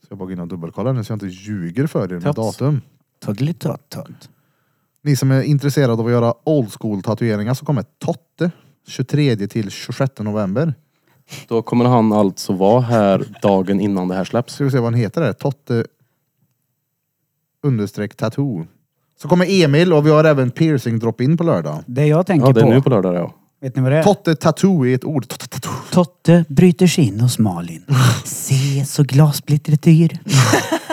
S1: Så jag bara går in och dubbelkollar nu så jag inte ljuger för er med
S2: Tots.
S1: datum.
S5: Tuddelitott.
S1: Ni som är intresserade av att göra old school tatueringar så kommer Totte 23 till 26 november.
S2: Då kommer han alltså vara här dagen innan det här släpps.
S1: Ska vi se vad han heter där. Totte understreck tattoo. Så kommer Emil och vi har även piercing drop-in på lördag.
S5: Det jag tänker
S2: Ja, det är nu
S5: på,
S2: på lördag ja.
S5: vet ni vad det är?
S1: Totte tattoo är ett ord. Totte tattoo.
S5: Totte bryter sig in hos Malin. Se så glassplittret yr.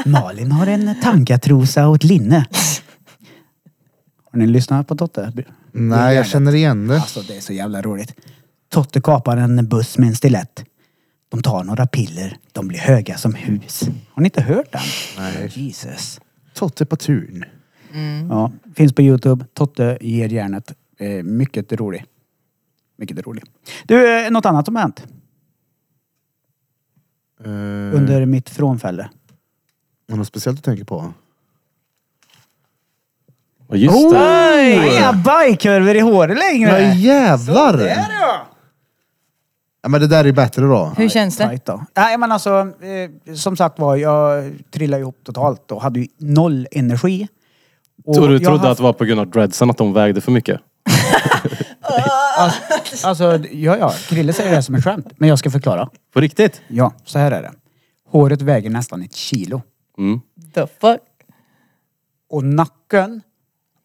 S5: Malin har en tangatrosa och ett linne. Har ni lyssnat på Totte?
S1: Nej, jag känner igen det.
S5: Alltså det är så jävla roligt. Totte kapar en buss med en stilett. De tar några piller. De blir höga som hus. Har ni inte hört den? Nej. Jesus.
S1: Totte på turn.
S5: Ja, finns på Youtube. Totte ger järnet. Eh, mycket rolig. Mycket rolig. Du, eh, något annat som har hänt
S1: Uh,
S2: Eh.
S5: under mitt frånfälle?
S1: något speciellt du tänker på?
S2: Och just
S5: Oh!
S2: det.
S5: Nej, Inga bajkurvor i håret längre!
S1: Ja jävlar!
S5: Där ja!
S1: Ja, men det där är bättre då.
S4: Hur känns det?
S5: Tajt då. Nej men alltså, eh, som sagt var, jag trillade ihop totalt och hade ju noll energi. Och
S2: Tror du
S5: jag
S2: trodde
S5: har
S2: att det var på grund av dreadsen att de vägde för mycket?
S5: haft- Alltså, ja ja, Krille säger det här som ett skämt. Men jag ska förklara.
S2: På riktigt?
S5: Ja, så här är det. Håret väger nästan ett kilo.
S2: Mm.
S4: The fuck?
S5: Och nacken,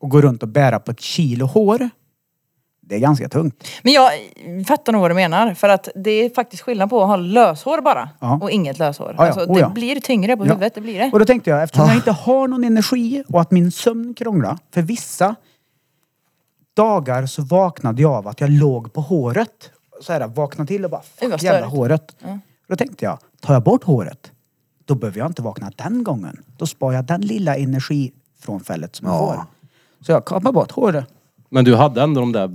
S5: och gå runt och bära på ett kilo hår. Det är ganska tungt.
S4: Men jag fattar nog vad du menar. För att det är faktiskt skillnad på att ha löshår bara
S5: Ja.
S4: och inget löshår.
S5: ja.
S4: Alltså,
S5: Oh, ja.
S4: det blir tyngre på
S5: Ja.
S4: huvudet, det blir det.
S5: Och då tänkte jag, eftersom jag inte har någon energi och att min sömn krånglar. För vissa dagar så vaknade jag av att jag låg på håret. Så här, vaknade till och bara,
S4: Oj,
S5: fuck
S4: vad
S5: jävla
S4: störigt.
S5: håret. Då tänkte jag, tar jag bort håret, då behöver jag inte vakna den gången. Då sparar jag den lilla energifrånfället som jag
S1: Ja.
S5: får. Så jag kapar bort håret.
S2: Men du hade ändå de där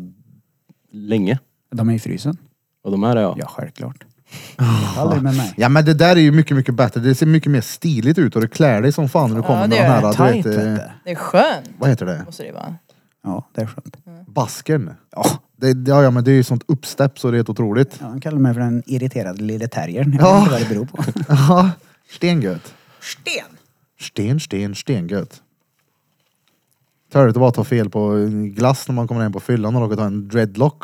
S2: länge?
S5: De är i frysen.
S2: Och de här är jag.
S5: Ja, självklart. Aldrig med mig.
S1: Ja men det där är ju mycket, mycket bättre. Det ser mycket mer stiligt ut och du klär dig som fan när du kommer
S4: det
S1: med den
S4: gör
S1: här...
S4: det.
S1: Du
S5: Tight,
S1: vet, eh,
S5: vet du.
S4: Det är skönt.
S1: vad heter det?
S4: Måste det vara.
S5: Ja, det är skönt.
S1: Baskern.
S5: Ja,
S1: Det, det- ja, ja men det är ju sånt uppstepp så det är helt otroligt.
S5: han kallar mig för den irriterade lille terriern. Jag
S1: Ja.
S5: vet inte vad det beror på.
S1: Ja, stengött.
S5: Sten!
S1: Sten, sten, stengött. Törligt att bara ta fel på glass när man kommer hem på fyllan och råkar ta en dreadlock.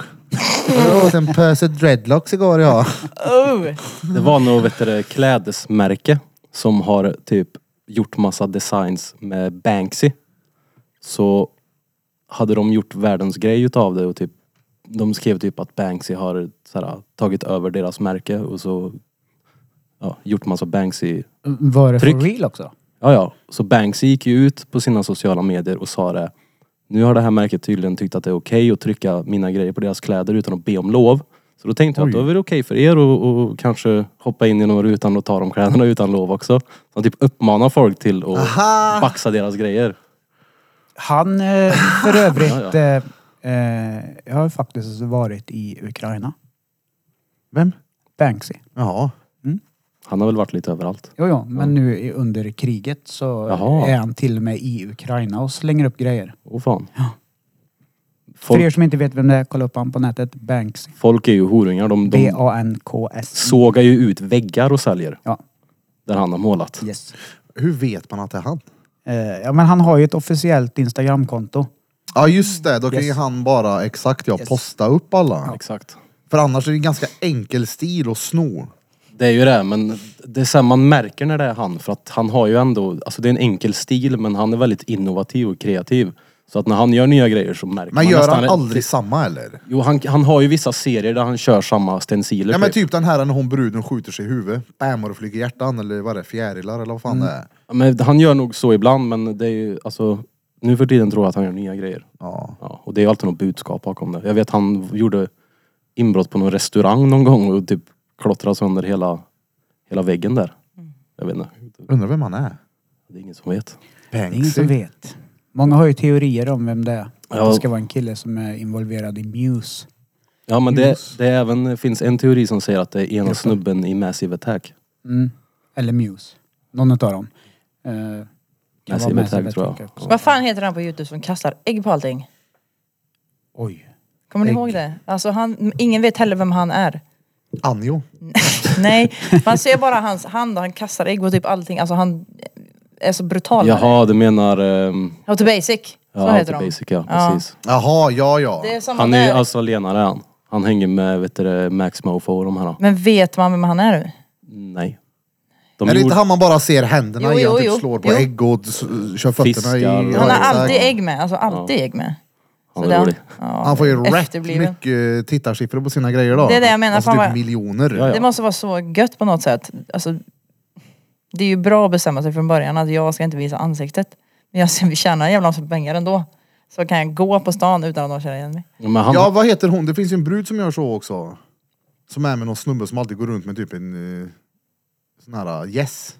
S1: Jag åt en pöse dreadlocks igår ja.
S4: Oh.
S2: Det var något vet du, det, klädesmärke som har typ gjort massa designs med Banksy. Så hade de gjort världens grej utav det och typ de skrev typ att Banksy har så här, tagit över deras märke och så ja, gjort massa Banksy.
S5: Var det
S2: Tryck.
S5: for real också?
S2: Ja, ja. Så Banksy gick ju ut på sina sociala medier och sa det. Nu har det här märket tydligen tyckt att det är okej att trycka mina grejer på deras kläder utan att be om lov. Så då tänkte jag att då är det okej för er att och kanske hoppa in genom rutan och ta de kläderna utan lov också. Så han typ uppmanar folk till att
S1: Aha!
S2: baxa deras grejer.
S5: Han eh, för övrigt...
S2: Ja,
S5: eh, eh, jag har faktiskt varit i Ukraina.
S1: Vem?
S5: Banksy.
S1: Jaha.
S2: Han har väl varit lite överallt.
S5: Jo, jo, men nu i- under kriget så
S2: Jaha.
S5: är han till och med i Ukraina och slänger upp grejer.
S2: Åh fan.
S5: För er
S2: Folk,
S5: som inte vet vem det är, kolla upp han på nätet. Banksy.
S2: folk är ju horungar. De, de
S5: B-A-N-K-S.
S2: sågar ju ut väggar och säljer.
S5: Ja.
S2: Där han har målat.
S5: Yes.
S1: Hur vet man att det är han?
S5: Eh, ja, men han har ju ett officiellt Instagramkonto.
S1: Ja just det, då kan ju
S5: Yes.
S1: han bara exakt ja,
S5: Yes.
S1: posta upp alla.
S2: Exakt.
S1: För annars är det en ganska enkel stil att sno.
S2: Det är ju det, men det är så här, man märker när det är han. För att han har ju ändå, alltså det är en enkel stil men han är väldigt innovativ och kreativ. Så att när han gör nya grejer så märker
S1: Men
S2: man
S1: gör
S2: nästan-
S1: han aldrig samma eller?
S2: Jo, han, han har ju vissa serier där han kör samma stenciler
S1: Ja men typ den här när hon bruden skjuter sig i huvudet. Bam och det flyger hjärtan eller vad det är, fjärilar eller vad fan
S5: Mm.
S1: det är.
S2: Ja, men han gör nog så ibland men det är ju, alltså nu för tiden tror jag att han gör nya grejer.
S1: Ja.
S2: Ja, och det är ju alltid något budskap bakom det. Jag vet han gjorde inbrott på någon restaurang någon gång och typ klottrade sönder hela, hela väggen där. Jag vet inte,
S1: Undrar vem han är?
S2: det är ingen som vet.
S5: Det är ingen som
S1: Banksy?
S5: vet. Många har ju teorier om vem det är.
S2: Ja.
S5: Att det ska vara en kille som är involverad i Muse.
S2: Ja men det, det är även, finns en teori som säger att det är ena snubben i Massive Attack.
S5: Mm. Eller Muse. Någon utav dem. Eh, kan
S2: Massive
S5: vara med
S2: Attack,
S5: sig,
S2: tror jag.
S5: också.
S4: Vad fan heter han på youtube som kastar ägg på allting?
S5: Oj.
S4: Kommer ni
S5: Ägg.
S4: ihåg det? Alltså han, ingen vet heller vem han är.
S1: Anjo?
S4: Nej, man ser bara hans hand och han kastar ägg och typ allting. Alltså han är så brutal. med
S2: Jaha, du menar... ehm,
S4: det. How to basic. Så
S2: ja,
S4: heter
S2: The
S4: de.
S2: Basic ja, precis.
S1: Jaha, ja ja.
S4: Det är samma
S2: Han är ju alltså-
S4: där.
S2: australienare han. Han hänger med vet du, det, Max Mofo och de här.
S4: Men vet man vem han är nu?
S2: Nej. De
S1: är det inte
S2: gjorde-
S1: han man bara ser händerna
S4: Jo,
S1: i? Han
S4: jo,
S1: typ
S4: jo.
S1: slår på
S4: Jo.
S1: ägg och s- kör fötterna i...
S2: Fiskar. Han
S1: Ja,
S4: Han har
S1: exakt.
S4: alltid ägg med. Alltså alltid ägg med.
S2: Han
S4: Så
S2: är
S4: den-
S2: rolig.
S4: ja,
S1: Han får ju rätt
S4: efterbliven.
S1: mycket eh, tittarsiffror på sina grejer då.
S4: Det är det jag menar,
S1: Alltså
S4: fan
S1: typ
S4: vad-
S1: miljoner.
S2: Ja, ja.
S4: Det måste vara så gött på något sätt. Alltså, det är ju bra att bestämma sig från början att jag ska inte visa ansiktet. Men jag ser- tjänar en jävla massa pengar ändå. Så kan jag gå på stan utan att de känner igen mig.
S2: Men han,
S1: Ja, vad heter hon? Det finns ju en brud som gör så också. Som är med någon snubbe som alltid går runt med typ en eh, sån här eh, gäss.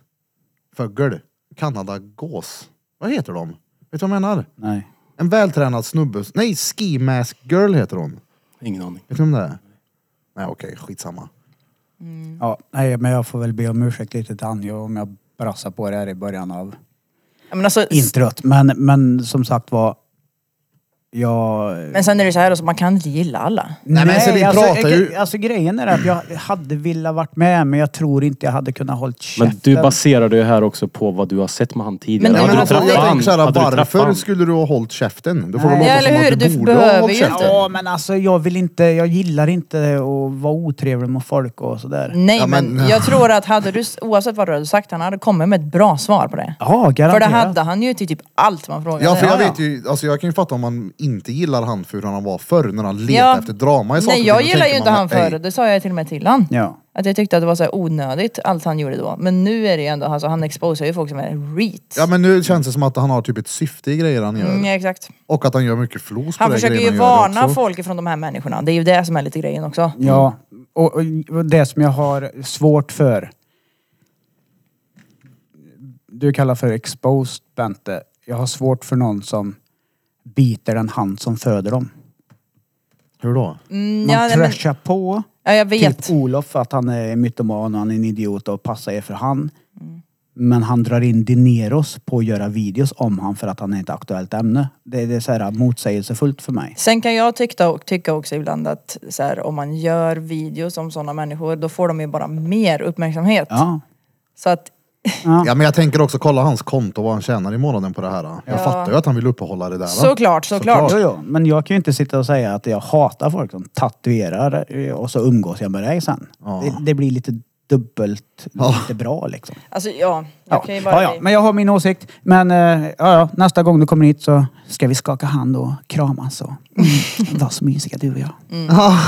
S1: Fågel. Kanadagås. Vad heter de? Vet du vad jag menar?
S5: Nej.
S1: En vältränad snubbe. Nej, ski mask girl heter hon.
S2: Ingen aning.
S1: Vet du om det är? Nej okej, skitsamma.
S5: Ja, nej, men jag får väl be om ursäkt lite till Anjo om jag brassar på det här i början av
S4: Ja, Men, alltså,
S5: introt. Men, men som sagt var, jag...
S4: men sen är det så här, alltså, man kan inte gilla alla.
S1: Nej, men så vi pratar ju-
S5: Alltså grejen är att jag hade velat varit med men jag tror inte jag hade kunnat hållit käften.
S2: Men du baserar det ju här också på vad du har sett med han tidigare.
S1: Nej,
S4: Men hade
S1: men
S4: du
S1: alltså,
S4: träffat
S1: jag
S4: han?
S1: tänker såhär,
S2: Hade du träffat
S1: varför
S2: han?
S1: skulle du ha hållit käften? Du får väl
S5: Nej.
S1: låta
S5: Ja,
S1: som
S4: eller hur?
S1: att du,
S4: Du
S1: borde ha
S4: behöver
S1: hållit
S4: ju
S1: käften.
S4: inte.
S5: Ja men alltså jag vill inte, jag gillar inte att vara otrevlig mot folk och sådär.
S4: Nej
S1: Ja, men-
S4: men, jag tror att hade du, oavsett vad du hade sagt, han hade kommit med ett bra svar på det.
S5: Ja, garanterat.
S4: För det hade han ju till typ allt man frågade.
S1: Ja för jag
S5: Ja, ja.
S1: vet ju, alltså jag kan ju fatta om man inte gillar han för hur han var förr när han letade
S4: Ja.
S1: efter drama i saker och
S4: Nej
S1: ting.
S4: jag
S1: Då
S4: gillar
S1: tänker
S4: ju inte
S1: man,
S4: han
S1: "Ey,
S4: förr, det sa jag till och med till han.
S5: Ja.
S4: Att jag tyckte att det var så här onödigt allt han gjorde då. Men nu är det ju ändå, alltså, han exposar ju folk som är reet.
S1: Ja men nu känns det som att han har typ ett syfte i grejer han gör.
S4: Mm, ja, exakt.
S1: Och att han gör mycket flos på
S4: Han
S1: det
S4: försöker ju
S1: grejerna han gör
S4: varna
S1: också.
S4: folk ifrån de här människorna. Det är ju det som är lite grejen också.
S5: Ja,
S4: Mm.
S5: och, och det som jag har svårt för. Du kallar för exposed, Bente. Jag har svårt för någon som biter den hand som föder dem.
S1: Hur då?
S4: Mm,
S5: Man
S4: ja, nej, men,
S5: trashar på.
S4: ja, jag vet.
S5: Typ Olof för att han är mytoman och han är en idiot och passar er för han.
S4: Mm.
S5: Men han drar in Dineros på att göra videos om han för att han är ett aktuellt ämne. Det, det är så här motsägelsefullt för mig.
S4: Sen kan jag tycka, och tycka också ibland att så här, om man gör videos om sådana människor då får de ju bara mer uppmärksamhet.
S5: Ja.
S4: Så att
S1: Ja men jag tänker också kolla hans konto vad han tjänar i månaden på det här. Jag
S4: Ja.
S1: fattar ju att han vill uppehålla det där. va?
S4: såklart, såklart.
S5: Jo, jo, men jag kan ju inte sitta och säga att jag hatar folk som tatuerar eh, och så umgås jag med dig sen.
S1: Ja.
S5: Det, det blir lite dubbelt,
S1: Ja.
S5: lite bra liksom.
S4: Alltså ja, jag
S5: Ja.
S4: kan ju bara...
S5: ja, ja, men jag har min åsikt. Men eh, ja, ja, nästa gång du kommer hit så ska vi skaka hand och kramas och mm, vara så mysiga du och jag.
S1: Ah,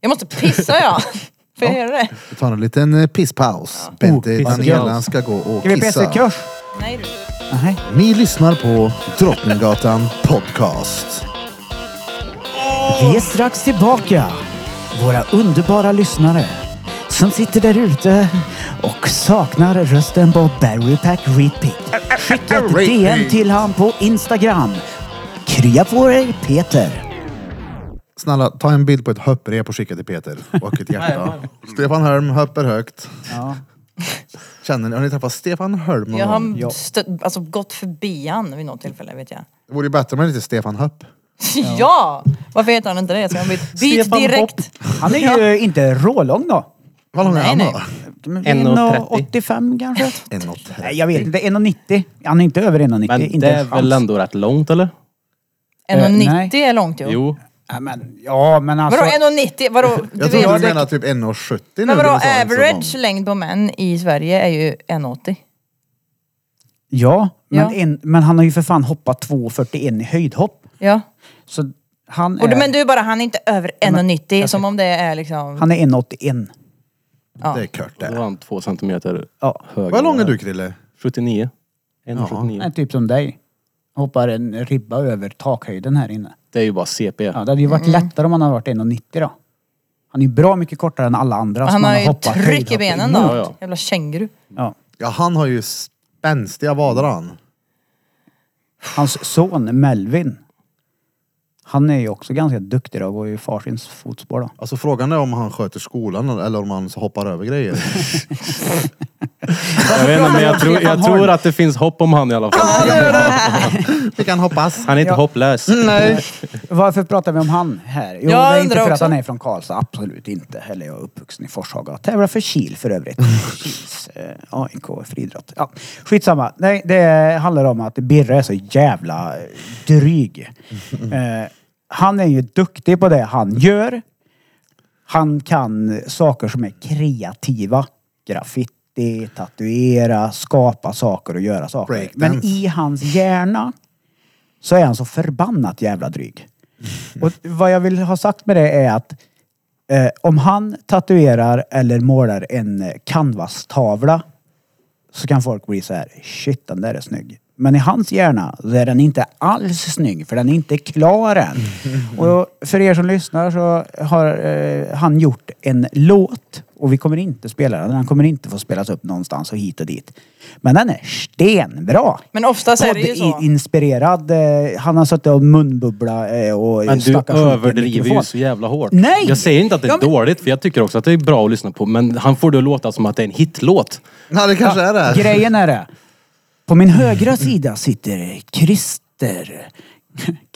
S4: Jag måste pissa ja! Får jag göra det?
S1: Vi tar en liten eh, pisspaus.
S4: Oh,
S1: Bente
S2: pisspaus.
S1: Daniela ska gå och
S5: Ska vi
S1: kissa.
S5: pissa kurs?
S4: Nej du.
S5: Nej.
S1: Ni lyssnar på Drottninggatan Podcast.
S5: Vi är strax tillbaka. Våra underbara lyssnare som sitter där ute och saknar rösten på Barry Pack Repeat. Skicka ett DM till han på Instagram. Krya på dig Peter.
S1: Snälla, ta en bild på ett hopprep och skicka till Peter. Och ett hjärta. Stefan Holm hoppar högt.
S5: Ja.
S1: Känner ni, har ni träffat Stefan Holm
S4: Jag
S1: någon gång?
S4: har stött, alltså, gått förbi han vid något tillfälle vet jag.
S1: Det vore ju bättre om han hette Stefan Hopp.
S4: Ja! Varför heter han inte det? Så jag har bytt, byt
S2: Stefan
S4: direkt.
S5: Han är ju inte rålång då.
S1: Vad lång är
S4: Nej,
S1: han
S4: nej.
S1: då?
S5: Men
S2: 1,30.
S5: 1,85 kanske?
S1: En och tre.
S5: Nej, jag vet inte. 1,90. Han är inte över 1,90.
S2: Men
S5: inte
S2: det
S5: en
S2: är
S5: chans.
S2: väl ändå rätt långt eller?
S4: 1,90 är långt ju.
S2: Jo.
S5: Ja, men, ja, men alltså...
S4: Vadå 1,90? Vadå? Du
S1: Jag trodde
S4: vet,
S1: du menade typ 1,70 nu.
S4: men vadå
S1: när du sa det så
S4: average
S1: lång.
S4: längd på män i Sverige är ju 1,80.
S5: Ja, men,
S4: Ja.
S5: En, men han har ju för fan hoppat 2,41 i höjdhopp.
S4: Ja.
S5: Så han är,
S4: Och, du- men du är bara, han är inte över 1,90 som om det är liksom...
S5: han är 1,81.
S1: Det är kört
S2: Då
S1: det.
S2: var han två centimeter
S5: Ja.
S2: högre.
S1: Vad lång är du Krille?
S2: 79.
S1: Ja.
S2: 1,79.
S5: Nej, typ som dig. Hoppar en ribba över takhöjden här inne.
S2: Det är ju bara CP.
S5: Ja, det hade ju varit
S4: Mm.
S5: lättare om han hade varit 1,90 då. Han är ju bra mycket kortare än alla andra.
S4: Och
S5: som
S4: han har ju
S5: hoppat
S4: tryck i
S5: höjdhopp
S4: benen då.
S5: emot.
S2: Ja, ja.
S4: Jävla känguru.
S5: Ja.
S1: Ja, han har ju spänstiga vader han.
S5: Hans son Melvin. Han är ju också ganska duktig då och går ju i farsins fotspår då.
S1: Alltså frågan är om han sköter skolan eller om han hoppar över grejer.
S2: Jag vet inte men jag, tror,
S5: Stefan
S2: jag
S5: Holm.
S2: tror att det finns hopp om han i alla fall.
S1: Vi kan hoppas.
S2: Han är inte hopplös.
S1: Nej.
S5: Varför pratar vi om han här? Jo,
S4: Jag
S5: det
S4: undrar
S5: är inte för att
S4: också.
S5: han är från Karlstad. Absolut inte. Heller jag är uppvuxen i Forshaga. Tävlar för Kil för övrigt. Kils eh, AIK friidrott. Ja, skitsamma. Nej, det handlar om att Birre är så jävla eh, dryg. Eh, han är ju duktig på det han gör. Han kan saker som är kreativa. Graffiti, tatuera, skapa saker och göra saker.
S1: Breakdance.
S5: Men i hans hjärna så är han så förbannat jävla dryg. Och vad jag vill ha sagt med det är att eh, om han tatuerar eller målar en eh, canvas-tavla så kan folk bli så här, shit den där är snygg. Men i hans hjärna så är den inte alls snygg för den är inte klar än. Och för er som lyssnar så har eh, han gjort en låt och vi kommer inte spela den. Den kommer inte få spelas upp någonstans och hit och dit. Men den är stenbra!
S4: Men oftast är det ju så.
S5: Poddinspirerad. eh, Han har suttit och munbubbla eh, och
S2: Men du
S5: snackat skit i en
S2: överdriver ju
S5: mikrofon.
S2: så jävla hårt.
S5: Nej!
S2: Jag säger inte att det är
S5: Ja, men-
S2: dåligt, för jag tycker också att det är bra att lyssna på. Men han får det att låta som att det är en hitlåt.
S1: Ja, det kanske är det.
S5: Grejen är det. På min högra sida sitter Christer.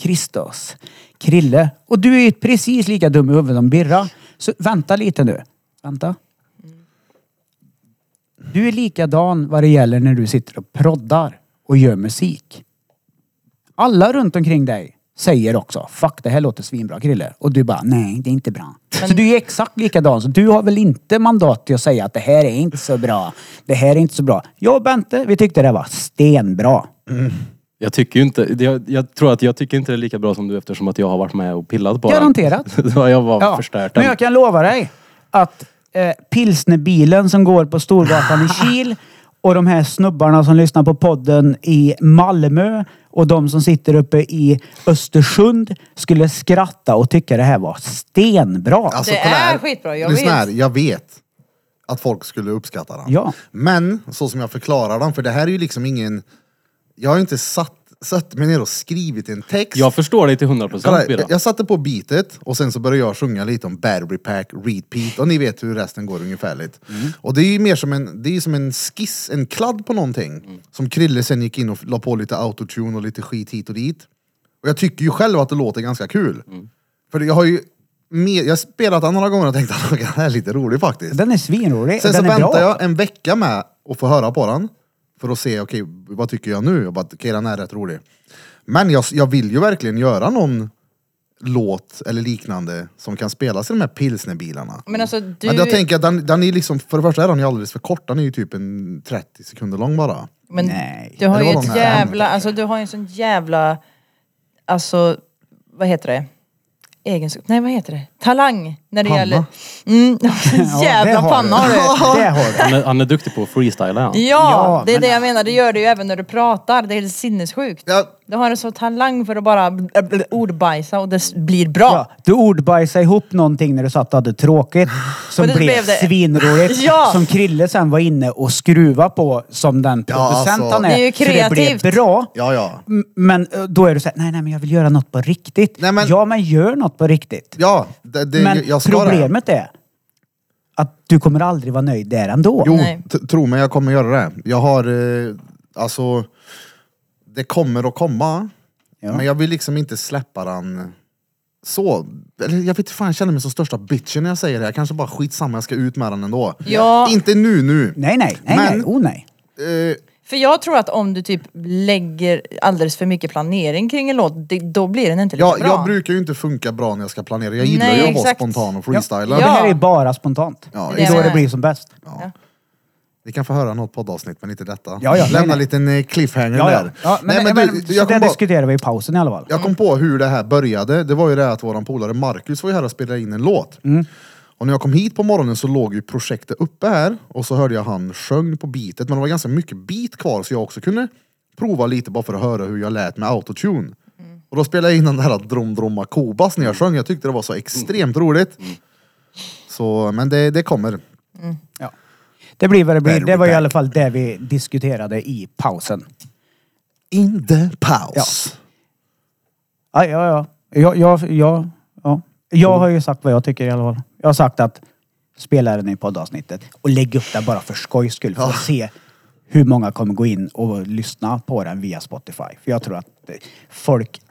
S5: Christos. Krille. Och du är ju precis lika dum i huvudet som Birra. Så vänta lite nu. Vänta. Du är likadan vad det gäller när du sitter och proddar och gör musik. Alla runt omkring dig säger också, fuck det här låter svinbra Krille. Och du bara, nej det är inte bra. Så du är exakt likadan. Så du har väl inte mandat till att säga att det här är inte så bra. Det här är inte så bra. Jag och Bente, vi tyckte det var stenbra.
S2: Jag tycker ju inte... Jag, jag tror att jag tycker inte det är lika bra som du eftersom att jag har varit med och pillat på
S5: Garanterat.
S2: den. Garanterat. jag var förstört.
S5: Men jag kan lova dig att eh, pilsnerbilen som går på Storgatan i Kil och de här snubbarna som lyssnar på podden i Malmö och de som sitter uppe i Östersund skulle skratta och tycka det här var stenbra.
S1: Alltså,
S4: Det
S1: kolla
S4: är
S1: här.
S4: skitbra, jag
S1: Lyssna
S4: vet.
S1: Här, jag vet att folk skulle uppskatta den.
S5: Ja.
S1: Men så som jag förklarar den, för det här är ju liksom ingen... Jag har ju inte satt, satt mig ner och skrivit en text.
S2: Jag förstår dig till 100 procent,
S1: Kolla, jag satte på beatet och sen så började jag sjunga lite om battery pack, repeat och ni vet hur resten går ungefärligt. Och det är ju mer som en, det är ju som en skiss, en kladd på någonting. Som Krille sen gick in och la på lite autotune och lite skit hit och dit. Och jag tycker ju själv att det låter ganska kul. För jag har ju mer, jag har spelat den några gånger och tänkt att den här är lite rolig faktiskt.
S5: Den är svinrolig.
S1: Sen så
S5: den är
S1: väntar
S5: bra.
S1: jag en vecka med att få höra på den. För att se, okej, vad tycker jag nu? Jag bara, okej, den är rätt rolig. Men jag, jag vill ju verkligen göra någon låt eller liknande som kan spelas i de här pilsnerbilarna.
S5: Mm,
S4: Men alltså du...
S1: Men jag tänker att den, den är liksom, för det första är den ju alldeles för kort. Den är ju typ en 30 sekunder lång bara.
S4: Men
S5: Nej.
S4: du har
S1: Det
S4: ju
S1: var
S4: ett
S1: långa
S4: jävla,
S1: ämnen.
S4: alltså du har ju en sån jävla, alltså, vad heter det? Egenskap, nej vad heter det? talang när det
S1: Panna.
S4: gäller... Mm, jävla
S5: det har
S4: panna har
S5: du.
S4: du.
S5: Det har
S2: Han
S5: du.
S2: är, han är duktig på att freestyla han.
S4: Ja,
S5: Ja,
S4: det är
S5: men- alltså.
S4: det jag menar. Det gör det ju även när du pratar. Det är helt sinnessjukt.
S1: Ja.
S4: Du har en sån talang för att bara bl- bl- ordbajsa och det s- blir bra.
S5: Ja, du ordbajsade ihop någonting när du satt och hade tråkigt. Som
S4: Och det
S5: blev,
S4: blev det.
S5: svinroligt.
S4: Ja.
S5: Som Krille sen var inne och skruva på som den producent
S1: alltså.
S5: han är.
S4: Det är ju
S5: Så det
S4: kreativt.
S5: blev bra.
S1: Ja, ja.
S5: M- Men eh, då är du såhär, nej nej men jag vill göra något på riktigt.
S1: Nej, men-
S5: Ja men gör något på riktigt.
S1: Ja, det, det,
S5: men
S1: jag ska det.
S5: problemet är att du kommer aldrig vara nöjd där ändå.
S1: Jo,
S4: Nej.
S1: t- tro mig, jag kommer göra det. Jag har, eh, alltså, det kommer att komma.
S5: Ja.
S1: Men jag vill liksom inte släppa den så. Eller jag vet inte fan, jag känner mig som största bitchen när jag säger det. Jag kanske bara skitsamma, jag ska ut med den ändå.
S4: Ja.
S1: Inte nu nu.
S5: Nej nej,
S1: Men-
S5: nej nej, oh nej.
S1: Eh,
S4: För jag tror att om du typ lägger alldeles för mycket planering kring en låt, det, då blir den inte lika
S1: jag,
S4: bra.
S1: jag brukar ju inte funka bra när jag ska planera. Jag gillar
S4: Nej,
S1: ju att vara
S4: exakt.
S1: spontan och
S5: Ja.
S1: freestyla.
S5: Det här är
S4: Ja.
S5: ju bara spontant.
S1: Ja,
S5: det är då
S4: exakt.
S5: det blir som bäst.
S1: Ni kan få höra något poddavsnitt men inte detta.
S5: Ja, ja, nej,
S1: Lämna
S5: nej.
S1: en liten eh, cliffhanger
S5: Ja, ja.
S1: där.
S5: ja men,
S1: Nej, men
S5: men,
S1: du,
S5: så
S1: jag,
S5: det
S1: kom bara,
S5: diskuterar vi i pausen i alla fall.
S1: jag kom på hur det här började. Det var ju det att våran polare Marcus var ju här och spelade in en låt.
S5: Mm.
S1: Och när jag kom hit på morgonen så låg ju projektet uppe här och så hörde jag han sjöng på beatet men det var ganska mycket beat kvar så jag också kunde prova lite bara för att höra hur jag lät med autotune.
S5: Mm.
S1: Och då spelade jag in den där Drom Dromma Kobas när jag sjöng. Jag tyckte det var
S5: Mm.
S1: så extremt roligt. Så, men det, det kommer.
S5: Ja. Det blir vad det blir.
S1: Battery
S5: Det var i
S1: pack.
S5: alla fall det vi diskuterade i pausen.
S1: In the paus.
S5: Ja, ja, ja. Jag, jag, jag, ja. jag har ju sagt vad jag tycker i alla fall. Jag har sagt att spela den i poddavsnittet och lägg upp den bara för skojs skull för att se hur många kommer gå in och lyssna på den via Spotify. För jag tror att eh, folk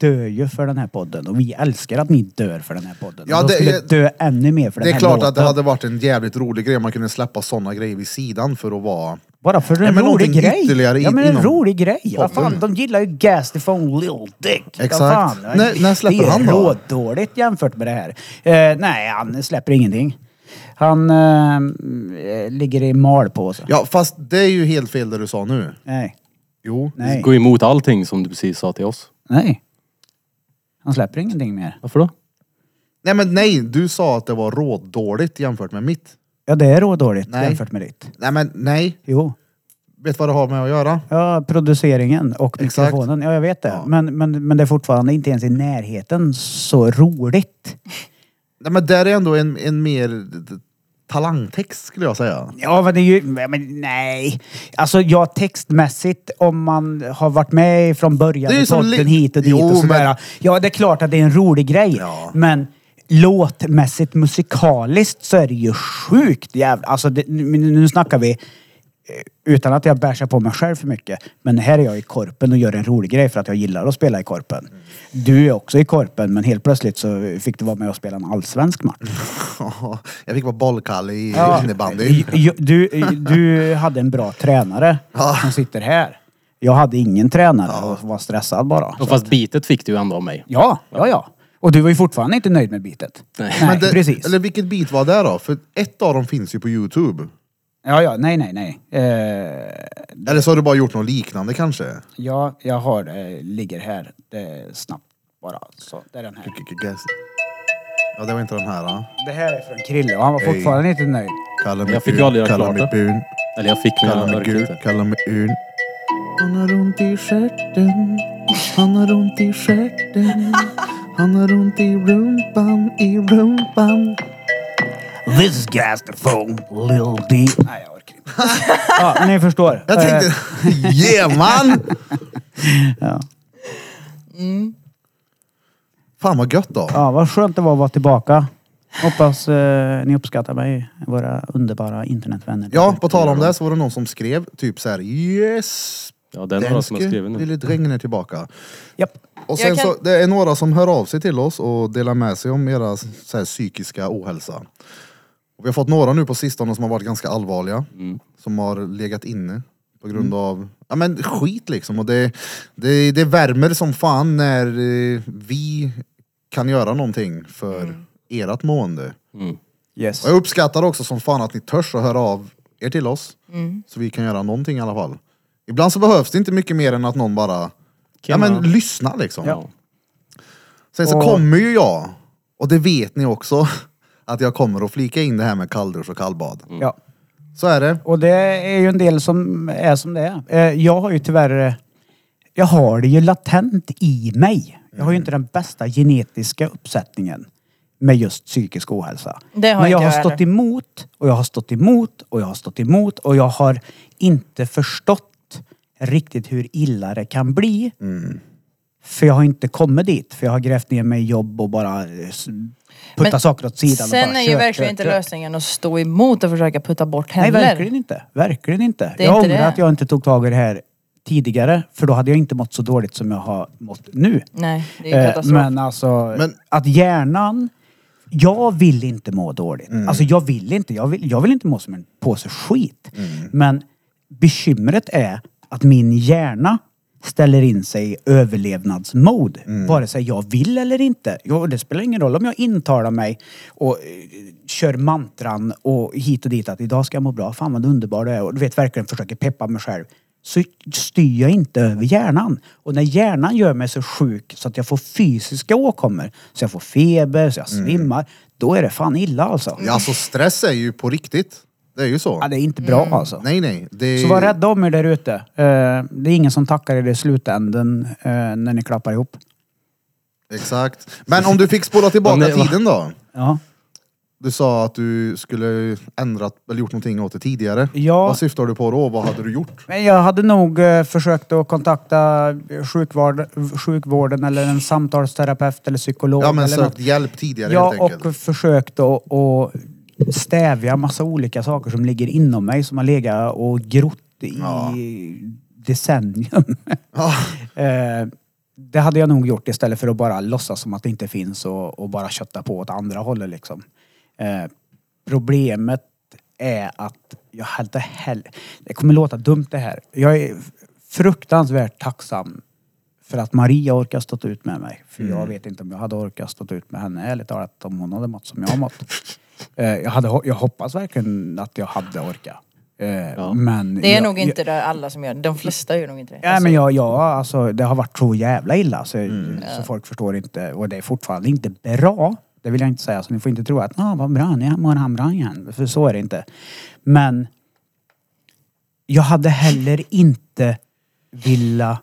S5: dör ju för den här podden och vi älskar att ni dör för den här podden.
S1: Ja,
S5: Ja, de
S1: det-
S5: skulle dö ännu mer för
S1: Det
S5: den
S1: är
S5: här
S1: klart
S5: låten.
S1: att det hade varit en jävligt rolig grej om man kunde släppa sådana grejer vid sidan för att vara...
S5: Bara för en
S1: Ja, men
S5: rolig
S1: någonting
S5: grej.
S1: ytterligare
S5: ja
S1: in-
S5: men en
S1: inom
S5: rolig grej. Vad
S1: podden.
S5: fan, de gillar ju Gas Phone Lil Dick. Vad
S1: Exakt.
S5: Fan,
S1: När- när släpper
S5: det är
S1: han då?
S5: rådåligt jämfört med det här. Eh, nej, han släpper ingenting. Han eh, eh, ligger i malpåse.
S1: Ja, fast det är ju helt fel det du sa nu.
S5: Nej.
S1: Jo.
S5: Nej.
S2: Gå emot allting som du precis sa till oss.
S5: nej. Han släpper ingenting mer.
S2: Varför då?
S1: Nej men nej, du sa att det var rådåligt jämfört med mitt.
S5: Ja, det är rådåligt
S1: Nej.
S5: jämfört med ditt.
S1: Nej men nej,
S5: Jo.
S1: vet vad det har med att göra?
S5: Ja, produceringen och
S1: Exakt.
S5: mikrofonen. Ja, jag vet det. Men, men, men det är fortfarande inte ens i närheten så roligt.
S1: Nej men där är ändå en, en mer d- talangtext skulle jag säga.
S5: Ja, men det är ju... Men nej. Alltså, ja, textmässigt, om man har varit med från början
S1: Det är ju
S5: i
S1: som
S5: podden
S1: li-
S5: hit och dit
S1: Jo,
S5: och sådär.
S1: men-
S5: Ja, det är klart att det är en rolig grej.
S1: Ja.
S5: Men låtmässigt, musikaliskt så är det ju sjukt jävla... Alltså, det, nu, nu snackar vi... eh, Utan att jag bärsar på mig själv för mycket. Men här är jag i korpen och gör en rolig grej för att jag gillar att spela i korpen. Du är också i korpen men helt plötsligt så fick du vara med och spela en allsvensk match.
S1: jag fick vara bollkalle i innebandy.
S5: J- Du, du hade en bra tränare
S1: Ja.
S5: som sitter här. Jag hade ingen tränare och var stressad bara.
S2: Och fast bitet fick du ju ändå av mig.
S5: Ja, ja, ja. Och du var ju fortfarande inte nöjd med bitet.
S2: Nej.
S5: nej
S1: Men det,
S5: precis.
S1: Eller vilket bit var det då? För ett av dem finns ju på youtube.
S5: Ja, ja, nej, nej, nej. Eh,
S1: Eller så har du bara gjort något liknande kanske?
S5: ja, jag har det. Ligger här. Det är snabbt bara. Så, det är den här.
S1: Ja det var inte den här. Då.
S5: Det här är från Krille och han var fortfarande inte nöjd.
S1: Kalla mig
S2: Jag fick
S1: brun,
S2: ju aldrig göra
S1: kalla
S2: klart
S1: mig
S2: det.
S1: brun,
S2: Eller jag fick mina
S1: Kalla mig
S2: mörker
S1: gul,
S2: inte.
S1: kalla mig urn. Han har ont i stjärten. Han har ont i stjärten. Han har ont i rumpan, i rumpan.
S5: This is gas the phone, Lil D. Nej, jag orkar inte. ja, ni förstår. Eh,
S1: Jag tänkte, yeah man!
S5: Ja.
S1: Fan vad gött då.
S5: Ja, vad skönt det var att vara tillbaka. Hoppas eh, ni uppskattar mig, våra underbara internetvänner.
S1: Ja, på tal om det så var det någon som skrev typ så här yes!
S2: Ja, det är några som har
S1: Danske
S2: skrivit nu.
S1: Lille drängen är tillbaka.
S5: Japp.
S1: Och
S4: Jag
S1: sen
S4: kan-
S1: så, det är några som hör av sig till oss och delar med sig om era så här, psykiska ohälsa. Och vi har fått några nu på sistone som har varit ganska allvarliga. Som har legat inne på grund
S4: Mm.
S1: av ja, men skit liksom. Och det, det, det värmer som fan när eh, vi kan göra någonting för
S4: Mm.
S1: ert mående.
S5: Yes.
S1: Och jag uppskattar också som fan att ni törs att höra av er till oss. Så vi kan göra någonting i alla fall. Ibland så behövs det inte mycket mer än att någon bara ja, men, lyssnar liksom.
S5: Ja.
S1: Sen så
S5: Och-
S1: kommer ju jag Och det vet ni också, att jag kommer att flika in det här med kalldusch och kallbad.
S5: Ja.
S1: Så är det.
S5: Och det är ju en del som är som det är. Eh, Jag har ju tyvärr... eh, Jag har det ju latent i mig. Jag har ju inte den bästa genetiska uppsättningen med just psykisk ohälsa.
S4: Det har
S5: Men
S4: inte
S5: jag har
S4: jag
S5: stått
S4: heller.
S5: emot och jag har stått emot och jag har stått emot och jag har inte förstått riktigt hur illa det kan bli. För jag har inte kommit dit. För jag har grävt ner mig i jobb och bara eh, s- putta
S4: Men
S5: saker åt sidan. och
S4: Sen
S5: bara
S4: är
S5: kört,
S4: ju verkligen
S5: kört,
S4: inte
S5: kört.
S4: lösningen att stå emot och försöka putta bort
S5: Nej,
S4: heller.
S5: verkligen inte. Verkligen inte.
S4: Det är
S5: jag
S4: inte
S5: ångrar
S4: det.
S5: att jag inte tog tag i det här tidigare. För då hade jag inte mått så dåligt som jag har mått nu.
S4: Nej, Mm, det är ju
S5: Eh,
S4: katastrof.
S5: Men alltså,
S1: Men-
S5: att hjärnan... Jag vill inte må dåligt. Alltså jag vill inte. Jag vill, jag vill inte må som en påse skit. Men bekymret är att min hjärna ställer in sig i överlevnadsmode. Vare sig jag vill eller inte. Jo, det spelar ingen roll om jag intalar mig och eh, kör mantran och hit och dit att idag ska jag må bra. Fan vad underbar du är. Och du vet, verkligen försöker peppa mig själv. Så styr jag inte över hjärnan. Och när hjärnan gör mig så sjuk så att jag får fysiska åkommor, så jag får feber, så jag svimmar. Då är det fan illa alltså.
S1: Mm. Ja, alltså stress är ju på riktigt. Det är ju så.
S5: Ja, det är inte bra alltså.
S1: Nej, Mm. nej. Det är...
S5: Så var rädda om er där ute. Eh, Det är ingen som tackar er i slutänden eh, när ni klappar ihop.
S1: Exakt. Men om du fick spola tillbaka
S2: Ja, men-
S1: tiden då?
S5: Ja.
S1: Du sa att du skulle ändrat eller gjort någonting åt det tidigare.
S5: Ja.
S1: Vad syftar du på då? Vad hade du gjort?
S5: Men jag hade nog eh, försökt att kontakta eh, sjukvård, sjukvården eller en samtalsterapeut eller psykolog.
S1: Ja men
S5: eller
S1: sökt hjälp tidigare
S5: Ja,
S1: helt enkelt.
S5: och försökt att, att stävja massa olika saker som ligger inom mig som har legat och grott i
S1: Ja.
S5: decennium.
S1: Ja,
S5: Eh, det hade jag nog gjort istället för att bara låtsas som att det inte finns och, och bara kötta på åt andra hållet liksom. Eh, problemet är att jag hade heller... Det kommer låta dumt det här. Jag är fruktansvärt tacksam för att Maria orkar stått ut med mig. För jag vet inte om jag hade orkat stått ut med henne ärligt talat om hon hade mått som jag har mått. Eh, jag, hade, ho- jag hoppas verkligen att jag hade orkat. Eh, men
S4: Det är
S5: jag,
S4: nog inte det alla som gör det. De flesta gör nog inte det.
S5: Ja, men jag, jag, alltså, det har varit så jävla illa så,
S1: Mm.
S5: så folk förstår inte. Och det är fortfarande inte bra. Det vill jag inte säga. Så ni får inte tro att ah, vad bra, nu mår han bra igen. För så är det inte. Men jag hade heller inte vilja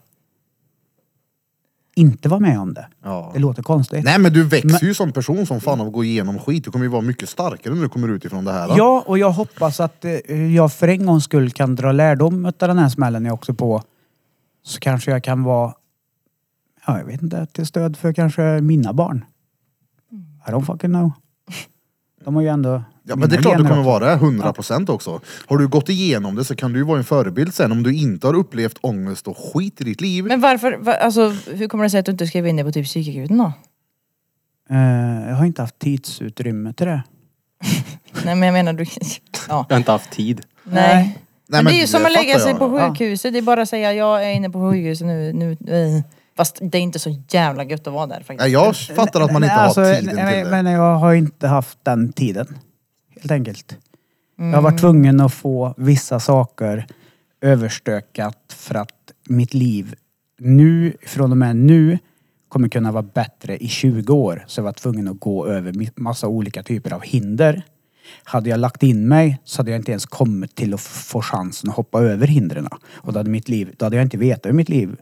S5: inte vara med om det.
S1: Ja.
S5: Det låter konstigt.
S1: Nej men du växer ju som person som fan av att gå igenom skit. Du kommer ju vara mycket starkare när du kommer ut ifrån det här.
S5: Ja, och jag hoppas att eh, jag för en gångs skull kan dra lärdom av den här smällen jag också på. Så kanske jag kan vara, ja jag vet inte, till stöd för kanske mina barn. I don't fucking know. De har ju ändå...
S1: Ja,
S5: mina
S1: men det är klart du
S5: gener
S1: kommer vara
S5: också.
S1: det, 100 procent också. Har du gått igenom det så kan du ju vara en förebild sen om du inte har upplevt ångest och skit i ditt liv.
S4: Men varför, va, alltså hur kommer det sig att du inte skrev in dig på typ psykakuten då?
S5: Eh, jag har inte haft tidsutrymme till det.
S4: Nej men jag menar du... Ja.
S2: Jag har inte haft tid.
S4: Nej. Men,
S5: Nej.
S4: det är ju som att lägga
S1: fattar
S4: sig
S1: jag.
S4: på sjukhuset. Det är bara att säga jag är inne på sjukhuset nu. nu eh. Fast det är inte så jävla gött att vara där faktiskt.
S1: Nej, jag fattar att man
S5: Nej,
S1: inte
S5: alltså,
S1: har tiden
S5: nej,
S1: till det.
S5: Men jag har inte haft den tiden. Helt enkelt. Jag har varit tvungen att få vissa saker överstökat för att mitt liv nu, från och med nu, kommer kunna vara bättre i 20 år. Så jag var tvungen att gå över mi- massa olika typer av hinder. Hade jag lagt in mig så hade jag inte ens kommit till att f- få chansen att hoppa över hindren. Och då hade, mitt liv, då hade jag inte vetat hur mitt liv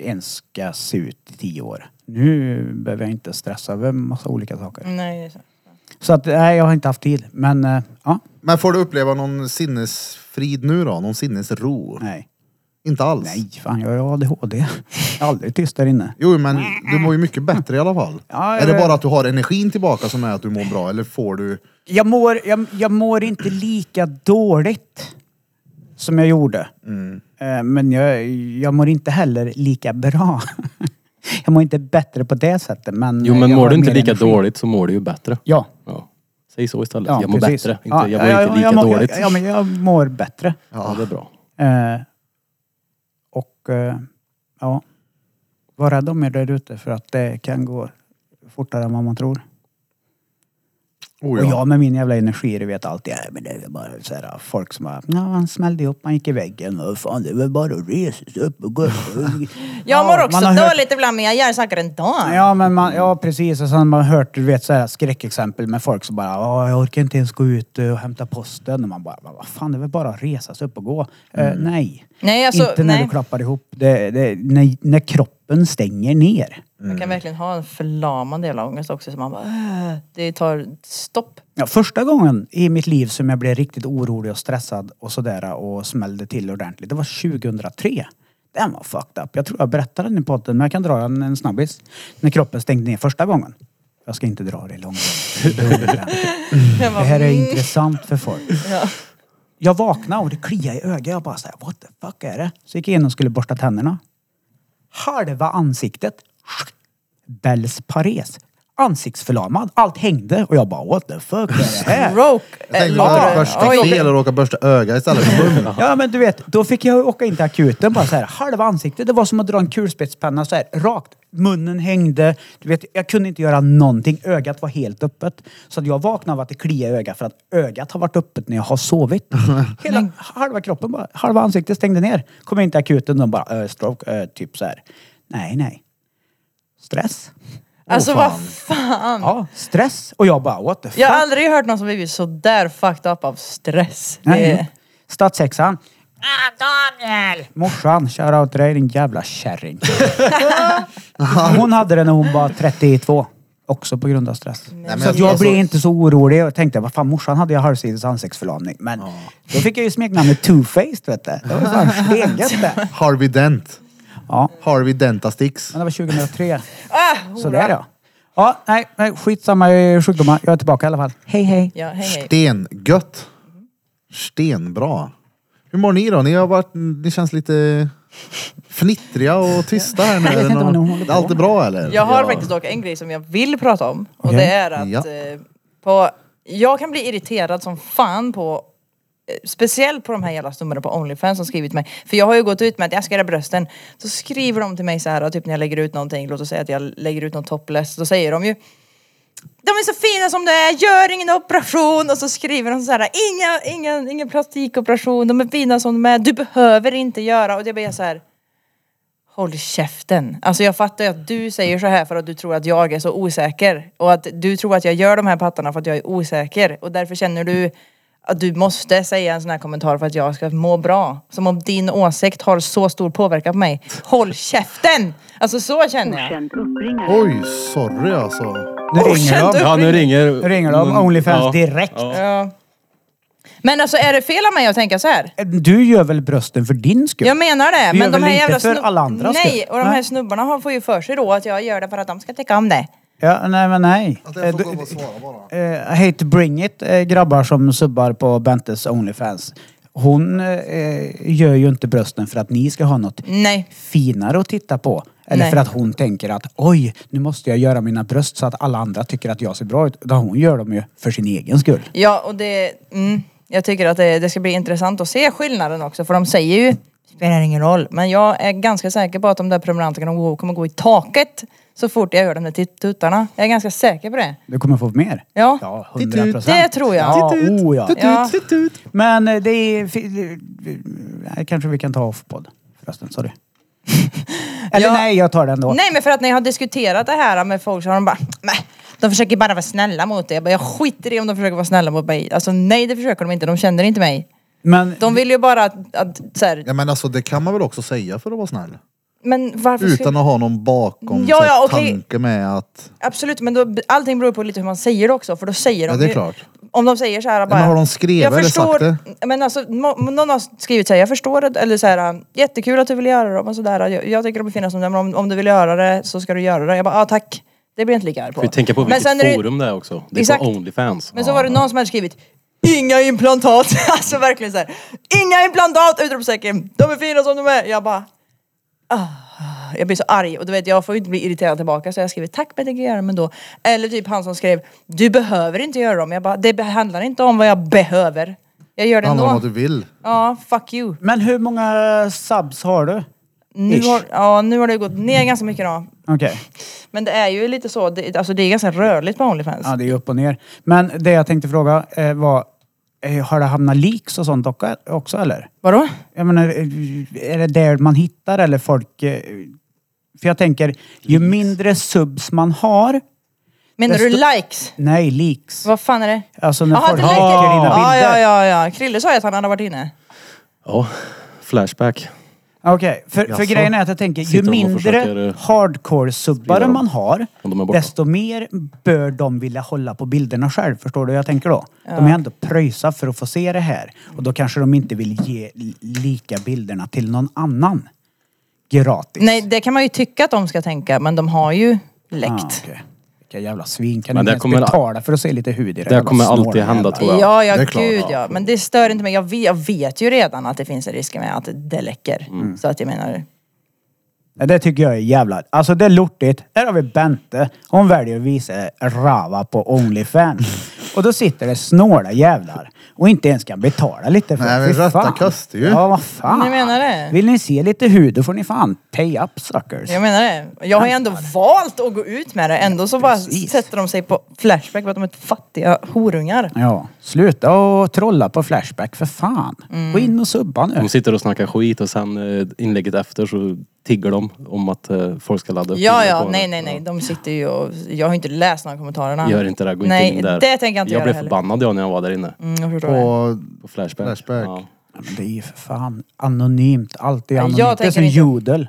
S5: ens ska se ut i tio år. Nu behöver jag inte stressa över massa olika saker.
S4: Nej, det är så.
S5: Så att, nej, jag har inte haft tid. Men, eh, ja,
S1: Men får du uppleva någon sinnesfrid nu då? Någon sinnesro?
S5: nej.
S1: Inte alls?
S5: Nej, fan, jag har ju ADHD. Jag är aldrig tyst där inne.
S1: Jo, men du mår ju mycket bättre i alla fall.
S5: Mm, Ja, jag
S1: är det
S5: vet.
S1: bara att du har energin tillbaka som är att du mår bra, eller får du...
S5: Jag mår, jag, jag mår inte lika dåligt som jag gjorde.
S2: Mm.
S5: Eh, Men jag, jag mår inte heller lika bra. Jag mår inte bättre på det sättet. Men eh,
S2: Jo men
S5: jag
S2: mår
S5: har
S2: du inte
S5: mer
S2: lika
S5: energi.
S2: dåligt så mår du ju bättre.
S5: Ja.
S2: Ja. Säg så istället.
S5: ja
S2: jag mår
S5: precis.
S2: bättre. Inte,
S5: Ja,
S2: jag mår
S5: ja,
S2: inte lika
S5: jag mår-
S2: dåligt.
S5: Ja, ja, men jag mår bättre.
S2: Ja, det är bra.
S5: Eh, och eh, ja, var rädd om er där ute för att det kan gå fortare än vad man tror.
S1: Oh,
S5: Och
S1: ja.
S5: jag med min jävla energi, du vet alltid, nej men det är väl bara så här, folk som bara, ja han smällde upp, han gick i väggen, och fan det är väl bara att resa sig upp och gå.
S4: Jag mår också
S5: man har hört-
S4: dåligt ibland men jag gör saker ändå.
S5: Ja men man, ja precis, och sen har man hört, du vet så här skräckexempel med folk som bara, "Ja, jag orkar inte ens gå ut eh, och hämta posten. Och man bara, vad fan det är väl bara att resa sig upp och gå. Eh, nej.
S4: Mm. Nej, alltså,
S5: inte när
S4: nej.
S5: du klappar ihop, det, det, när, när kroppen stänger ner.
S4: Man kan verkligen ha en förlamande jävla ångest också som man bara, "Åh", det tar stopp.
S5: Ja, första gången i mitt liv som jag blev riktigt orolig och stressad och sådär och smällde till ordentligt, det var 2003. Den var fucked up. Jag tror jag berättade den i podden, men jag kan dra den en snabbis. När kroppen stängde ner första gången. Jag ska inte dra det i långt.
S4: Jag
S5: Det
S4: bara,
S5: här är
S4: "Mm."
S5: intressant för folk. Jag vaknade och det kliade i ögat. Jag bara såhär, what the fuck är det? Så gick jag in och skulle borsta tänderna. Halva ansiktet. Bels pares. Ansiktsförlamad. Allt hängde. Och jag bara, what the fuck är det här?
S4: Stroke.
S5: Eh,
S1: Jag tänkte
S4: eller-
S1: råka börsta
S4: Oj.
S1: fel och råka börsta öga istället för mun.
S5: Ja men du vet, då fick jag åka in till akuten bara så här, halva ansiktet. Det var som att dra en kulspetspenna så här, rakt. Munnen hängde. Du vet, jag kunde inte göra någonting. Ögat var helt öppet. Så att jag vaknade av att det kliade i ögat för att ögat har varit öppet när jag har sovit. Hela, halva kroppen bara, halva ansiktet stängde ner. Kom in till akuten de bara, äh, stroke, eh, typ så här. Nej, nej. Stress.
S4: Alltså
S1: Åh,
S4: vad
S1: fan.
S4: fan.
S5: Ja, stress. Och jag bara, what the fuck?
S4: Jag har aldrig hört någon som blivit så där fucked up av stress.
S5: Nej.
S4: Det-
S5: Stadshäxan. Ah, Daniel! Morsan, shoutout till dig din jävla kärring. hon hade det när hon var 32. Också på grund av stress.
S1: men
S5: så att
S1: jag-
S5: jag
S1: alltså-
S5: blev inte så orolig och tänkte, vad fan morsan hade jag halvsides ansiktsförlamning. Men då fick jag ju smeknamnet two-faced vet du. Det var fan stengött det.
S1: Harvey Dent.
S5: Ja.
S1: Harvey Dentastix.
S5: Men det var 2003.
S4: Ah,
S5: Så där ja. Ja, nej, nej, skitsamma i sjukdomar. Jag är tillbaka i alla fall. Hej hej.
S4: Ja, hej hej.
S1: Stengött. Stenbra. Hur mår ni då? Ni har varit, ni känns lite fnittriga och tysta här nu.
S5: Jag vet inte vad ni håller
S1: Eller
S5: på
S1: Allt är
S5: med.
S1: bra eller?
S4: Alltså, Jag har faktiskt dock en grej som jag vill prata om. Och
S5: Okej.
S4: det är att
S1: Ja.
S4: eh, på, jag kan bli irriterad som fan på eh, Speciellt på de här jävla snubbarna på Onlyfans som skrivit till mig. För jag har ju gått ut med att jag ska göra brösten. Så skriver de till mig så här, typ när jag lägger ut någonting, låt oss säga att jag lägger ut något topless. Då säger de ju de är så fina som de är, gör ingen operation och så skriver de så här, inga, ingen, ingen plastikoperation, de är fina som de är, du behöver inte göra och det blir jag så här. Håll käften! Alltså jag fattar ju att du säger så här för att du tror att jag är så osäker och att du tror att jag gör de här pattarna för att jag är osäker och därför känner du att du måste säga en sån här kommentar för att jag ska må bra. Som om din åsikt har så stor påverkan på mig. Håll käften! Alltså så känner jag.
S7: Okänd uppringare.
S1: Oj, sorry alltså.
S5: Nu
S4: Oh,
S5: ringer de.
S4: känd
S2: Ja, nu ringer...
S5: Nu ringer de Onlyfans direkt.
S4: Ja. Men alltså är det fel av mig att tänka så här?
S5: Du gör väl brösten för din skull?
S4: Jag menar det.
S5: Du gör
S4: men de
S5: väl
S4: här
S5: inte
S4: jävla
S5: för alla andras
S4: Nej,
S5: skull?
S4: och de här
S5: Nej.
S4: snubbarna har- får ju för sig då att jag gör det för att de ska tycka om det.
S5: Ja, nej men nej. Eh, du-
S1: svara bara.
S5: eh, I hate to bring it, eh, grabbar som subbar på Bentes Onlyfans. Hon eh, gör ju inte brösten för att ni ska ha något
S4: Nej.
S5: finare att titta på. Eller
S4: Nej.
S5: för att hon tänker att oj, nu måste jag göra mina bröst så att alla andra tycker att jag ser bra ut. Utan hon gör dem ju för sin egen skull.
S4: Ja, och det... Mm, jag tycker att det, det ska bli intressant att se skillnaden också, för de säger ju spelar ingen roll. Men jag är ganska säker på att de där prenumeranterna kommer gå- kommer gå i taket så fort jag gör de där tit- tuttarna. Jag är ganska säker på det.
S5: Du kommer få mer.
S4: Ja.
S5: Ja, 100 procent.
S4: Det tror jag.
S5: Ja, oh, ja.
S4: Ja.
S5: Men eh, det är... fi- Nej, kanske vi kan ta off-podd förresten. Sorry. Eller
S4: Ja.
S5: nej, jag tar den då.
S4: Nej men för att när jag har diskuterat det här med folk så har de bara nej, de försöker bara vara snälla mot dig. Jag, bara, jag skiter i om de försöker vara snälla mot mig. Alltså nej det försöker de inte, de känner inte mig.
S5: Men
S4: De vill ju bara att, att så här,
S1: Ja men alltså det kan man väl också säga för att vara snäll?
S4: men varför
S1: Utan
S4: ska,
S1: att ha någon bakom
S4: Ja,
S1: så här
S4: ja, okej.
S1: tanke med att...
S4: Absolut men då, allting beror på lite hur man säger det också för då säger de
S1: Ja det är
S4: ju-
S1: klart.
S4: Om de säger så här bara.
S1: men har de skrivit
S4: jag
S1: eller
S4: förstår,
S1: sagt
S4: Men alltså, må- någon har skrivit så här, jag förstår det, eller så här, jättekul att du vill göra det och sådär. Jag, jag tycker de är fina som det, men om, om du vill göra det så ska du göra det. Jag bara, ja ah, tack. Det blir jag inte lika arg på.
S2: Får vi tänka på
S4: Men
S2: vilket
S4: sen är det-
S2: forum det är också. Det är
S4: Exakt.
S2: på Onlyfans.
S4: Men så var det någon som hade skrivit Inga implantat! alltså verkligen så här. Inga implantat! Utropstecken! De är fina som de är! Jag bara... Ah, jag blir så arg och du vet jag får ju inte bli irriterad tillbaka så jag skriver tack men det kan jag göra men då. Eller typ han som skrev Du behöver inte göra dem. Jag bara det handlar inte om vad jag behöver. Jag gör det
S1: Det handlar om
S4: ändå.
S1: att
S5: typ-
S1: du vill.
S4: Ja, fuck you.
S5: Men hur många subs har du?
S4: Nu
S5: Ish.
S4: har, ja, nu har det gått ner ganska mycket då.
S5: Okej.
S4: Men det är ju lite så, det, alltså det är ganska rörligt på Onlyfans.
S5: Ja, det är ju upp och ner. Men det jag tänkte fråga eh, var, eh, har det hamnat leaks och sånt docka- också eller?
S4: Vadå?
S5: Jag menar, eh, är det där man hittar eller folk... eh, För jag tänker, ju mindre subs man har...
S4: Menar du
S5: Desto-
S4: likes?
S5: Nej, leaks.
S4: Vad fan är det?
S5: Alltså när
S4: Jaha,
S5: folk
S4: det
S5: lägger
S4: läcker.
S5: dina bilder.
S4: Ja, ja, ja, ja. Krille sa ju att han hade varit inne.
S2: Ja, Flashback.
S5: Okej, för, för
S1: Jaså?
S5: grejen är att jag tänker,
S2: Sitter
S5: ju
S2: de och
S5: mindre
S2: försöker sprida
S5: hardcore-subbare
S2: dem?
S5: man har,
S2: Om de är borta.
S5: desto mer bör de vilja hålla på bilderna själv. Förstår du hur jag tänker då? De är ändå pröjsa för att få se det här. Och då kanske de inte vill ge li- lika bilderna till någon annan. Gratis.
S4: Nej, det kan man ju tycka att de ska tänka, men de har ju läckt.
S5: Ah, okej. Vilka jävla svin. Kan
S2: Men
S5: du
S2: det
S5: inte
S2: kommer-
S5: ens betala för att se lite hud i det?
S2: Det
S5: jävla
S2: kommer alltid
S5: snåla
S2: hända,
S5: jävla.
S2: tror jag.
S4: Ja, ja,
S1: Det är
S4: gud
S1: klart.
S4: ja. Men det stör inte mig. Jag vet, jag vet ju redan att det finns en risk med att det läcker.
S2: Mm.
S4: Så att jag menar,
S5: Nej, Det tycker jag är jävla... Alltså det är lortigt. Här har vi Bente. Hon väljer att visa Rava på Onlyfans. Och då sitter det snåla jävlar och inte ens kan betala lite för
S1: Nej,
S5: det.
S1: men
S5: Fy
S1: rötta
S5: fan.
S1: kostar ju.
S5: Ja, vad fan.
S4: Ni menar det?
S5: Vill ni se lite hud, då får ni fan pay up suckers.
S4: jag menar det. Jag har ju ändå valt att gå ut med det. Ändå så bara
S5: precis.
S4: sätter de sig på Flashback för att de är fattiga horungar.
S5: Ja, sluta och trolla på Flashback för fan.
S4: Mm.
S5: Gå in och subba nu.
S1: Mm.
S2: De sitter och snackar skit och sen eh, inlägget efter så tigger de om att eh, folk ska ladda upp.
S4: Ja,
S2: bilder
S4: ja,
S2: på
S4: nej,
S2: det.
S4: nej, nej.
S2: Ja.
S4: De sitter ju och... Jag har ju inte läst några kommentarerna.
S2: Gör inte det, gå inte
S4: nej,
S2: in där.
S4: det tänker jag inte
S2: Jag
S4: göra
S2: blev
S4: heller.
S2: förbannad jag när jag var där inne.
S4: Mm, jag förstår det.
S1: Och
S2: På Flashback.
S1: Flashback.
S2: Ja.
S5: Ja, men Det är ju för fan anonymt. Allt är anonymt.
S4: jag
S5: Det är som
S4: tänker inte-
S5: jodel.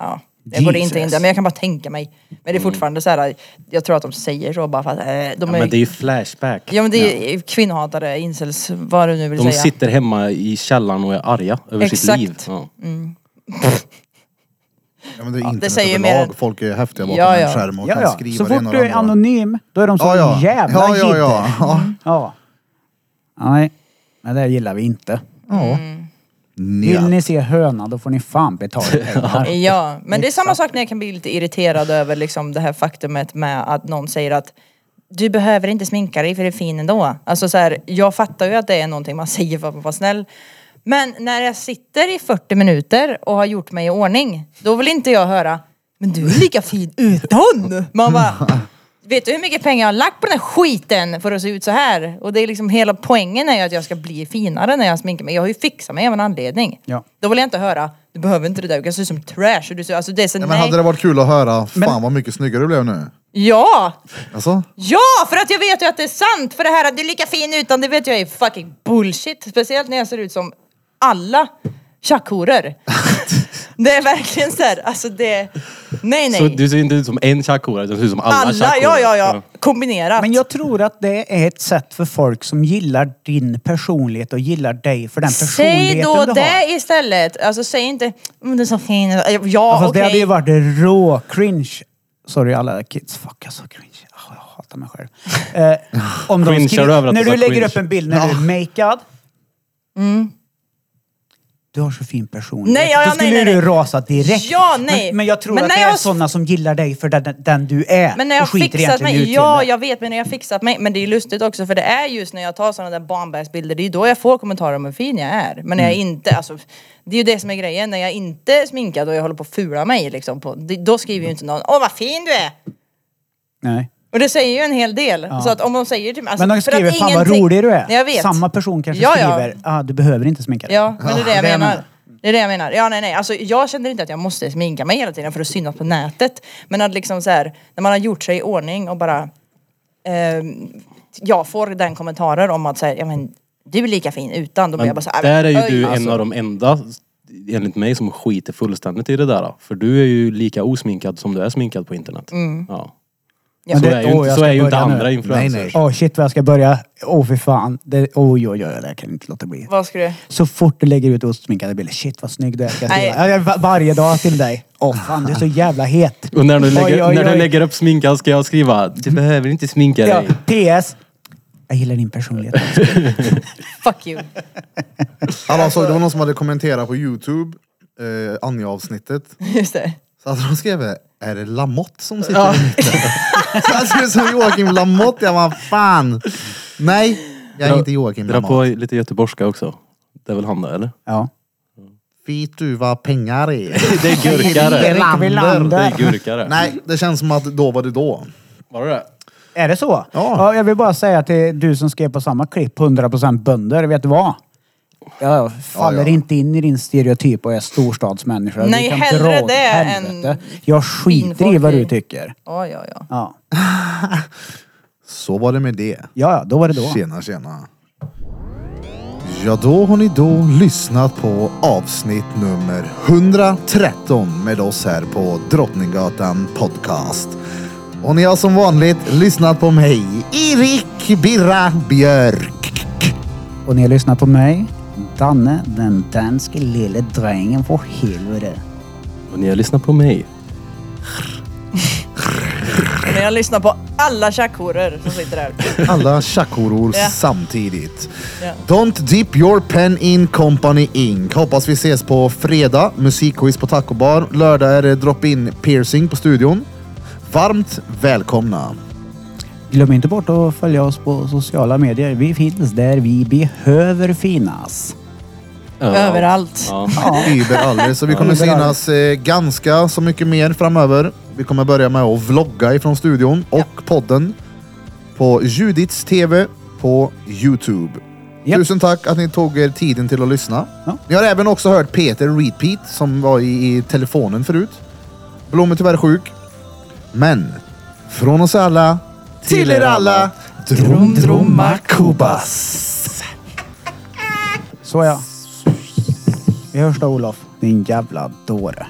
S4: Ja, jag går inte in
S5: Jesus.
S4: där, men jag kan bara tänka mig. Men det är fortfarande så här, jag tror att de säger så bara för att eh, de
S2: Mm. Ja,
S4: är...
S2: men det är ju Flashback.
S4: Ja men det är kvinnohatare, incels, vad du nu vill
S2: De
S4: säga.
S2: sitter hemma i källaren och är arga över sitt
S4: Exakt.
S2: liv. Ja.
S1: ja, men det är internet
S4: säger mer
S1: överlag.
S4: än-
S1: Folk är häftiga bakom
S4: Ja,
S1: en
S4: ja.
S1: skärm och
S5: Ja,
S1: kan
S5: ja.
S1: skriva
S5: Så
S1: det
S5: fort
S1: ena och
S5: du
S1: det
S5: är
S1: andra.
S5: anonym, då är de så
S1: Ja, ja.
S5: jävla
S1: ja, ja,
S5: jidder.
S1: ja. ja.
S5: Ja. Nej, men det gillar vi inte.
S4: Mm.
S5: Vill
S1: Nja.
S5: ni se höna, då får ni fan betala pengar.
S4: Ja, men det är samma sak när jag kan bli lite irriterad över liksom det här faktumet med att någon säger att du behöver inte sminka dig för du är fin ändå. Alltså så här, jag fattar ju att det är någonting man säger för att vara snäll. Men när jag sitter i 40 minuter och har gjort mig i ordning, då vill inte jag höra Men du är lika fin utan! Man bara, vet du hur mycket pengar jag har lagt på den här skiten för att se ut så här? Och det är liksom hela poängen är ju att jag ska bli finare när jag sminkar mig. Jag har ju fixat mig av en anledning.
S5: Ja.
S4: Då vill jag inte höra, du behöver inte det där, du kan se ut som trash. Och du ser, alltså det är så,
S1: Ja, men
S4: nej.
S1: hade det varit kul att höra, fan
S5: Men-
S1: vad mycket snyggare du blev nu.
S4: Ja!
S1: Alltså?
S4: Ja! För att jag vet ju att det är sant! För det här att du är lika fin utan, det vet jag är fucking bullshit. Speciellt när jag ser ut som alla tjackhoror. det är verkligen så här, alltså det... Nej nej.
S2: Så du ser inte ut som en tjackhora, utan du ser ut som alla,
S4: alla,
S2: tjackhoror.
S4: ja ja ja. Kombinerat.
S5: Men jag tror att det är ett sätt för folk som gillar din personlighet och gillar dig för den personligheten
S4: Säg då
S5: du har.
S4: det istället. Alltså säg inte, mm, du är så fin. Ja,
S5: Ja,
S4: ja
S5: Fast det hade
S4: okej.
S5: ju varit rå cringe. Sorry alla kids. Fuck jag sa cringe. Ah, jag hatar mig själv. Eh, om de
S2: Cringear
S5: skriver,
S2: du över att
S5: när
S2: du
S5: du
S2: sa
S5: lägger
S2: cringe?
S5: upp en bild när du är makead. Du har så fin personlighet.
S4: Mm. Nej, ja, ja,
S5: Då skulle
S4: nej, nej,
S5: du
S4: nej.
S5: rasa direkt.
S4: Ja, nej.
S5: Men, men jag tror
S4: Men
S5: att
S4: när
S5: det är
S4: jag-
S5: sådana som gillar dig för den, den du är.
S4: Men när jag
S5: och skiter
S4: fixat
S5: egentligen i
S4: mig, ja
S5: utseendet.
S4: jag vet men när jag fixat mig, men det är lustigt också för det är just när jag tar sådana där barnbergsbilder, det är ju då jag får kommentarer om hur fin jag är. Men när jag
S5: Mm.
S4: inte, alltså det är ju det som är grejen, när jag inte är sminkad och jag håller på att fula mig liksom, på, det- då skriver ju inte någon åh vad fin du är!
S5: Nej.
S4: Och det säger ju en hel del. Så att om de säger typ, alltså,
S5: Men de
S4: för att
S5: skriver fan vad
S4: ingenting-
S5: rolig du är.
S4: Nej, Jag vet.
S5: Samma person kanske
S4: Ja, ja.
S5: skriver ah, du behöver inte sminka dig.
S4: Ja, men det är det jag menar. Det är det jag menar. Ja, nej, nej. Alltså, jag känner inte att jag måste sminka mig hela tiden för att synas på nätet. Men att liksom så här, när man har gjort sig i ordning och bara... ehm, jag får den kommentarer om att så här, ja, men, du är lika fin utan. Då blir jag bara så här,
S2: Där är ju
S4: "Oj,
S2: du
S4: alltså."
S2: en av de enda, enligt mig, som skiter fullständigt i det där. För du är ju lika osminkad som du är sminkad på internet.
S4: Mm.
S2: Ja.
S4: Ja.
S2: Så
S5: Men det-
S2: är ju,
S5: åh,
S2: inte-
S5: jag
S2: så
S5: ska
S2: är ju inte
S5: börja nu.
S2: andra influencers.
S1: Nej, nej.
S5: Åh shit vad jag ska börja. Åh oh, fy fan. Det, oj, oj, oj, det kan jag inte låta bli.
S4: Vad ska du...
S5: Så fort du lägger ut ostsminkade bilder, shit vad snygg du är. Ska jag
S4: Nej.
S5: skriva. Ja, jag- va- varje dag till dig. Åh fan, du är så jävla het.
S2: Och när du,
S5: Oj,
S2: lägger,
S5: oj,
S2: när
S5: oj.
S2: du lägger upp sminkan ska jag skriva Du behöver inte sminka
S5: Ja,
S2: dig.
S5: PS. Jag gillar din personlighet.
S4: Fuck you.
S1: Alla såg, det var någon som hade kommenterat på Youtube, eh, Anja-avsnittet.
S4: Just det.
S1: Så hade de skrivit, är det Lamotte som sitter i mitten? Så han ser ut som Joakim Lamotte, jag bara fan! Nej, jag är inte Joakim
S2: Dra på
S1: Lamotte.
S2: lite göteborgska också. Det är väl han där eller?
S5: Ja.
S1: Vet du vad pengar är?
S2: Det är gurka det.
S5: Erik
S2: Det
S5: Wilander.
S2: är gurka det.
S1: Nej, det känns som att då var du då.
S2: Var det det?
S5: Är det så?
S1: Ja.
S5: Jag vill bara säga till du som skrev på samma klipp, 100% bönder, vet du vad? Jag faller
S1: Ja, ja.
S5: inte in i din stereotyp och är storstadsmänniska.
S4: Nej,
S5: Du kan
S4: hellre
S5: dra åt
S4: det
S5: helvete.
S4: än
S5: Jag skiter i vad du
S4: finfolk.
S5: tycker.
S4: Ja, ja, ja.
S5: Ja,
S1: Så var det med det.
S5: ja ja, då var det då.
S1: Tjena, tjena. Ja, då har ni då lyssnat på avsnitt nummer 113 med oss här på Drottninggatan Podcast. Och ni har som vanligt lyssnat på mig, Erik Birra Björk.
S5: Och ni har lyssnat på mig, Danne, den danske lille drängen för helvete.
S2: Och ni har lyssnat på mig.
S4: Men jag lyssnar på alla tjackhoror som sitter här.
S1: Alla tjackhoror
S4: Ja.
S1: samtidigt.
S4: Ja.
S1: Don't dip your pen in company ink. Hoppas vi ses på fredag. Musikquiz på Taco Bar. Lördag är det drop-in piercing på studion. Varmt välkomna.
S5: Glöm inte bort att följa oss på sociala medier. Vi finns där vi behöver finnas.
S4: Överallt.
S2: Ja.
S1: Überall. Så vi kommer synas eh, ganska så mycket mer framöver. Vi kommer börja med att vlogga ifrån studion och podden på Judits TV på Youtube.
S5: Japp.
S1: Tusen tack att ni tog er tiden till att lyssna.
S5: Ja.
S1: Ni har även också hört Peter Repeat som var i, i telefonen förut. Blom är tyvärr sjuk. Men från oss alla till, er alla. Drum drum Kubas.
S5: Så ja. Vi hörs då Olof, din jävla dåre.